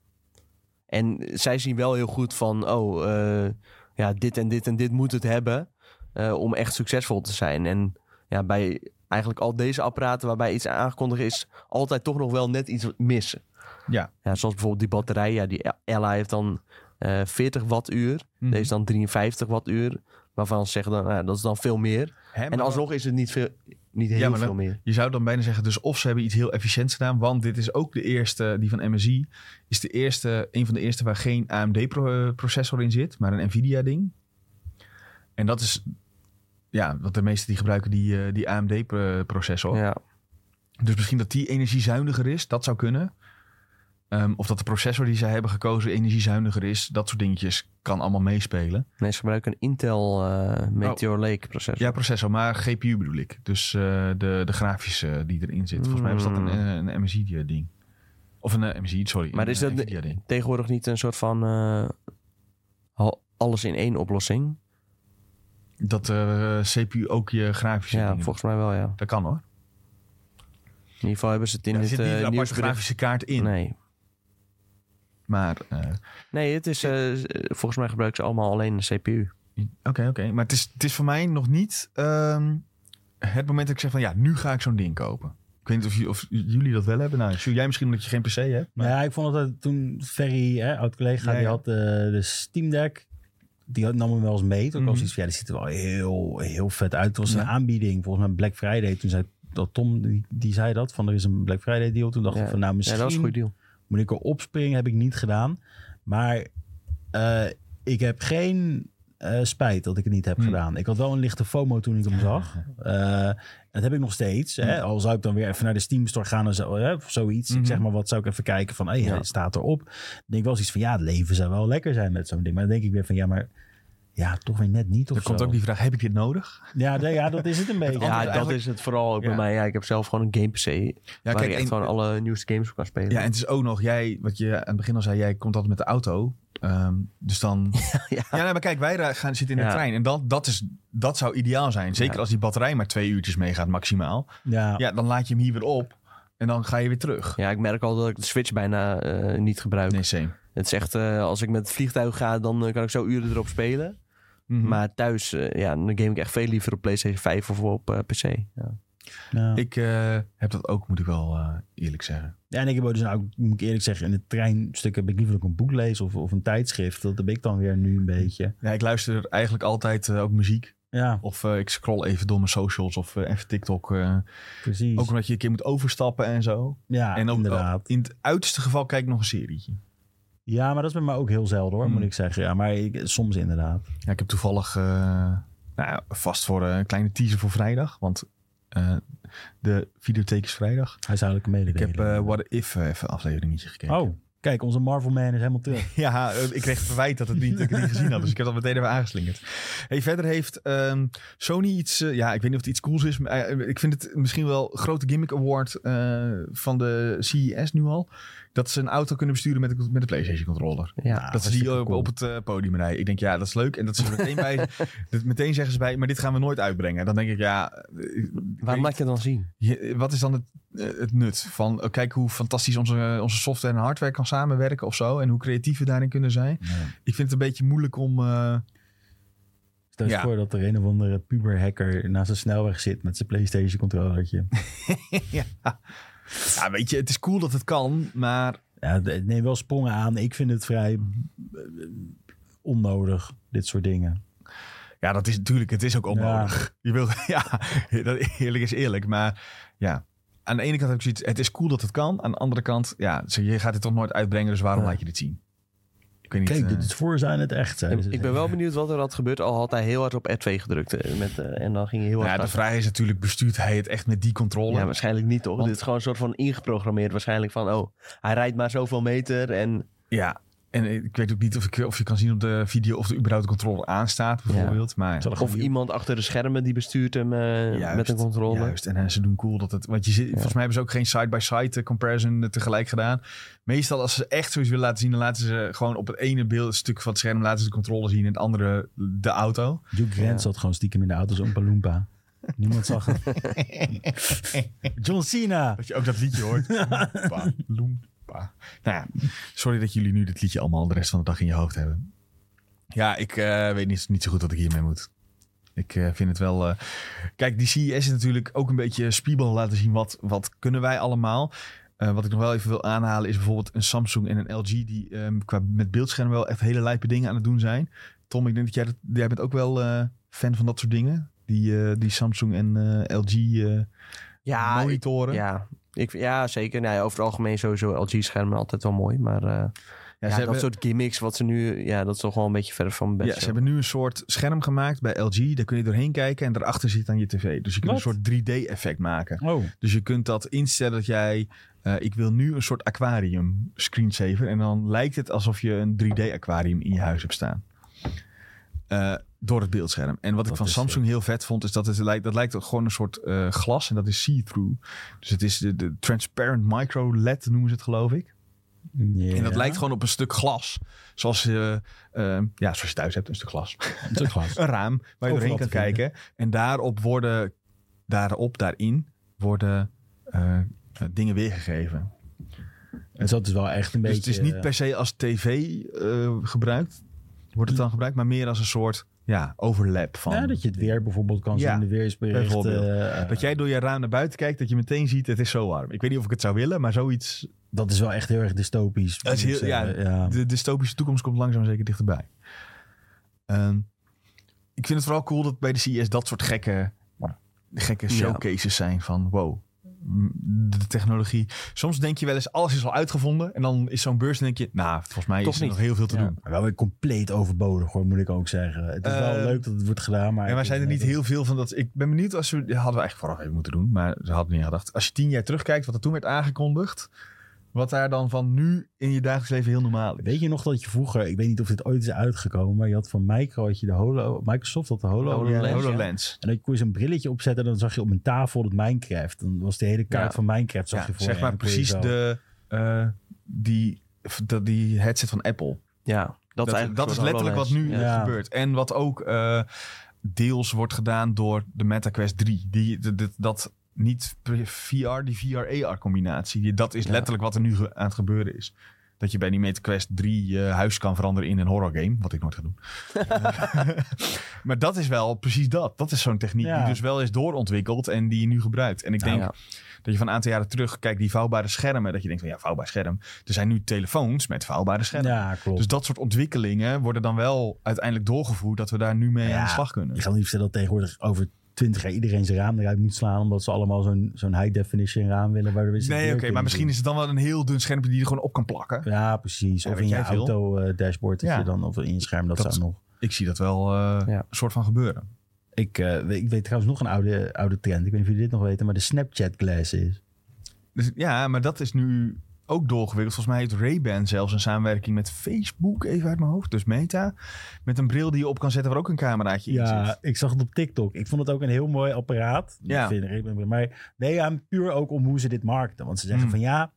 Speaker 2: En zij zien wel heel goed van... oh, eh, ja, dit en dit en dit moet het hebben... eh, om echt succesvol te zijn. En ja, bij eigenlijk al deze apparaten waarbij iets aangekondigd is... altijd toch nog wel net iets missen.
Speaker 1: Ja.
Speaker 2: Ja, zoals bijvoorbeeld die batterij. Ja, die Ella heeft dan eh 40 wattuur.
Speaker 1: Mhm.
Speaker 2: Deze dan 53 wattuur. Waarvan ze zeggen dan, nou, dat is dan veel meer.
Speaker 1: Hè, maar
Speaker 2: En alsnog is het niet, veel, niet heel
Speaker 1: Ja, maar
Speaker 2: veel
Speaker 1: dan-
Speaker 2: meer.
Speaker 1: Je zou dan bijna zeggen, dus of ze hebben iets heel efficiënts gedaan, want dit is ook de eerste, die van MSI, is de eerste, een van de eerste waar geen AMD-processor eh, in zit, maar een NVIDIA-ding. En dat is, ja, wat de meesten die gebruiken die, eh, die AMD-processor.
Speaker 2: Ja.
Speaker 1: Dus misschien dat die energiezuiniger is, dat zou kunnen. Ehm, of dat de processor die zij hebben gekozen energiezuiniger is, dat soort dingetjes kan allemaal meespelen.
Speaker 2: Nee, ze gebruiken een Intel
Speaker 1: Oh.
Speaker 2: eh, Meteor Lake processor.
Speaker 1: Ja, processor, maar GPU bedoel ik. Dus eh, de, de grafische eh, die erin zit. Volgens mij was dat een,
Speaker 2: Mm.
Speaker 1: eh, een MSI-ding. Of een eh, MSI, sorry.
Speaker 2: Maar
Speaker 1: een,
Speaker 2: is
Speaker 1: eh,
Speaker 2: dat de-
Speaker 1: Nvidia-ding.
Speaker 2: Tegenwoordig niet een soort van eh, al- alles in één oplossing.
Speaker 1: Dat eh, CPU ook je grafische
Speaker 2: Ja,
Speaker 1: dingen-
Speaker 2: volgens mij wel, ja. In
Speaker 1: Dat kan hoor.
Speaker 2: ieder geval hebben ze het in
Speaker 1: Ja, er
Speaker 2: het
Speaker 1: zit niet
Speaker 2: eh,
Speaker 1: een aparte
Speaker 2: nieuwsbericht-
Speaker 1: grafische kaart in.
Speaker 2: Nee.
Speaker 1: Maar, eh, oké,
Speaker 2: nee, het is eh, z- eh, volgens mij gebruiken ze allemaal alleen een CPU.
Speaker 1: oké. Maar het is, het is voor mij nog niet ehm, het moment dat ik zeg van ja, nu ga ik zo'n ding kopen. Ik weet niet of, j- of jullie dat wel hebben. Nou, Sjoerd, jij misschien omdat je geen PC hebt. Maar...
Speaker 3: Nou ja, ik vond dat toen Ferry, hè, oud-collega,
Speaker 1: Ja,
Speaker 3: die
Speaker 1: ja.
Speaker 3: had eh, de Steam Deck. Die had, nam hem wel eens mee. Toen
Speaker 1: Mhm.
Speaker 3: was iets van, ja, die ziet er wel heel, heel vet uit. Het was
Speaker 1: Ja.
Speaker 3: een aanbieding, volgens mij Black Friday. Toen zei dat Tom, die, die zei dat, van er is een Black Friday deal. Toen dacht
Speaker 2: Ja.
Speaker 3: ik van, nou,
Speaker 2: Ja,
Speaker 3: misschien
Speaker 2: dat was een goed deal.
Speaker 3: moet ik erop springen, heb ik niet gedaan. Maar eh, ik heb geen eh, spijt dat ik het niet heb
Speaker 1: Hmm.
Speaker 3: gedaan. Ik had wel een lichte FOMO toen ik hem zag. Eh, dat heb ik nog steeds. Hè? Al zou ik dan weer even naar de Steam Store gaan en zo, hè, of zoiets.
Speaker 1: Mhm.
Speaker 3: Ik zeg maar wat, zou ik even kijken van, hey,
Speaker 2: Ja.
Speaker 3: hij staat erop. Dan denk ik wel eens iets van, ja, het leven zou wel lekker zijn met zo'n ding. Maar dan denk ik weer van, ja, maar ja, toch weer net niet of
Speaker 1: Er komt
Speaker 3: zo.
Speaker 1: ook die vraag, heb ik dit nodig?
Speaker 3: ja, nee, ja, dat is het een beetje.
Speaker 2: Ja, dat
Speaker 1: eigenlijk-
Speaker 2: is het vooral ook
Speaker 1: Ja.
Speaker 2: bij mij. Ja, ik heb zelf gewoon een game PC.
Speaker 1: Ja,
Speaker 2: waar
Speaker 1: kijk,
Speaker 2: ik echt
Speaker 1: en-
Speaker 2: gewoon alle nieuwste games op kan spelen.
Speaker 1: Ja, en het is ook nog, jij, wat je aan het begin al zei, jij komt altijd met de auto. Ehm, dus dan...
Speaker 2: (laughs) ja.
Speaker 1: ja, nee, maar kijk, wij ra- gaan zitten in de
Speaker 2: Ja.
Speaker 1: trein. En dat, dat, is, dat zou ideaal zijn. Zeker
Speaker 2: Ja.
Speaker 1: als die batterij maar twee uurtjes meegaat maximaal.
Speaker 3: Ja,
Speaker 1: Ja, dan laat je hem hier weer op. En dan ga je weer terug.
Speaker 2: Ja, ik merk al dat ik de Switch bijna eh, niet gebruik.
Speaker 1: Nee, same.
Speaker 2: Het is echt, eh, als ik met het vliegtuig ga, dan eh, kan ik zo uren erop spelen.
Speaker 1: Mhm.
Speaker 2: Maar thuis, eh, ja, dan game ik echt veel liever op PlayStation 5 of op eh, PC. Ja.
Speaker 3: ja.
Speaker 1: Ik eh, heb dat ook, moet ik wel eh, eerlijk zeggen.
Speaker 3: Ja, en ik heb ook dus nou, ook, moet ik eerlijk zeggen, in het treinstuk heb ik liever ook een boek lezen of, of een tijdschrift. Dat heb ik dan weer nu een beetje.
Speaker 1: Ja, ik luister eigenlijk altijd eh, ook muziek.
Speaker 3: Ja,
Speaker 1: Of eh, ik scroll even door mijn socials of eh, even TikTok. eh.
Speaker 3: precies.
Speaker 1: ook omdat je een keer moet overstappen en zo.
Speaker 3: ja,
Speaker 1: en ook
Speaker 3: inderdaad.
Speaker 1: in het uiterste geval kijk ik nog een serietje.
Speaker 3: Ja, maar dat is bij mij ook heel zelden hoor,
Speaker 1: Hmm.
Speaker 3: moet ik zeggen. Ja, maar ik- soms inderdaad.
Speaker 1: Ja, ik heb toevallig eh, nou ja, vast voor eh, een kleine teaser voor vrijdag. Want eh, de videotheek is vrijdag.
Speaker 3: Huishoudelijke
Speaker 1: Ik
Speaker 3: mededeling.
Speaker 1: heb eh What If eh, even een afleveringetje gekeken.
Speaker 3: Oh, kijk, onze Marvel Man is helemaal
Speaker 1: (laughs)
Speaker 3: terug.
Speaker 1: Ja, eh, ik kreeg verwijt dat, het niet, dat ik het niet gezien had. Dus ik heb dat meteen even aangeslingerd. Hey, verder heeft ehm, Sony iets... eh, ja, ik weet niet of het iets cools is. Maar, eh, ik vind het misschien wel grote gimmick award eh, van de CES nu al. Dat ze een auto kunnen besturen met, de- met de PlayStation controller.
Speaker 2: Ja.
Speaker 1: dat ze
Speaker 3: Nou, hartstikke
Speaker 1: die op,
Speaker 3: cool.
Speaker 1: op het eh, podium rijden. Ik denk, ja, dat is leuk. En dat ze er meteen
Speaker 3: (laughs)
Speaker 1: bij... dat meteen zeggen ze bij, maar dit gaan we nooit uitbrengen. Dan denk ik, ja... eh, ik
Speaker 2: Waar
Speaker 1: weet-
Speaker 2: laat je het dan zien?
Speaker 1: je- wat is dan het, eh, het nut? Van eh, kijk hoe fantastisch onze, onze software en hardware kan samenwerken of zo. En hoe creatief we daarin kunnen zijn. Ik vind het een beetje moeilijk om. eh,
Speaker 3: Stel je
Speaker 1: Ja.
Speaker 3: voor dat er een of andere puberhacker naast de snelweg zit met zijn PlayStation
Speaker 1: (laughs)
Speaker 3: controllertje.
Speaker 1: Ja, weet je, het is cool dat het kan, maar.
Speaker 3: Ja, d- neem wel sprongen aan. Ik vind het vrij eh, onnodig, dit soort dingen.
Speaker 1: Ja, dat is natuurlijk, het is ook onnodig. Je wil, (laughs) ja, dat, eerlijk is eerlijk. Maar ja, aan de ene kant heb ik zoiets, het is cool dat het kan. Aan de andere kant, ja, ze- je gaat dit toch nooit uitbrengen, dus waarom
Speaker 3: Ja.
Speaker 1: laat je dit zien? Ik weet niet.
Speaker 3: Kijk,
Speaker 1: eh,
Speaker 3: dit is voor zijn het echt. zeiden
Speaker 2: Ik,
Speaker 3: ze.
Speaker 2: ik ben wel benieuwd wat er had gebeurd. Al had hij heel hard op R2 gedrukt. eh, Met, eh, en dan ging hij heel
Speaker 1: nou
Speaker 2: hard
Speaker 1: ja, de
Speaker 2: naar-
Speaker 1: vraag is natuurlijk, bestuurt hij het echt met die controle?
Speaker 2: Ja, waarschijnlijk niet toch?
Speaker 1: Want-
Speaker 2: Dit is gewoon een soort van ingeprogrammeerd. Waarschijnlijk van, oh, hij rijdt maar zoveel meter. En
Speaker 1: Ja, en ik weet ook niet of, ik, of je kan zien op de video of er überhaupt een controller aanstaat, bijvoorbeeld. Maar
Speaker 3: Zal er
Speaker 2: of
Speaker 3: gewoon-
Speaker 2: iemand achter de schermen die bestuurt hem eh,
Speaker 1: Juist,
Speaker 2: met een controller.
Speaker 1: juist, en eh, ze doen cool dat het... Want je zit, volgens mij hebben ze ook geen side-by-side eh, comparison eh, tegelijk gedaan. Meestal als ze echt zoiets willen laten zien, dan laten ze gewoon op het ene beeldstuk van het scherm laten ze de controller zien en het andere de auto.
Speaker 3: Duke Grant zat gewoon stiekem in de auto's om Palumpa. Niemand
Speaker 1: (laughs)
Speaker 3: zag hem. John Cena.
Speaker 1: Dat je ook dat liedje
Speaker 2: (laughs)
Speaker 1: hoort. Loempa, loempa. Nou ja, sorry dat jullie nu dit liedje allemaal de rest van de dag in je hoofd hebben. Ja, ik eh, weet niet, niet zo goed wat ik hiermee moet. Ik eh, vind het wel... eh, Kijk, die CES is natuurlijk ook een beetje spiegel laten zien. Wat, wat kunnen wij allemaal? Eh, wat ik nog wel even wil aanhalen is bijvoorbeeld een Samsung en een LG... die ehm, qua, met beeldschermen wel echt hele lijpe dingen aan het doen zijn. Tom, ik denk dat jij, dat, jij bent ook wel eh, fan van dat soort dingen. Die, eh, die Samsung en eh, LG eh,
Speaker 2: Ja, ik-
Speaker 1: monitoren.
Speaker 2: Ja, ik, ja zeker. Nou ja, over het algemeen sowieso LG-schermen altijd wel mooi. Maar eh, ja,
Speaker 1: Ja, ze
Speaker 2: dat
Speaker 1: hebben-
Speaker 2: soort gimmicks wat ze nu... Ja, dat is toch wel een beetje verder van mijn bed.
Speaker 1: Ja, ze hebben nu een soort scherm gemaakt bij LG. Daar kun je doorheen kijken en daarachter zit dan je tv. Dus je kunt
Speaker 3: Wat?
Speaker 1: een soort 3D-effect maken.
Speaker 3: Oh,
Speaker 1: Dus je kunt dat instellen dat jij... eh, ik wil nu een soort aquarium screensaver. En dan lijkt het alsof je een 3D-aquarium in je huis hebt staan. Eh, door het beeldscherm. En wat ik
Speaker 3: Dat
Speaker 1: van
Speaker 3: is
Speaker 1: Samsung heel vet vond, is dat het lijkt, dat lijkt ook gewoon een soort eh, glas. En dat is see-through. Dus het is de, de transparent micro-LED noemen ze het geloof ik. En dat lijkt gewoon op een stuk glas. Zoals je, eh, ja, zoals je thuis hebt, een stuk glas.
Speaker 3: gewoon glas.
Speaker 1: Een raam waar je
Speaker 3: Overal
Speaker 1: doorheen kan
Speaker 3: te vinden.
Speaker 1: kijken. En daarop worden, daarop, daarin worden eh, eh, dingen weergegeven.
Speaker 3: En zo (laughs) het is wel echt een beetje... eh,
Speaker 1: dus het is niet per se als tv eh, gebruikt, wordt het dan gebruikt, maar meer als een soort ja, overlap van.
Speaker 3: Ja, dat je het weer bijvoorbeeld kan
Speaker 1: Ja,
Speaker 3: zien, de weersberichten.
Speaker 1: bijvoorbeeld.
Speaker 3: eh,
Speaker 1: Dat jij door je raam naar buiten kijkt, dat je meteen ziet, het is zo warm. Ik weet niet of ik het zou willen, maar zoiets.
Speaker 3: dat is wel echt heel erg dystopisch.
Speaker 1: Dat is
Speaker 3: moet ik
Speaker 1: heel- ja, Dus-
Speaker 3: zeggen. ja.
Speaker 1: De dystopische toekomst komt langzaam maar zeker dichterbij. Ehm, ik vind het vooral cool dat bij de CES dat soort gekke, gekke
Speaker 2: Ja.
Speaker 1: showcases zijn van wow. m, De de technologie. Soms denk je wel eens, alles is al uitgevonden. En dan is zo'n beurs en denk je, nou, volgens mij
Speaker 2: Toch
Speaker 1: is er
Speaker 2: niet.
Speaker 1: nog heel veel te
Speaker 3: Ja.
Speaker 1: doen.
Speaker 3: Maar wel weer compleet overbodig hoor, moet ik ook zeggen. Het is wel
Speaker 1: Eh,
Speaker 3: leuk dat het wordt gedaan, maar...
Speaker 1: En wij zijn er niet heel veel van dat. Ik ben benieuwd als we. Hadden we eigenlijk vooraf even moeten doen, maar ze hadden niet gedacht. Als je tien jaar terugkijkt wat er toen werd aangekondigd. Wat daar dan van nu in je dagelijks leven heel normaal is.
Speaker 3: Weet je nog dat je vroeger, ik weet niet of dit ooit is uitgekomen, maar je had van Micro, had je de Holo, Microsoft had de Holo.
Speaker 2: Holo-
Speaker 1: Ja,
Speaker 2: HoloLens,
Speaker 1: HoloLens.
Speaker 3: En dan kon je zo'n brilletje opzetten en dan zag je op een tafel dat Minecraft. Dan was de hele kaart
Speaker 2: Ja.
Speaker 3: van Minecraft zag
Speaker 1: Ja,
Speaker 3: je voor
Speaker 1: zeg
Speaker 3: je.
Speaker 1: maar
Speaker 3: En dan kon je
Speaker 1: precies
Speaker 3: zo-
Speaker 1: de, eh, die, dat- die headset van Apple.
Speaker 2: Ja, dat,
Speaker 1: Dat,
Speaker 2: is
Speaker 1: dat,
Speaker 2: eigenlijk
Speaker 1: is
Speaker 2: een soort
Speaker 1: letterlijk wat nu
Speaker 2: HoloLens. Ja.
Speaker 1: eh,
Speaker 3: Ja.
Speaker 1: gebeurt. En wat ook eh, deels wordt gedaan door de MetaQuest 3. Die, d- d- dat niet pre- VR, die VR-AR combinatie. Die, dat is
Speaker 2: Ja.
Speaker 1: letterlijk wat er nu ge- aan het gebeuren is. Dat je bij die MetaQuest 3 je huis kan veranderen in een horror game. Wat ik nooit ga doen. (laughs) maar dat is wel precies dat. Dat is zo'n techniek
Speaker 3: Ja.
Speaker 1: die dus wel is doorontwikkeld en die je nu gebruikt. En ik
Speaker 2: Nou
Speaker 1: denk
Speaker 2: ja.
Speaker 1: dat je van een aantal jaren terug kijkt die vouwbare schermen. Dat je denkt van ja, vouwbaar scherm. Er zijn nu telefoons met vouwbare schermen.
Speaker 3: Ja, klopt.
Speaker 1: Dus dat soort ontwikkelingen worden dan wel uiteindelijk doorgevoerd dat we daar nu mee
Speaker 3: Ja.
Speaker 1: aan de slag
Speaker 3: Ik
Speaker 1: kunnen.
Speaker 3: ga niet vertellen dat tegenwoordig over 20 jaar iedereen zijn raam eruit moet slaan. Omdat ze allemaal zo'n zo'n high definition raam willen. Waardoor we ze
Speaker 1: Nee,
Speaker 3: weer
Speaker 1: oké, maar
Speaker 3: kunnen
Speaker 1: misschien
Speaker 3: zien.
Speaker 1: is het dan wel een heel dun schermpje die je er gewoon op kan plakken.
Speaker 3: Ja, precies.
Speaker 1: Ja,
Speaker 3: of
Speaker 1: weet
Speaker 3: in je
Speaker 1: jij veel?
Speaker 3: auto eh, dashboard dat
Speaker 1: Ja.
Speaker 3: je dan of in je scherm dat,
Speaker 1: Dat
Speaker 3: zou nog.
Speaker 1: Ik zie dat wel eh,
Speaker 2: Ja.
Speaker 1: een soort van gebeuren.
Speaker 3: Ik, eh, weet, ik weet trouwens nog een oude, oude trend. Ik weet niet of jullie dit nog weten, maar de Snapchat glasses.
Speaker 1: Dus, ja, maar dat is nu ook doorgewikkeld. Volgens mij heeft Ray-Ban zelfs een samenwerking met Facebook, even uit mijn hoofd, dus Meta. Met een bril die je op kan zetten waar ook een cameraatje in
Speaker 3: Ja,
Speaker 1: zit.
Speaker 3: ik zag het op TikTok. Ik vond het ook een heel mooi apparaat.
Speaker 1: Ja.
Speaker 3: Ik vind het, maar nee, ja, puur ook om hoe ze dit markten. Want ze zeggen
Speaker 1: Mm.
Speaker 3: van ja,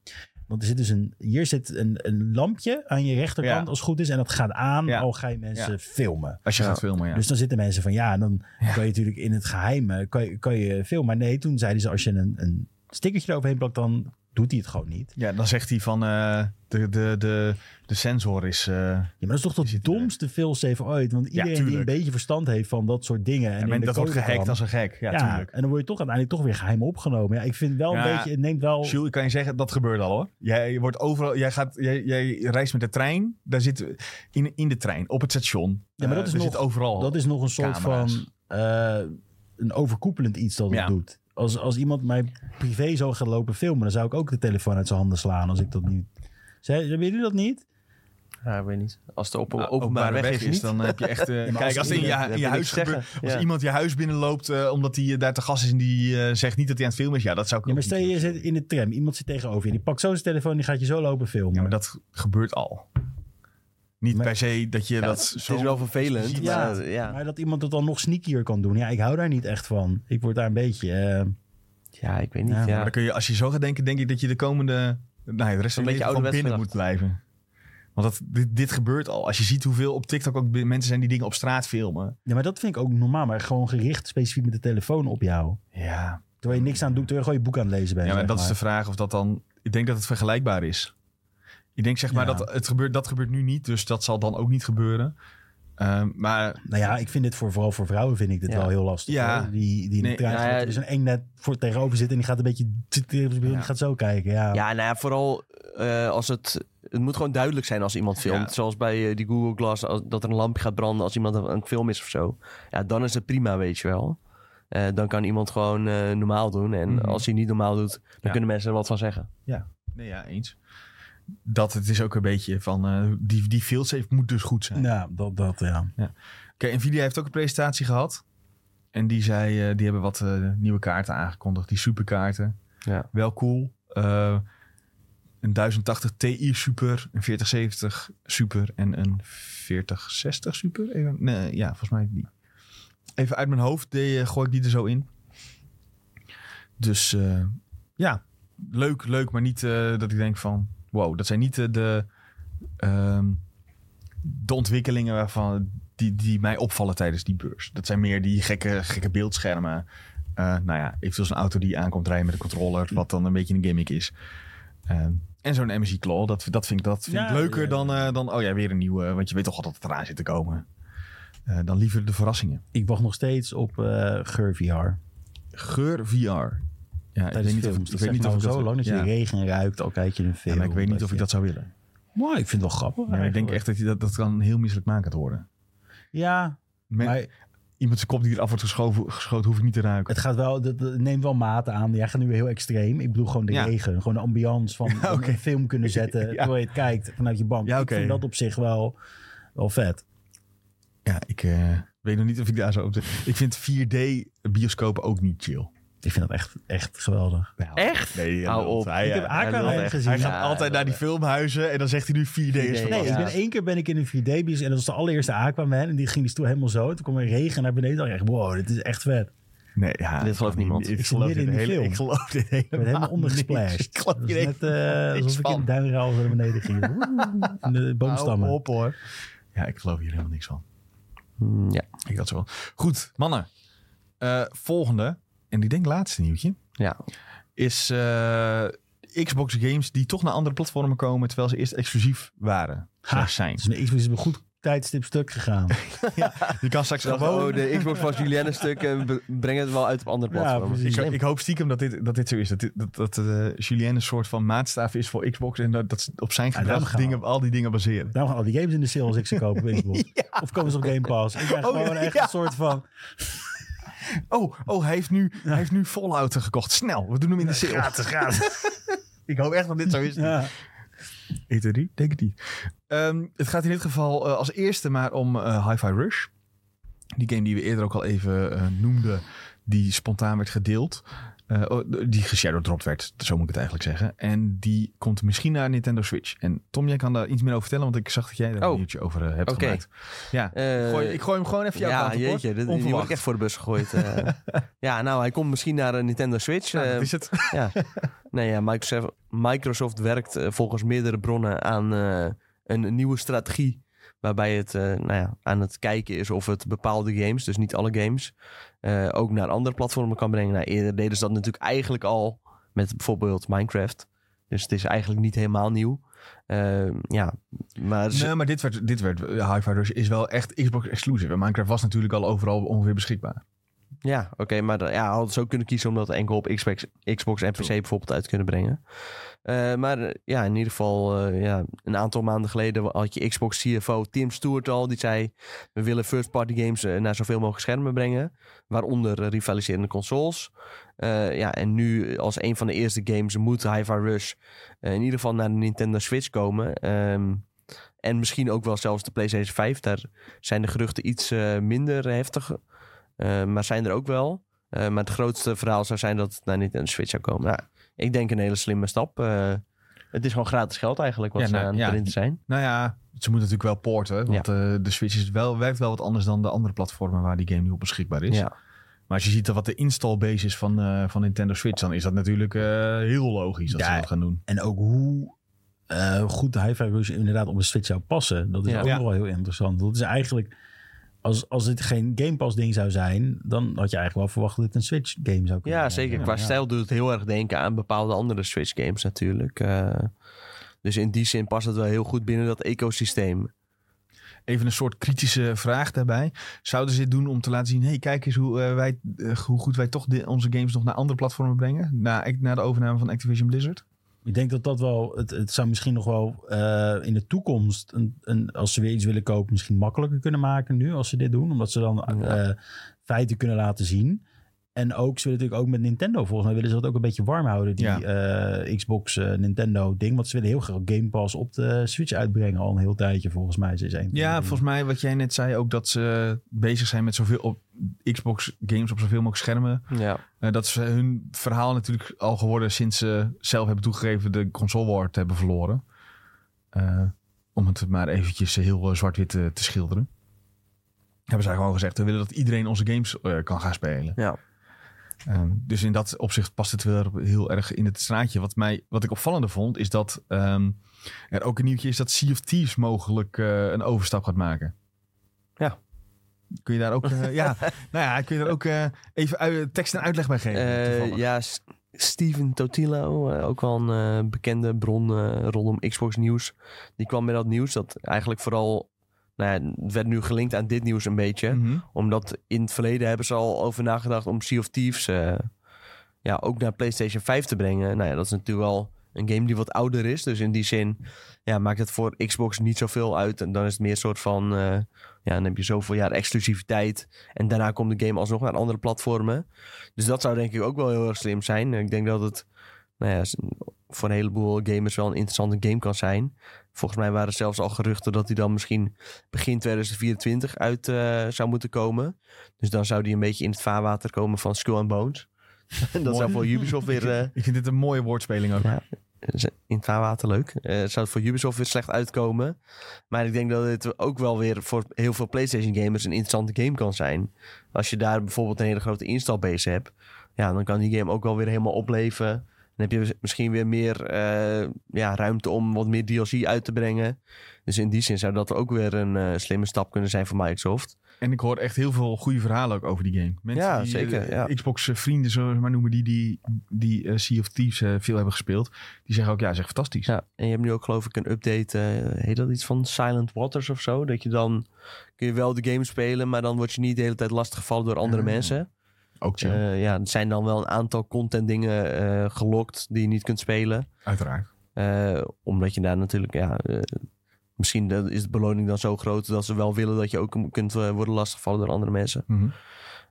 Speaker 3: want er zit dus een, hier zit een, een lampje aan je rechterkant
Speaker 1: Ja.
Speaker 3: als het goed is. En dat gaat aan
Speaker 1: Ja.
Speaker 3: al ga je mensen
Speaker 1: Ja.
Speaker 3: filmen.
Speaker 1: Als je
Speaker 2: Ja.
Speaker 1: gaat filmen, ja.
Speaker 3: Dus dan zitten mensen van ja, en dan kan je natuurlijk in het geheim eh, kan je, kan je filmen. Maar nee, toen zeiden ze als je een, een stickertje eroverheen plakt, dan doet hij het gewoon niet.
Speaker 1: ja, dan zegt hij van eh, de, de, de, de sensor is... eh,
Speaker 3: Ja, maar dat is toch
Speaker 1: Is
Speaker 3: dat
Speaker 1: het er?
Speaker 3: domste failsafe ooit? Want iedereen die een
Speaker 1: tuurlijk.
Speaker 3: beetje verstand heeft van dat soort dingen. En
Speaker 1: ja,
Speaker 3: in
Speaker 1: men-
Speaker 3: de
Speaker 1: dat wordt
Speaker 3: code
Speaker 1: gehackt
Speaker 3: kwam,
Speaker 1: als een gek. Ja,
Speaker 3: ja,
Speaker 1: tuurlijk.
Speaker 3: en dan word je toch uiteindelijk toch weer geheim opgenomen. Ja, ik vind wel
Speaker 1: Ja,
Speaker 3: een beetje, ik denk wel...
Speaker 1: Jules, ik kan je zeggen, dat gebeurt al hoor. Jij, wordt overal, jij, gaat, jij, jij reist met de trein. Daar zit, in, in de trein, op het station.
Speaker 3: Ja, maar dat
Speaker 1: Eh,
Speaker 3: is
Speaker 1: er
Speaker 3: nog-
Speaker 1: zit overal.
Speaker 3: Dat is nog een soort
Speaker 1: camera's.
Speaker 3: van eh, een overkoepelend iets dat het
Speaker 1: Ja.
Speaker 3: doet. Als, als iemand mij privé zou gaan lopen filmen, dan zou ik ook de telefoon uit zijn handen slaan als ik dat niet... Zij, hebben jullie dat niet?
Speaker 2: ik weet niet. Als het open,
Speaker 1: Nou,
Speaker 2: openbaar, weg, is, niet.
Speaker 1: dan heb je echt...
Speaker 3: (laughs)
Speaker 1: eh,
Speaker 3: maar
Speaker 1: kijk,
Speaker 3: als
Speaker 1: als, er in je,
Speaker 2: iemand-
Speaker 1: in
Speaker 2: dat
Speaker 1: je
Speaker 2: wil ik
Speaker 1: huis
Speaker 2: zeggen,
Speaker 1: gebeurt- als
Speaker 2: ja.
Speaker 1: iemand je huis binnenloopt eh, omdat hij eh, daar te gast is en die eh, zegt niet dat hij aan het filmen is, ja, dat zou ik
Speaker 3: Ja,
Speaker 1: ook
Speaker 3: maar stel
Speaker 1: niet
Speaker 3: je
Speaker 1: doen.
Speaker 3: zit in de tram, iemand zit tegenover je. Die pakt zo zijn telefoon en die gaat je zo lopen filmen.
Speaker 1: Ja, maar dat gebeurt al. Niet
Speaker 3: Maar-
Speaker 1: per se dat je
Speaker 2: Ja,
Speaker 1: dat
Speaker 2: het
Speaker 1: zo...
Speaker 2: is wel vervelend.
Speaker 3: Ja.
Speaker 2: maar, eh, ja.
Speaker 3: Maar dat iemand het dan nog sneakier kan doen. Ja, ik hou daar niet echt van. Ik word daar een beetje... eh,
Speaker 2: ja, ik weet niet.
Speaker 3: Ja,
Speaker 2: Ja,
Speaker 3: maar
Speaker 1: Maar dan kun je, als je zo gaat denken, denk ik dat je de komende... Nou, ja, de rest van
Speaker 2: Een
Speaker 1: je
Speaker 2: beetje
Speaker 1: leven gewoon
Speaker 2: ouderwets
Speaker 1: binnen moet blijven. Want dat, dit, dit gebeurt al. Als je ziet hoeveel op TikTok ook bi- mensen zijn die dingen op straat filmen.
Speaker 3: Ja, maar dat vind ik ook normaal. Maar gewoon gericht specifiek met de telefoon op jou.
Speaker 1: Ja,
Speaker 3: Terwijl je niks aan doet, terwijl je gewoon je boek aan het lezen bent.
Speaker 1: ja maar
Speaker 3: zeg
Speaker 1: dat is de
Speaker 3: maar.
Speaker 1: vraag of dat dan... Ik denk dat het vergelijkbaar is. Ik denk zeg maar
Speaker 3: Ja.
Speaker 1: dat het gebeurt, dat gebeurt nu niet. Dus dat zal dan ook niet gebeuren. Ehm, maar
Speaker 3: Nou ja, ik vind dit voor, vooral voor vrouwen vind ik dit
Speaker 2: Ja.
Speaker 3: wel heel lastig.
Speaker 1: Ja.
Speaker 3: hoor. Die, die in de
Speaker 1: Nee,
Speaker 3: trein
Speaker 2: nou
Speaker 3: zitten,
Speaker 2: ja,
Speaker 3: er is een eng net voor tegenover zit en die gaat een beetje t- t- en die
Speaker 1: Ja.
Speaker 3: gaat zo kijken. Ja.
Speaker 2: ja, nou ja, vooral eh, als het... Het moet gewoon duidelijk zijn als iemand filmt.
Speaker 1: Ja.
Speaker 2: Zoals bij eh, die Google Glass, als- dat er een lampje gaat branden als iemand aan het filmen is of zo. Ja, dan is het prima, weet je wel. Eh, dan kan iemand gewoon eh, normaal doen. En
Speaker 1: Mhm.
Speaker 2: als hij niet normaal doet, dan
Speaker 1: Ja.
Speaker 2: kunnen mensen er wat van zeggen.
Speaker 1: nee, ja, eens. Dat het is ook een beetje van... eh, die, die failsafe moet dus goed zijn.
Speaker 3: Nou, dat, dat ja.
Speaker 1: Oké, Nvidia heeft ook een presentatie gehad. En die zei, eh, die hebben wat eh, nieuwe kaarten aangekondigd. Die superkaarten.
Speaker 2: Ja.
Speaker 1: Wel cool. Eh, een 1080 Ti super, een 4070 super en een 4060 super. Even- nee, ja, volgens mij die. Even uit mijn hoofd de, gooi ik die er zo in. Dus eh, ja, leuk, leuk. Maar niet eh, dat ik denk van, wow, dat zijn niet eh, de, ehm, de ontwikkelingen waarvan die, die mij opvallen tijdens die beurs. Dat zijn meer die gekke, gekke beeldschermen. Eh, nou ja, eventueel zo'n auto die aankomt rijden met een controller, wat dan een beetje een gimmick is. Ehm, en zo'n MSI Claw, dat, dat vind ik, dat vind ik
Speaker 3: Ja,
Speaker 1: leuker
Speaker 3: ja, ja.
Speaker 1: Dan, eh, dan, oh ja, weer een nieuwe, want je weet toch al dat het eraan zit te komen. Eh, dan liever de verrassingen.
Speaker 3: Ik wacht nog steeds op eh Geur VR.
Speaker 1: Geur VR. Ja,
Speaker 3: Tijdens films.
Speaker 1: ik,
Speaker 3: dat
Speaker 1: weet
Speaker 3: zeg
Speaker 1: niet
Speaker 3: maar
Speaker 1: of ik
Speaker 3: al zo
Speaker 1: dat-
Speaker 3: lang dat je
Speaker 1: ja.
Speaker 3: regen ruikt, al kijk je een
Speaker 1: Ja,
Speaker 3: film.
Speaker 1: maar ik weet niet of
Speaker 3: je-
Speaker 1: ik dat zou willen.
Speaker 3: Nou, ik vind het wel grappig.
Speaker 1: Ja, maar ik denk
Speaker 3: eigenlijk.
Speaker 1: echt dat je dat, dat kan heel misselijkmakend worden.
Speaker 3: Ja,
Speaker 1: Men-
Speaker 3: maar
Speaker 1: Iemand zijn kop die eraf wordt geschoven, geschoten, hoef ik niet te ruiken.
Speaker 3: Het gaat wel, dat, dat neemt wel mate aan. Jij gaat nu weer heel extreem. Ik bedoel gewoon de
Speaker 1: Ja.
Speaker 3: regen. Gewoon de
Speaker 1: (laughs)
Speaker 3: ambiance van van
Speaker 1: oké.
Speaker 3: een film kunnen zetten.
Speaker 1: Ja.
Speaker 3: Terwijl je het kijkt vanuit je bank.
Speaker 1: Ja, oké.
Speaker 3: Ik vind dat op zich wel, wel vet.
Speaker 1: Ja, ik eh, weet nog niet of ik daar zo op zit. Ik vind 4D bioscopen ook niet chill.
Speaker 3: Ik vind dat echt, echt geweldig.
Speaker 2: Echt?
Speaker 1: Nee,
Speaker 2: Hou
Speaker 1: lult.
Speaker 2: op.
Speaker 1: Hij,
Speaker 3: ik heb
Speaker 1: eh,
Speaker 2: hij
Speaker 3: Aquaman
Speaker 2: lult echt.
Speaker 3: gezien.
Speaker 1: hij gaat
Speaker 2: Ja,
Speaker 1: altijd naar die filmhuizen en dan zegt hij nu 4D is
Speaker 2: 4D,
Speaker 1: van
Speaker 3: Nee,
Speaker 2: Ja.
Speaker 3: ik ben, één keer ben ik in een 4D-bios en dat was de allereerste Aquaman. En die ging die stoel helemaal zo. Toen kwam er regen naar beneden. Ik dacht, wow, dit is echt vet.
Speaker 1: Nee, ja,
Speaker 2: Dit gelooft niemand.
Speaker 1: Ik,
Speaker 3: Ik zit
Speaker 1: geloof
Speaker 3: midden
Speaker 1: dit
Speaker 3: in die
Speaker 1: hele,
Speaker 3: film.
Speaker 1: ik geloof dit
Speaker 3: Ik werd helemaal
Speaker 1: helemaal
Speaker 3: ondergesplashed.
Speaker 1: niks. Ik geloof
Speaker 3: Dat
Speaker 1: je
Speaker 3: is
Speaker 1: (laughs)
Speaker 3: net eh,
Speaker 1: niks
Speaker 3: alsof ik in
Speaker 1: van.
Speaker 3: duinruil naar beneden
Speaker 1: (laughs)
Speaker 3: ging. En de boomstammen.
Speaker 1: op hoor. Ja, ik geloof hier helemaal niks van.
Speaker 2: Mm, Ja.
Speaker 1: Ik dat zo wel. Goed, mannen. Eh, volgende, en die denk laatste nieuwtje,
Speaker 2: ja.
Speaker 1: is eh, Xbox games die toch naar andere platformen komen terwijl ze eerst exclusief waren.
Speaker 3: Ha.
Speaker 1: Slash zijn.
Speaker 3: Dus een Xbox is op een goed tijdstip stuk gegaan.
Speaker 1: (laughs) Je kan straks gewoon...
Speaker 2: Gewoon Oh, de Xbox van Julianne stuk en be- breng het wel uit op andere
Speaker 3: Ja,
Speaker 2: platformen.
Speaker 3: precies.
Speaker 1: Ik,
Speaker 3: Slim.
Speaker 1: ik hoop stiekem dat dit, dat dit zo is. Dat, dit- dat, dat eh, Julien een soort van maatstaaf is voor Xbox. En dat, dat ze op zijn
Speaker 3: daarom
Speaker 1: gedrag
Speaker 3: gaan we.
Speaker 1: dingen, al die dingen baseren.
Speaker 3: Daarom gaan al die games in de sale als ik ze koop op
Speaker 1: (laughs)
Speaker 3: Xbox. Of komen ze op Game Pass. Ik krijg
Speaker 1: Oh,
Speaker 3: gewoon echt
Speaker 1: ja.
Speaker 3: een soort
Speaker 1: (laughs)
Speaker 3: van...
Speaker 1: Oh, oh hij, heeft nu, hij heeft nu Fallout gekocht. Snel, we doen hem in de sale. ik hoop echt dat dit (laughs) zo is.
Speaker 3: Ja.
Speaker 1: Heet het die? Denk het niet. Ehm, het gaat in dit geval eh, als eerste maar om eh Hi-Fi Rush. Die game die we eerder ook al even eh, noemden. Die spontaan werd gedeeld. Eh, oh, die geshadowdropt werd, zo moet ik het eigenlijk zeggen. En die komt misschien naar Nintendo Switch. En Tom, jij kan daar iets meer over vertellen. Want ik zag dat jij daar
Speaker 2: Oh.
Speaker 1: een nieuwtje over eh, hebt
Speaker 2: Oké.
Speaker 1: gemaakt. Ja,
Speaker 2: Eh,
Speaker 1: gooi, ik gooi hem gewoon even jouw
Speaker 2: ja,
Speaker 1: kant op, hoor.
Speaker 2: jeetje, dit, die
Speaker 1: Onverwacht.
Speaker 2: wordt echt voor de bus gegooid. eh. ja, nou, hij komt misschien naar een Nintendo Switch.
Speaker 1: Nou,
Speaker 2: eh,
Speaker 1: dat is
Speaker 2: (laughs)
Speaker 1: het.
Speaker 2: ja. Nee, ja, Microsoft, Microsoft werkt eh, volgens meerdere bronnen aan eh, een nieuwe strategie. Waarbij het eh, nou ja, aan het kijken is of het bepaalde games, dus niet alle games, eh, ook naar andere platformen kan brengen. Nou, eerder deden ze dat natuurlijk eigenlijk al met bijvoorbeeld Minecraft. Dus het is eigenlijk niet helemaal nieuw. Eh, ja, maar ze-
Speaker 1: Nee, maar dit werd, dit werd eh, Hi-Fi Rush is wel echt Xbox exclusive. En Minecraft was natuurlijk al overal ongeveer beschikbaar.
Speaker 2: Ja, oké, maar dan- ja, hadden ze ook kunnen kiezen om dat enkel op Xbox, Xbox en PC bijvoorbeeld uit te kunnen brengen. Eh, maar eh, ja, in ieder geval, eh, ja, een aantal maanden geleden had je Xbox CFO Tim Stewart al, die zei: We willen first-party games eh, naar zoveel mogelijk schermen brengen, waaronder eh, rivaliserende consoles. Eh, ja, en nu eh, als een van de eerste games moet Hi-Fi Rush eh, in ieder geval naar de Nintendo Switch komen. Ehm, en misschien ook wel zelfs de PlayStation 5. Daar zijn de geruchten iets eh, minder heftig eh, maar zijn er ook wel. Eh, maar het grootste verhaal zou zijn dat het naar Nintendo Switch zou komen. Nou, ik denk een hele slimme stap. Eh, het is gewoon gratis geld eigenlijk wat
Speaker 1: Ja,
Speaker 2: ze
Speaker 1: nou,
Speaker 2: aan het
Speaker 1: ja.
Speaker 2: printen zijn.
Speaker 1: Nou ja, ze moeten natuurlijk wel porten. Want eh, de Switch is wel, werkt wel wat anders dan de andere platformen waar die game nu op beschikbaar is.
Speaker 2: Ja.
Speaker 1: Maar als je ziet dat wat de install base is van, eh, van Nintendo Switch, dan is dat natuurlijk eh, heel logisch dat ze
Speaker 3: Ja.
Speaker 1: dat gaan doen.
Speaker 3: En ook hoe eh, goed de Hi-Fi Rush inderdaad op een Switch zou passen. Dat is
Speaker 2: Ja.
Speaker 3: ook
Speaker 1: Ja.
Speaker 3: nog wel heel interessant. Dat is eigenlijk, als, als het geen Game Pass ding zou zijn, dan had je eigenlijk wel verwacht dat het een Switch game zou
Speaker 2: ja,
Speaker 3: kunnen worden.
Speaker 2: zeker. Qua
Speaker 3: Ja.
Speaker 2: stijl doet het heel erg denken aan bepaalde andere Switch games natuurlijk. Eh, dus in die zin past het wel heel goed binnen dat ecosysteem.
Speaker 1: Even een soort kritische vraag daarbij. Zouden ze dit doen om te laten zien, hey, kijk eens hoe, eh, wij, eh, hoe goed wij toch de- onze games nog naar andere platformen brengen? Na, na de overname van Activision Blizzard?
Speaker 3: Ik denk dat dat wel, het, het zou misschien nog wel eh, in de toekomst, een, een, als ze weer iets willen kopen, misschien makkelijker kunnen maken nu als ze dit doen. Omdat ze dan eh, feiten kunnen laten zien. En ook, ze willen natuurlijk ook met Nintendo, volgens mij willen ze dat ook een beetje warm houden, die
Speaker 1: Ja.
Speaker 3: eh, Xbox eh, Nintendo ding. Want ze willen heel graag Game Pass op de Switch uitbrengen al een heel tijdje, volgens mij. Ze is een van de
Speaker 1: Ja,
Speaker 3: dingen.
Speaker 1: volgens mij wat jij net zei ook, dat ze bezig zijn met zoveel op Xbox games op zoveel mogelijk schermen
Speaker 2: Ja,
Speaker 1: Eh, dat is hun verhaal natuurlijk al geworden sinds ze zelf hebben toegegeven de console war te hebben verloren. Eh, om het maar eventjes heel eh, zwart-wit eh, te schilderen. Hebben zij gewoon gezegd, we willen dat iedereen onze games eh, kan gaan spelen.
Speaker 2: ja.
Speaker 1: Eh, dus in dat opzicht past het wel heel erg in het straatje. Wat, mij, wat ik opvallender vond, is dat ehm, er ook een nieuwtje is dat Sea of Thieves mogelijk eh, een overstap gaat maken.
Speaker 2: Ja.
Speaker 1: Kun je daar ook, eh,
Speaker 2: (laughs)
Speaker 1: ja, nou ja, kun je daar ook eh, even ui- tekst en uitleg bij geven?
Speaker 2: Eh,
Speaker 1: toevallig?
Speaker 2: ja, S- Steven Totilo, eh, ook wel een eh, bekende bron eh, rondom Xbox nieuws. Die kwam met dat nieuws dat eigenlijk vooral... Nou ja, het werd nu gelinkt aan dit nieuws een beetje.
Speaker 1: Mhm.
Speaker 2: Omdat in het verleden hebben ze al over nagedacht om Sea of Thieves eh, ja, ook naar PlayStation 5 te brengen. Nou ja, dat is natuurlijk wel een game die wat ouder is. Dus in die zin ja, maakt het voor Xbox niet zoveel uit. En dan is het meer een soort van... eh, ja, dan heb je zoveel jaar exclusiviteit. En daarna komt de game alsnog naar andere platformen. Dus dat zou denk ik ook wel heel erg slim zijn. Ik denk dat het nou ja, voor een heleboel gamers wel een interessante game kan zijn. Volgens mij waren er zelfs al geruchten dat hij dan misschien begin 2024 uit eh, zou moeten komen. Dus dan zou die een beetje in het vaarwater komen van Skull and Bones. (laughs) dat zou voor Ubisoft weer... eh,
Speaker 1: Ik vind dit een mooie woordspeling ook.
Speaker 2: Ja. Eh, in het vaarwater leuk. Eh, zou het voor Ubisoft weer slecht uitkomen. Maar ik denk dat het ook wel weer voor heel veel PlayStation gamers een interessante game kan zijn. Als je daar bijvoorbeeld een hele grote installbase hebt. Ja, dan kan die game ook wel weer helemaal opleven. Dan heb je misschien weer meer eh, ja, ruimte om wat meer DLC uit te brengen. Dus in die zin zou dat ook weer een eh, slimme stap kunnen zijn voor Microsoft.
Speaker 1: En ik hoor echt heel veel goede verhalen ook over die game. Mensen
Speaker 2: Ja,
Speaker 1: die,
Speaker 2: zeker,
Speaker 1: eh,
Speaker 2: ja.
Speaker 1: Xbox-vrienden, zullen we ze maar noemen, die, die, die eh, Sea of Thieves eh, veel hebben gespeeld. Die zeggen ook, ja, zeg fantastisch.
Speaker 2: Ja, en je hebt nu ook geloof ik een update, eh, heet dat iets van Silent Waters of zo? Dat je dan, kun je wel de game spelen, maar dan word je niet de hele tijd lastiggevallen door andere
Speaker 1: Ah,
Speaker 2: mensen.
Speaker 1: Ook chill,
Speaker 2: Eh, ja, er zijn dan wel een aantal content dingen eh, gelokt die je niet kunt spelen.
Speaker 1: uiteraard.
Speaker 2: Eh, omdat je daar natuurlijk, ja, eh, misschien dat- is de beloning dan zo groot dat ze wel willen dat je ook kunt eh, worden lastiggevallen door andere mensen.
Speaker 1: Mhm.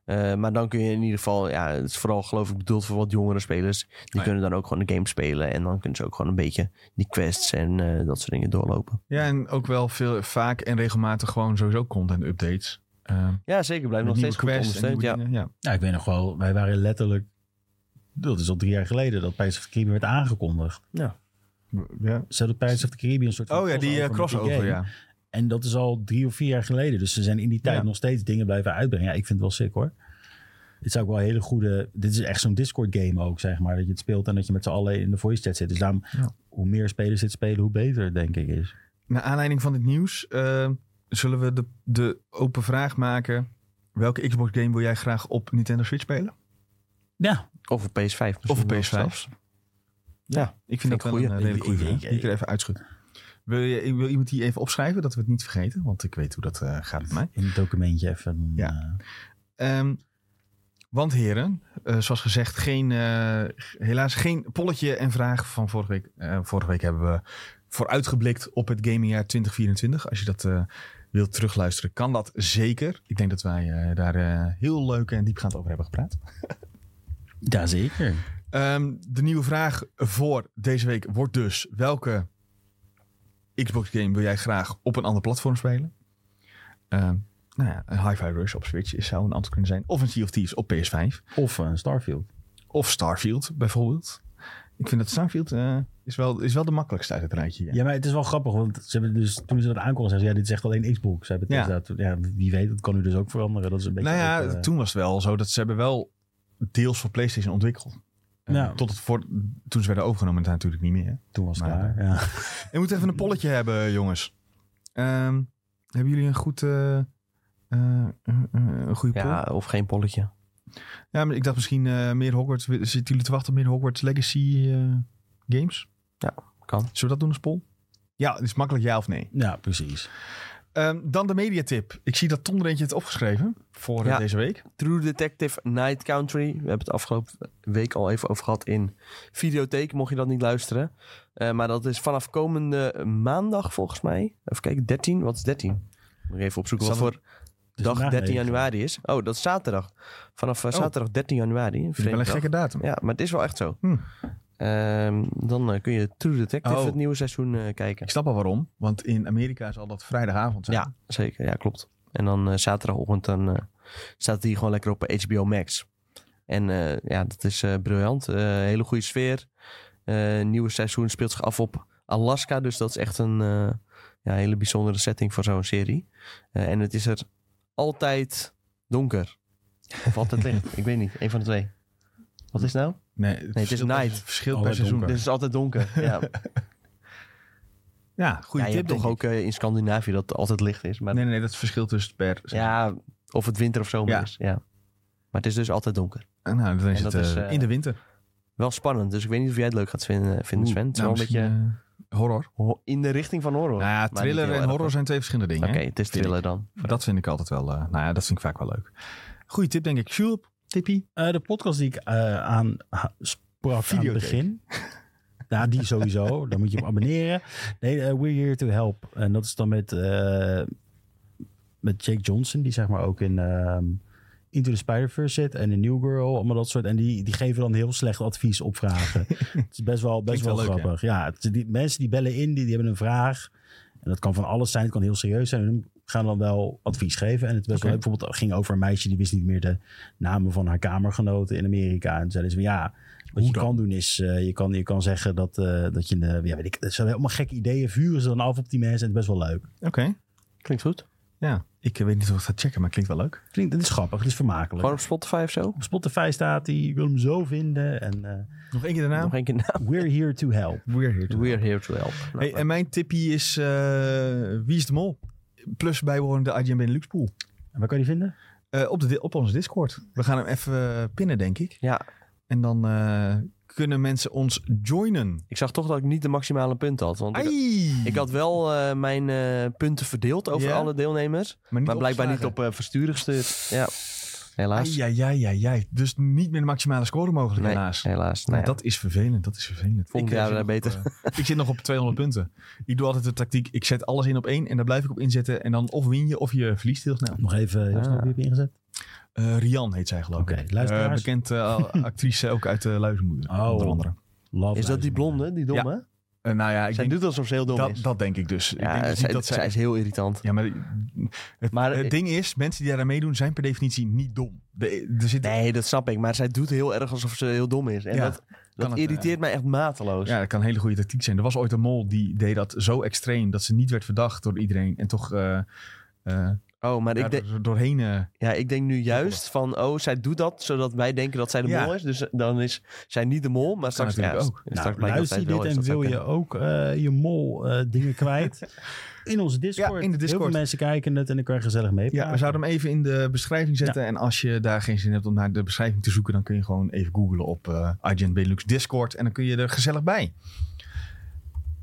Speaker 2: Eh, maar dan kun je in ieder geval, ja, het is vooral geloof ik bedoeld voor wat jongere spelers. Die
Speaker 1: ja.
Speaker 2: kunnen dan ook gewoon de game spelen en dan kunnen ze ook gewoon een beetje die quests en eh, dat soort dingen doorlopen.
Speaker 1: Ja, en ook wel veel, vaak en regelmatig gewoon sowieso content-updates. Eh,
Speaker 2: Ja, zeker. Blijft
Speaker 1: met
Speaker 2: nog
Speaker 1: nieuwe
Speaker 2: steeds goed
Speaker 1: quests en
Speaker 2: ondersteund.
Speaker 1: nieuwe
Speaker 2: Ja.
Speaker 1: dingen, ja.
Speaker 3: Nou, ik weet nog wel, wij waren letterlijk... Dat is al drie jaar geleden dat Pirates of the Caribbean werd aangekondigd.
Speaker 1: ja.
Speaker 3: Zo dat Pirates of the Caribbean een soort van
Speaker 1: Oh ja, die eh,
Speaker 3: met
Speaker 1: crossover,
Speaker 3: game.
Speaker 1: ja.
Speaker 3: En dat is al drie of vier jaar geleden. Dus ze zijn in die tijd
Speaker 1: Ja.
Speaker 3: nog steeds dingen blijven uitbrengen. Ja, ik vind het wel sick hoor. Dit is ook wel een hele goede... Dit is echt zo'n Discord game ook, zeg maar. Dat je het speelt en dat je met z'n allen in de voice chat zit. Dus daarom,
Speaker 1: Ja.
Speaker 3: hoe meer spelers dit spelen, hoe beter het denk ik is.
Speaker 1: Naar aanleiding van dit nieuws eh, zullen we de, de open vraag maken. Welke Xbox-game wil jij graag op Nintendo Switch spelen?
Speaker 3: Ja,
Speaker 2: Of op PS5. misschien
Speaker 1: Of op
Speaker 2: wel
Speaker 1: PS5.
Speaker 2: zelfs. Ja,
Speaker 1: Ik
Speaker 2: Vind
Speaker 1: vind
Speaker 2: ik
Speaker 1: dat wel
Speaker 2: goeie.
Speaker 1: een eh, redelijk goede
Speaker 3: Ik-
Speaker 1: vraag.
Speaker 3: ik-
Speaker 1: Die ik er even uitschud. Wil, je, wil iemand die even opschrijven, dat we het niet vergeten? Want ik weet hoe dat eh, gaat met mij.
Speaker 3: in het documentje even...
Speaker 1: Ja.
Speaker 3: eh,
Speaker 1: Ehm, want heren, eh, zoals gezegd, geen, eh, g- helaas geen polletje en vraag van vorige week. Eh, vorige week hebben we vooruitgeblikt op het gamingjaar 2024. Als je dat eh, wilt terugluisteren, kan dat zeker. Ik denk dat wij eh, daar eh, heel leuk en diepgaand over hebben gepraat.
Speaker 3: Ja, zeker.
Speaker 1: Ehm, de nieuwe vraag voor deze week wordt dus: welke Xbox game wil jij graag op een ander platform spelen? Ehm, nou ja, een Hi-Fi Rush op Switch is- zou een antwoord kunnen zijn. Of een Sea of Thieves op PS5.
Speaker 3: Of een Starfield.
Speaker 1: Of Starfield bijvoorbeeld. Ik vind dat Starfield eh, is, wel, is wel de makkelijkste uit het rijtje.
Speaker 3: Ja.
Speaker 1: Ja.
Speaker 3: maar het is wel grappig, want ze hebben dus, toen ze dat aankondigden, zeiden ze, ja, dit is echt alleen Xbox. Ze hebben
Speaker 1: Ja.
Speaker 3: Tesla toen- ja, wie weet, dat kan nu dus ook veranderen. Dat is een beetje...
Speaker 1: Nou ja,
Speaker 3: ook, eh,
Speaker 1: toen was het wel zo dat ze hebben wel deels voor PlayStation ontwikkeld. Eh,
Speaker 3: Ja.
Speaker 1: Tot het voor, toen ze werden overgenomen, dat natuurlijk niet meer.
Speaker 3: toen was het
Speaker 1: maar-
Speaker 3: klaar. Ja.
Speaker 1: Je moet even een polletje hebben, jongens. Ehm, hebben jullie een goed, eh, eh, eh, eh, een goede poll?
Speaker 2: Ja, of geen polletje.
Speaker 1: Ja, maar ik dacht misschien eh, meer Hogwarts. Zitten jullie te wachten op meer Hogwarts Legacy eh, games?
Speaker 2: Ja, kan.
Speaker 1: Zullen we dat doen als poll? Ja, het is makkelijk ja of nee.
Speaker 3: ja, precies.
Speaker 1: Ehm, dan de mediatip. Ik zie dat Tom er eentje heeft opgeschreven voor eh,
Speaker 2: Ja.
Speaker 1: deze week.
Speaker 2: True Detective Night Country. We hebben het afgelopen week al even over gehad in Videotheek, mocht je dat niet luisteren. Eh, maar dat is vanaf komende maandag volgens mij. Even kijken, 13? Wat is 13? Moet ik even opzoeken wat
Speaker 1: Zal
Speaker 2: voor
Speaker 3: Dus
Speaker 2: dag
Speaker 3: vandaag
Speaker 2: 13
Speaker 3: negen.
Speaker 2: januari is. Oh, dat is zaterdag. Vanaf eh,
Speaker 1: Oh.
Speaker 2: zaterdag 13 januari.
Speaker 1: Vind ik wel een
Speaker 2: Vreemd
Speaker 1: gekke datum.
Speaker 2: Ja, maar het is wel echt zo.
Speaker 1: Hm.
Speaker 2: Ehm, dan eh, kun je True Detective
Speaker 1: Oh.
Speaker 2: het nieuwe seizoen eh, kijken.
Speaker 1: Ik snap al waarom. Want in Amerika zal dat vrijdagavond zijn.
Speaker 2: Ja, zeker. Ja, klopt. En dan eh, zaterdagochtend dan, eh, staat die gewoon lekker op HBO Max. En eh, ja, dat is eh, briljant. Eh, hele goede sfeer. Eh nieuwe seizoen speelt zich af op Alaska. Dus dat is echt een eh, ja, hele bijzondere setting voor zo'n serie. Eh, en het is er altijd donker. Of altijd licht.
Speaker 1: (laughs)
Speaker 2: Ik weet niet. Een van de twee. Wat is het nou?
Speaker 1: Nee, het,
Speaker 2: is
Speaker 1: verschilt-
Speaker 2: night.
Speaker 1: Het verschilt per
Speaker 3: Altijd
Speaker 1: seizoen.
Speaker 3: donker.
Speaker 2: Dus het is altijd
Speaker 1: (laughs)
Speaker 2: donker. Ja,
Speaker 1: Ja,
Speaker 2: ja
Speaker 1: goede
Speaker 2: je
Speaker 1: tip.
Speaker 2: hebt toch
Speaker 1: denk
Speaker 2: ook eh, in Scandinavië dat het altijd licht is. Maar
Speaker 1: ik. Nee, nee, nee, dat verschilt dus per seizoen.
Speaker 2: Ja, of het winter of zomer
Speaker 1: Ja.
Speaker 2: is. Ja. Maar het is dus altijd donker.
Speaker 1: Ah, Nou, dan is
Speaker 2: En
Speaker 1: het
Speaker 2: dat is,
Speaker 1: eh,
Speaker 2: eh,
Speaker 1: in de winter.
Speaker 2: Wel spannend, dus ik weet niet of jij het leuk gaat vinden, eh, vinden Sven. Het is
Speaker 1: Nou,
Speaker 2: wel een
Speaker 1: misschien,
Speaker 2: beetje
Speaker 1: eh, horror.
Speaker 2: ho- in de richting van horror.
Speaker 1: Nou ja,
Speaker 2: maar niet
Speaker 1: thriller
Speaker 2: heel
Speaker 1: en
Speaker 2: erg.
Speaker 1: horror zijn twee verschillende dingen.
Speaker 2: Oké,
Speaker 1: hè?
Speaker 2: het is
Speaker 1: Vind
Speaker 2: thriller dan.
Speaker 1: Dat vind ik altijd wel. eh, nou ja, dat vind ik vaak wel leuk. Goeie tip, denk ik. Sjoerd, tippie.
Speaker 3: Eh, de podcast die ik eh, aan ha- sprak aan
Speaker 1: Videotheek.
Speaker 3: het begin. Ja, die sowieso. Dan moet je hem abonneren. Nee, eh, We're Here to Help. En dat is dan met, eh, met Jake Johnson, die zeg maar ook in ehm, Into the Spider-Verse zit. En in New Girl, allemaal dat soort. En die, die geven dan heel slecht advies
Speaker 1: (laughs)
Speaker 3: op vragen. het is best wel, best
Speaker 1: Klinkt
Speaker 3: wel,
Speaker 1: wel leuk, hè?
Speaker 3: grappig. ja, het- die, mensen die bellen in, die, die hebben een vraag. En dat kan van alles zijn. Het kan heel serieus zijn. gaan dan wel advies geven. En het was wel leuk. Bijvoorbeeld het ging over een meisje die wist niet meer de namen van haar kamergenoten in Amerika. En zeiden ze van ja, wat je kan doen is, eh, je, kan, je kan zeggen dat, eh, dat je, eh, ja weet ik, ze hebben helemaal gekke ideeën, vuren ze dan af op die mensen. En het is best wel leuk.
Speaker 1: Oké,
Speaker 2: Klinkt goed.
Speaker 1: ja. Ik eh, weet niet of ik dat checken, maar klinkt wel leuk.
Speaker 3: Klinkt, het is grappig, het is vermakelijk.
Speaker 2: Gewoon op Spotify of zo?
Speaker 3: Op Spotify staat hij, ik wil hem zo vinden. En
Speaker 2: (laughs)
Speaker 3: eh,
Speaker 1: Nog één keer de naam?
Speaker 2: Nog één keer
Speaker 1: (laughs)
Speaker 2: naam.
Speaker 3: we're here to help.
Speaker 1: We're here to-
Speaker 2: We're here to help. Nou,
Speaker 1: Hey, en mijn tippie is eh, Wie is de Mol? Plus bijbehorende IGN Benelux pool.
Speaker 3: En waar kan je die vinden?
Speaker 1: Eh, op, de, di- op onze Discord. We gaan hem even eh, pinnen, denk ik.
Speaker 2: Ja,
Speaker 1: En dan eh, kunnen mensen ons joinen.
Speaker 2: ik zag toch dat ik niet de maximale punten had. Want ik,
Speaker 1: Ai!
Speaker 2: ik had wel eh, mijn eh, punten verdeeld over
Speaker 1: Ja?
Speaker 2: alle deelnemers.
Speaker 1: niet
Speaker 2: Maar blijkbaar niet
Speaker 1: opgeslagen.
Speaker 2: op eh, versturen gestuurd. Ja, helaas.
Speaker 1: Ja, ja, ja, ja. Dus niet meer de maximale score mogelijk,
Speaker 2: Nee,
Speaker 1: helaas.
Speaker 2: helaas. Nou ja.
Speaker 1: Dat is vervelend, dat is vervelend.
Speaker 2: Volgend jaar
Speaker 1: eh, zit
Speaker 2: beter.
Speaker 1: nog op, eh, ik zit nog op 200 punten. Ik doe altijd de tactiek, ik zet alles in op één en daar blijf ik op inzetten. En dan of win je of je verliest heel snel.
Speaker 3: Nog even, heel snel,
Speaker 2: Ah.
Speaker 3: wie heb je ingezet?
Speaker 1: Eh, Rian heet zij geloof ik.
Speaker 3: Oké,
Speaker 1: Eh,
Speaker 3: luisteraars.
Speaker 1: bekend
Speaker 2: (laughs)
Speaker 1: eh, actrice ook uit eh Luizenmoeder,
Speaker 3: Oh.
Speaker 1: onder andere.
Speaker 3: Love
Speaker 2: Is dat die
Speaker 3: luisteraars.
Speaker 2: blonde, die domme?
Speaker 1: Eh, nou ja, ik
Speaker 2: Zij
Speaker 1: denk,
Speaker 2: doet alsof ze heel dom
Speaker 1: dat,
Speaker 2: is.
Speaker 1: dat denk ik dus. ik
Speaker 2: ja,
Speaker 1: denk dus
Speaker 2: zij,
Speaker 1: niet dat zij... eh,
Speaker 2: zij is heel irritant. Eh,
Speaker 1: Ja, maar eh, het,
Speaker 2: Maar-
Speaker 1: het ding is, mensen die daar aan meedoen zijn per definitie niet dom. De, er zit,
Speaker 2: Nee, dat snap ik. Maar zij doet heel erg alsof ze heel dom is. En
Speaker 1: Ja,
Speaker 2: dat, dat
Speaker 1: het, eh,
Speaker 2: irriteert mij echt mateloos.
Speaker 1: Ja, dat kan een hele goede tactiek zijn. Er was ooit een mol die deed dat zo extreem dat ze niet werd verdacht door iedereen. En toch eh, eh,
Speaker 2: Oh, maar ik,
Speaker 1: daar
Speaker 2: denk-
Speaker 1: doorheen... eh,
Speaker 2: ja, ik denk nu juist van... Oh, zij doet dat zodat wij denken dat zij de
Speaker 1: Ja.
Speaker 2: mol is. Dus dan is zij niet de mol. Maar straks, ja,
Speaker 1: natuurlijk ook.
Speaker 2: straks blijkt
Speaker 3: Nou,
Speaker 2: dat
Speaker 3: luister
Speaker 2: zij
Speaker 3: je
Speaker 2: het wel
Speaker 3: dit
Speaker 2: is.
Speaker 3: en
Speaker 2: Dat zou
Speaker 3: wil je
Speaker 2: kunnen.
Speaker 3: ook eh, je mol eh, dingen
Speaker 2: (laughs)
Speaker 3: kwijt? In onze Discord.
Speaker 1: Ja, in de Discord.
Speaker 3: Heel veel mensen kijken het en dan kan je gezellig mee.
Speaker 1: Ja, we zouden hem even in de beschrijving zetten. En als je daar geen zin hebt om naar de beschrijving te zoeken, dan kun je gewoon even googlen op eh Agent Benelux Discord. En dan kun je er gezellig bij.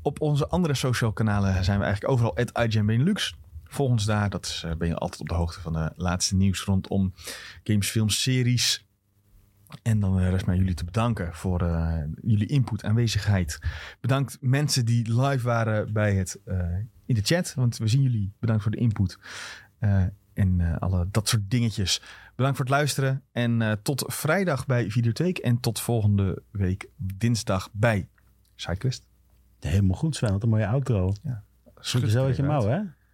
Speaker 1: Op onze andere social kanalen zijn we eigenlijk overal at Agent Benelux. Volg ons daar, dat is, eh, ben je altijd op de hoogte van de laatste nieuws rondom games, films, series. En dan eh, rest mij jullie te bedanken voor eh, jullie input, aanwezigheid. Bedankt mensen die live waren bij het, eh, in de chat, want we zien jullie. Bedankt voor de input. Eh, en eh, alle dat soort dingetjes. Bedankt voor het luisteren. En eh, tot vrijdag bij Videotheek. En tot volgende week dinsdag bij Sidequest.
Speaker 3: Helemaal goed, Sven. Wat een mooie outro.
Speaker 1: Schud
Speaker 3: Goed zo uit je
Speaker 1: eruit.
Speaker 3: mouw, hè?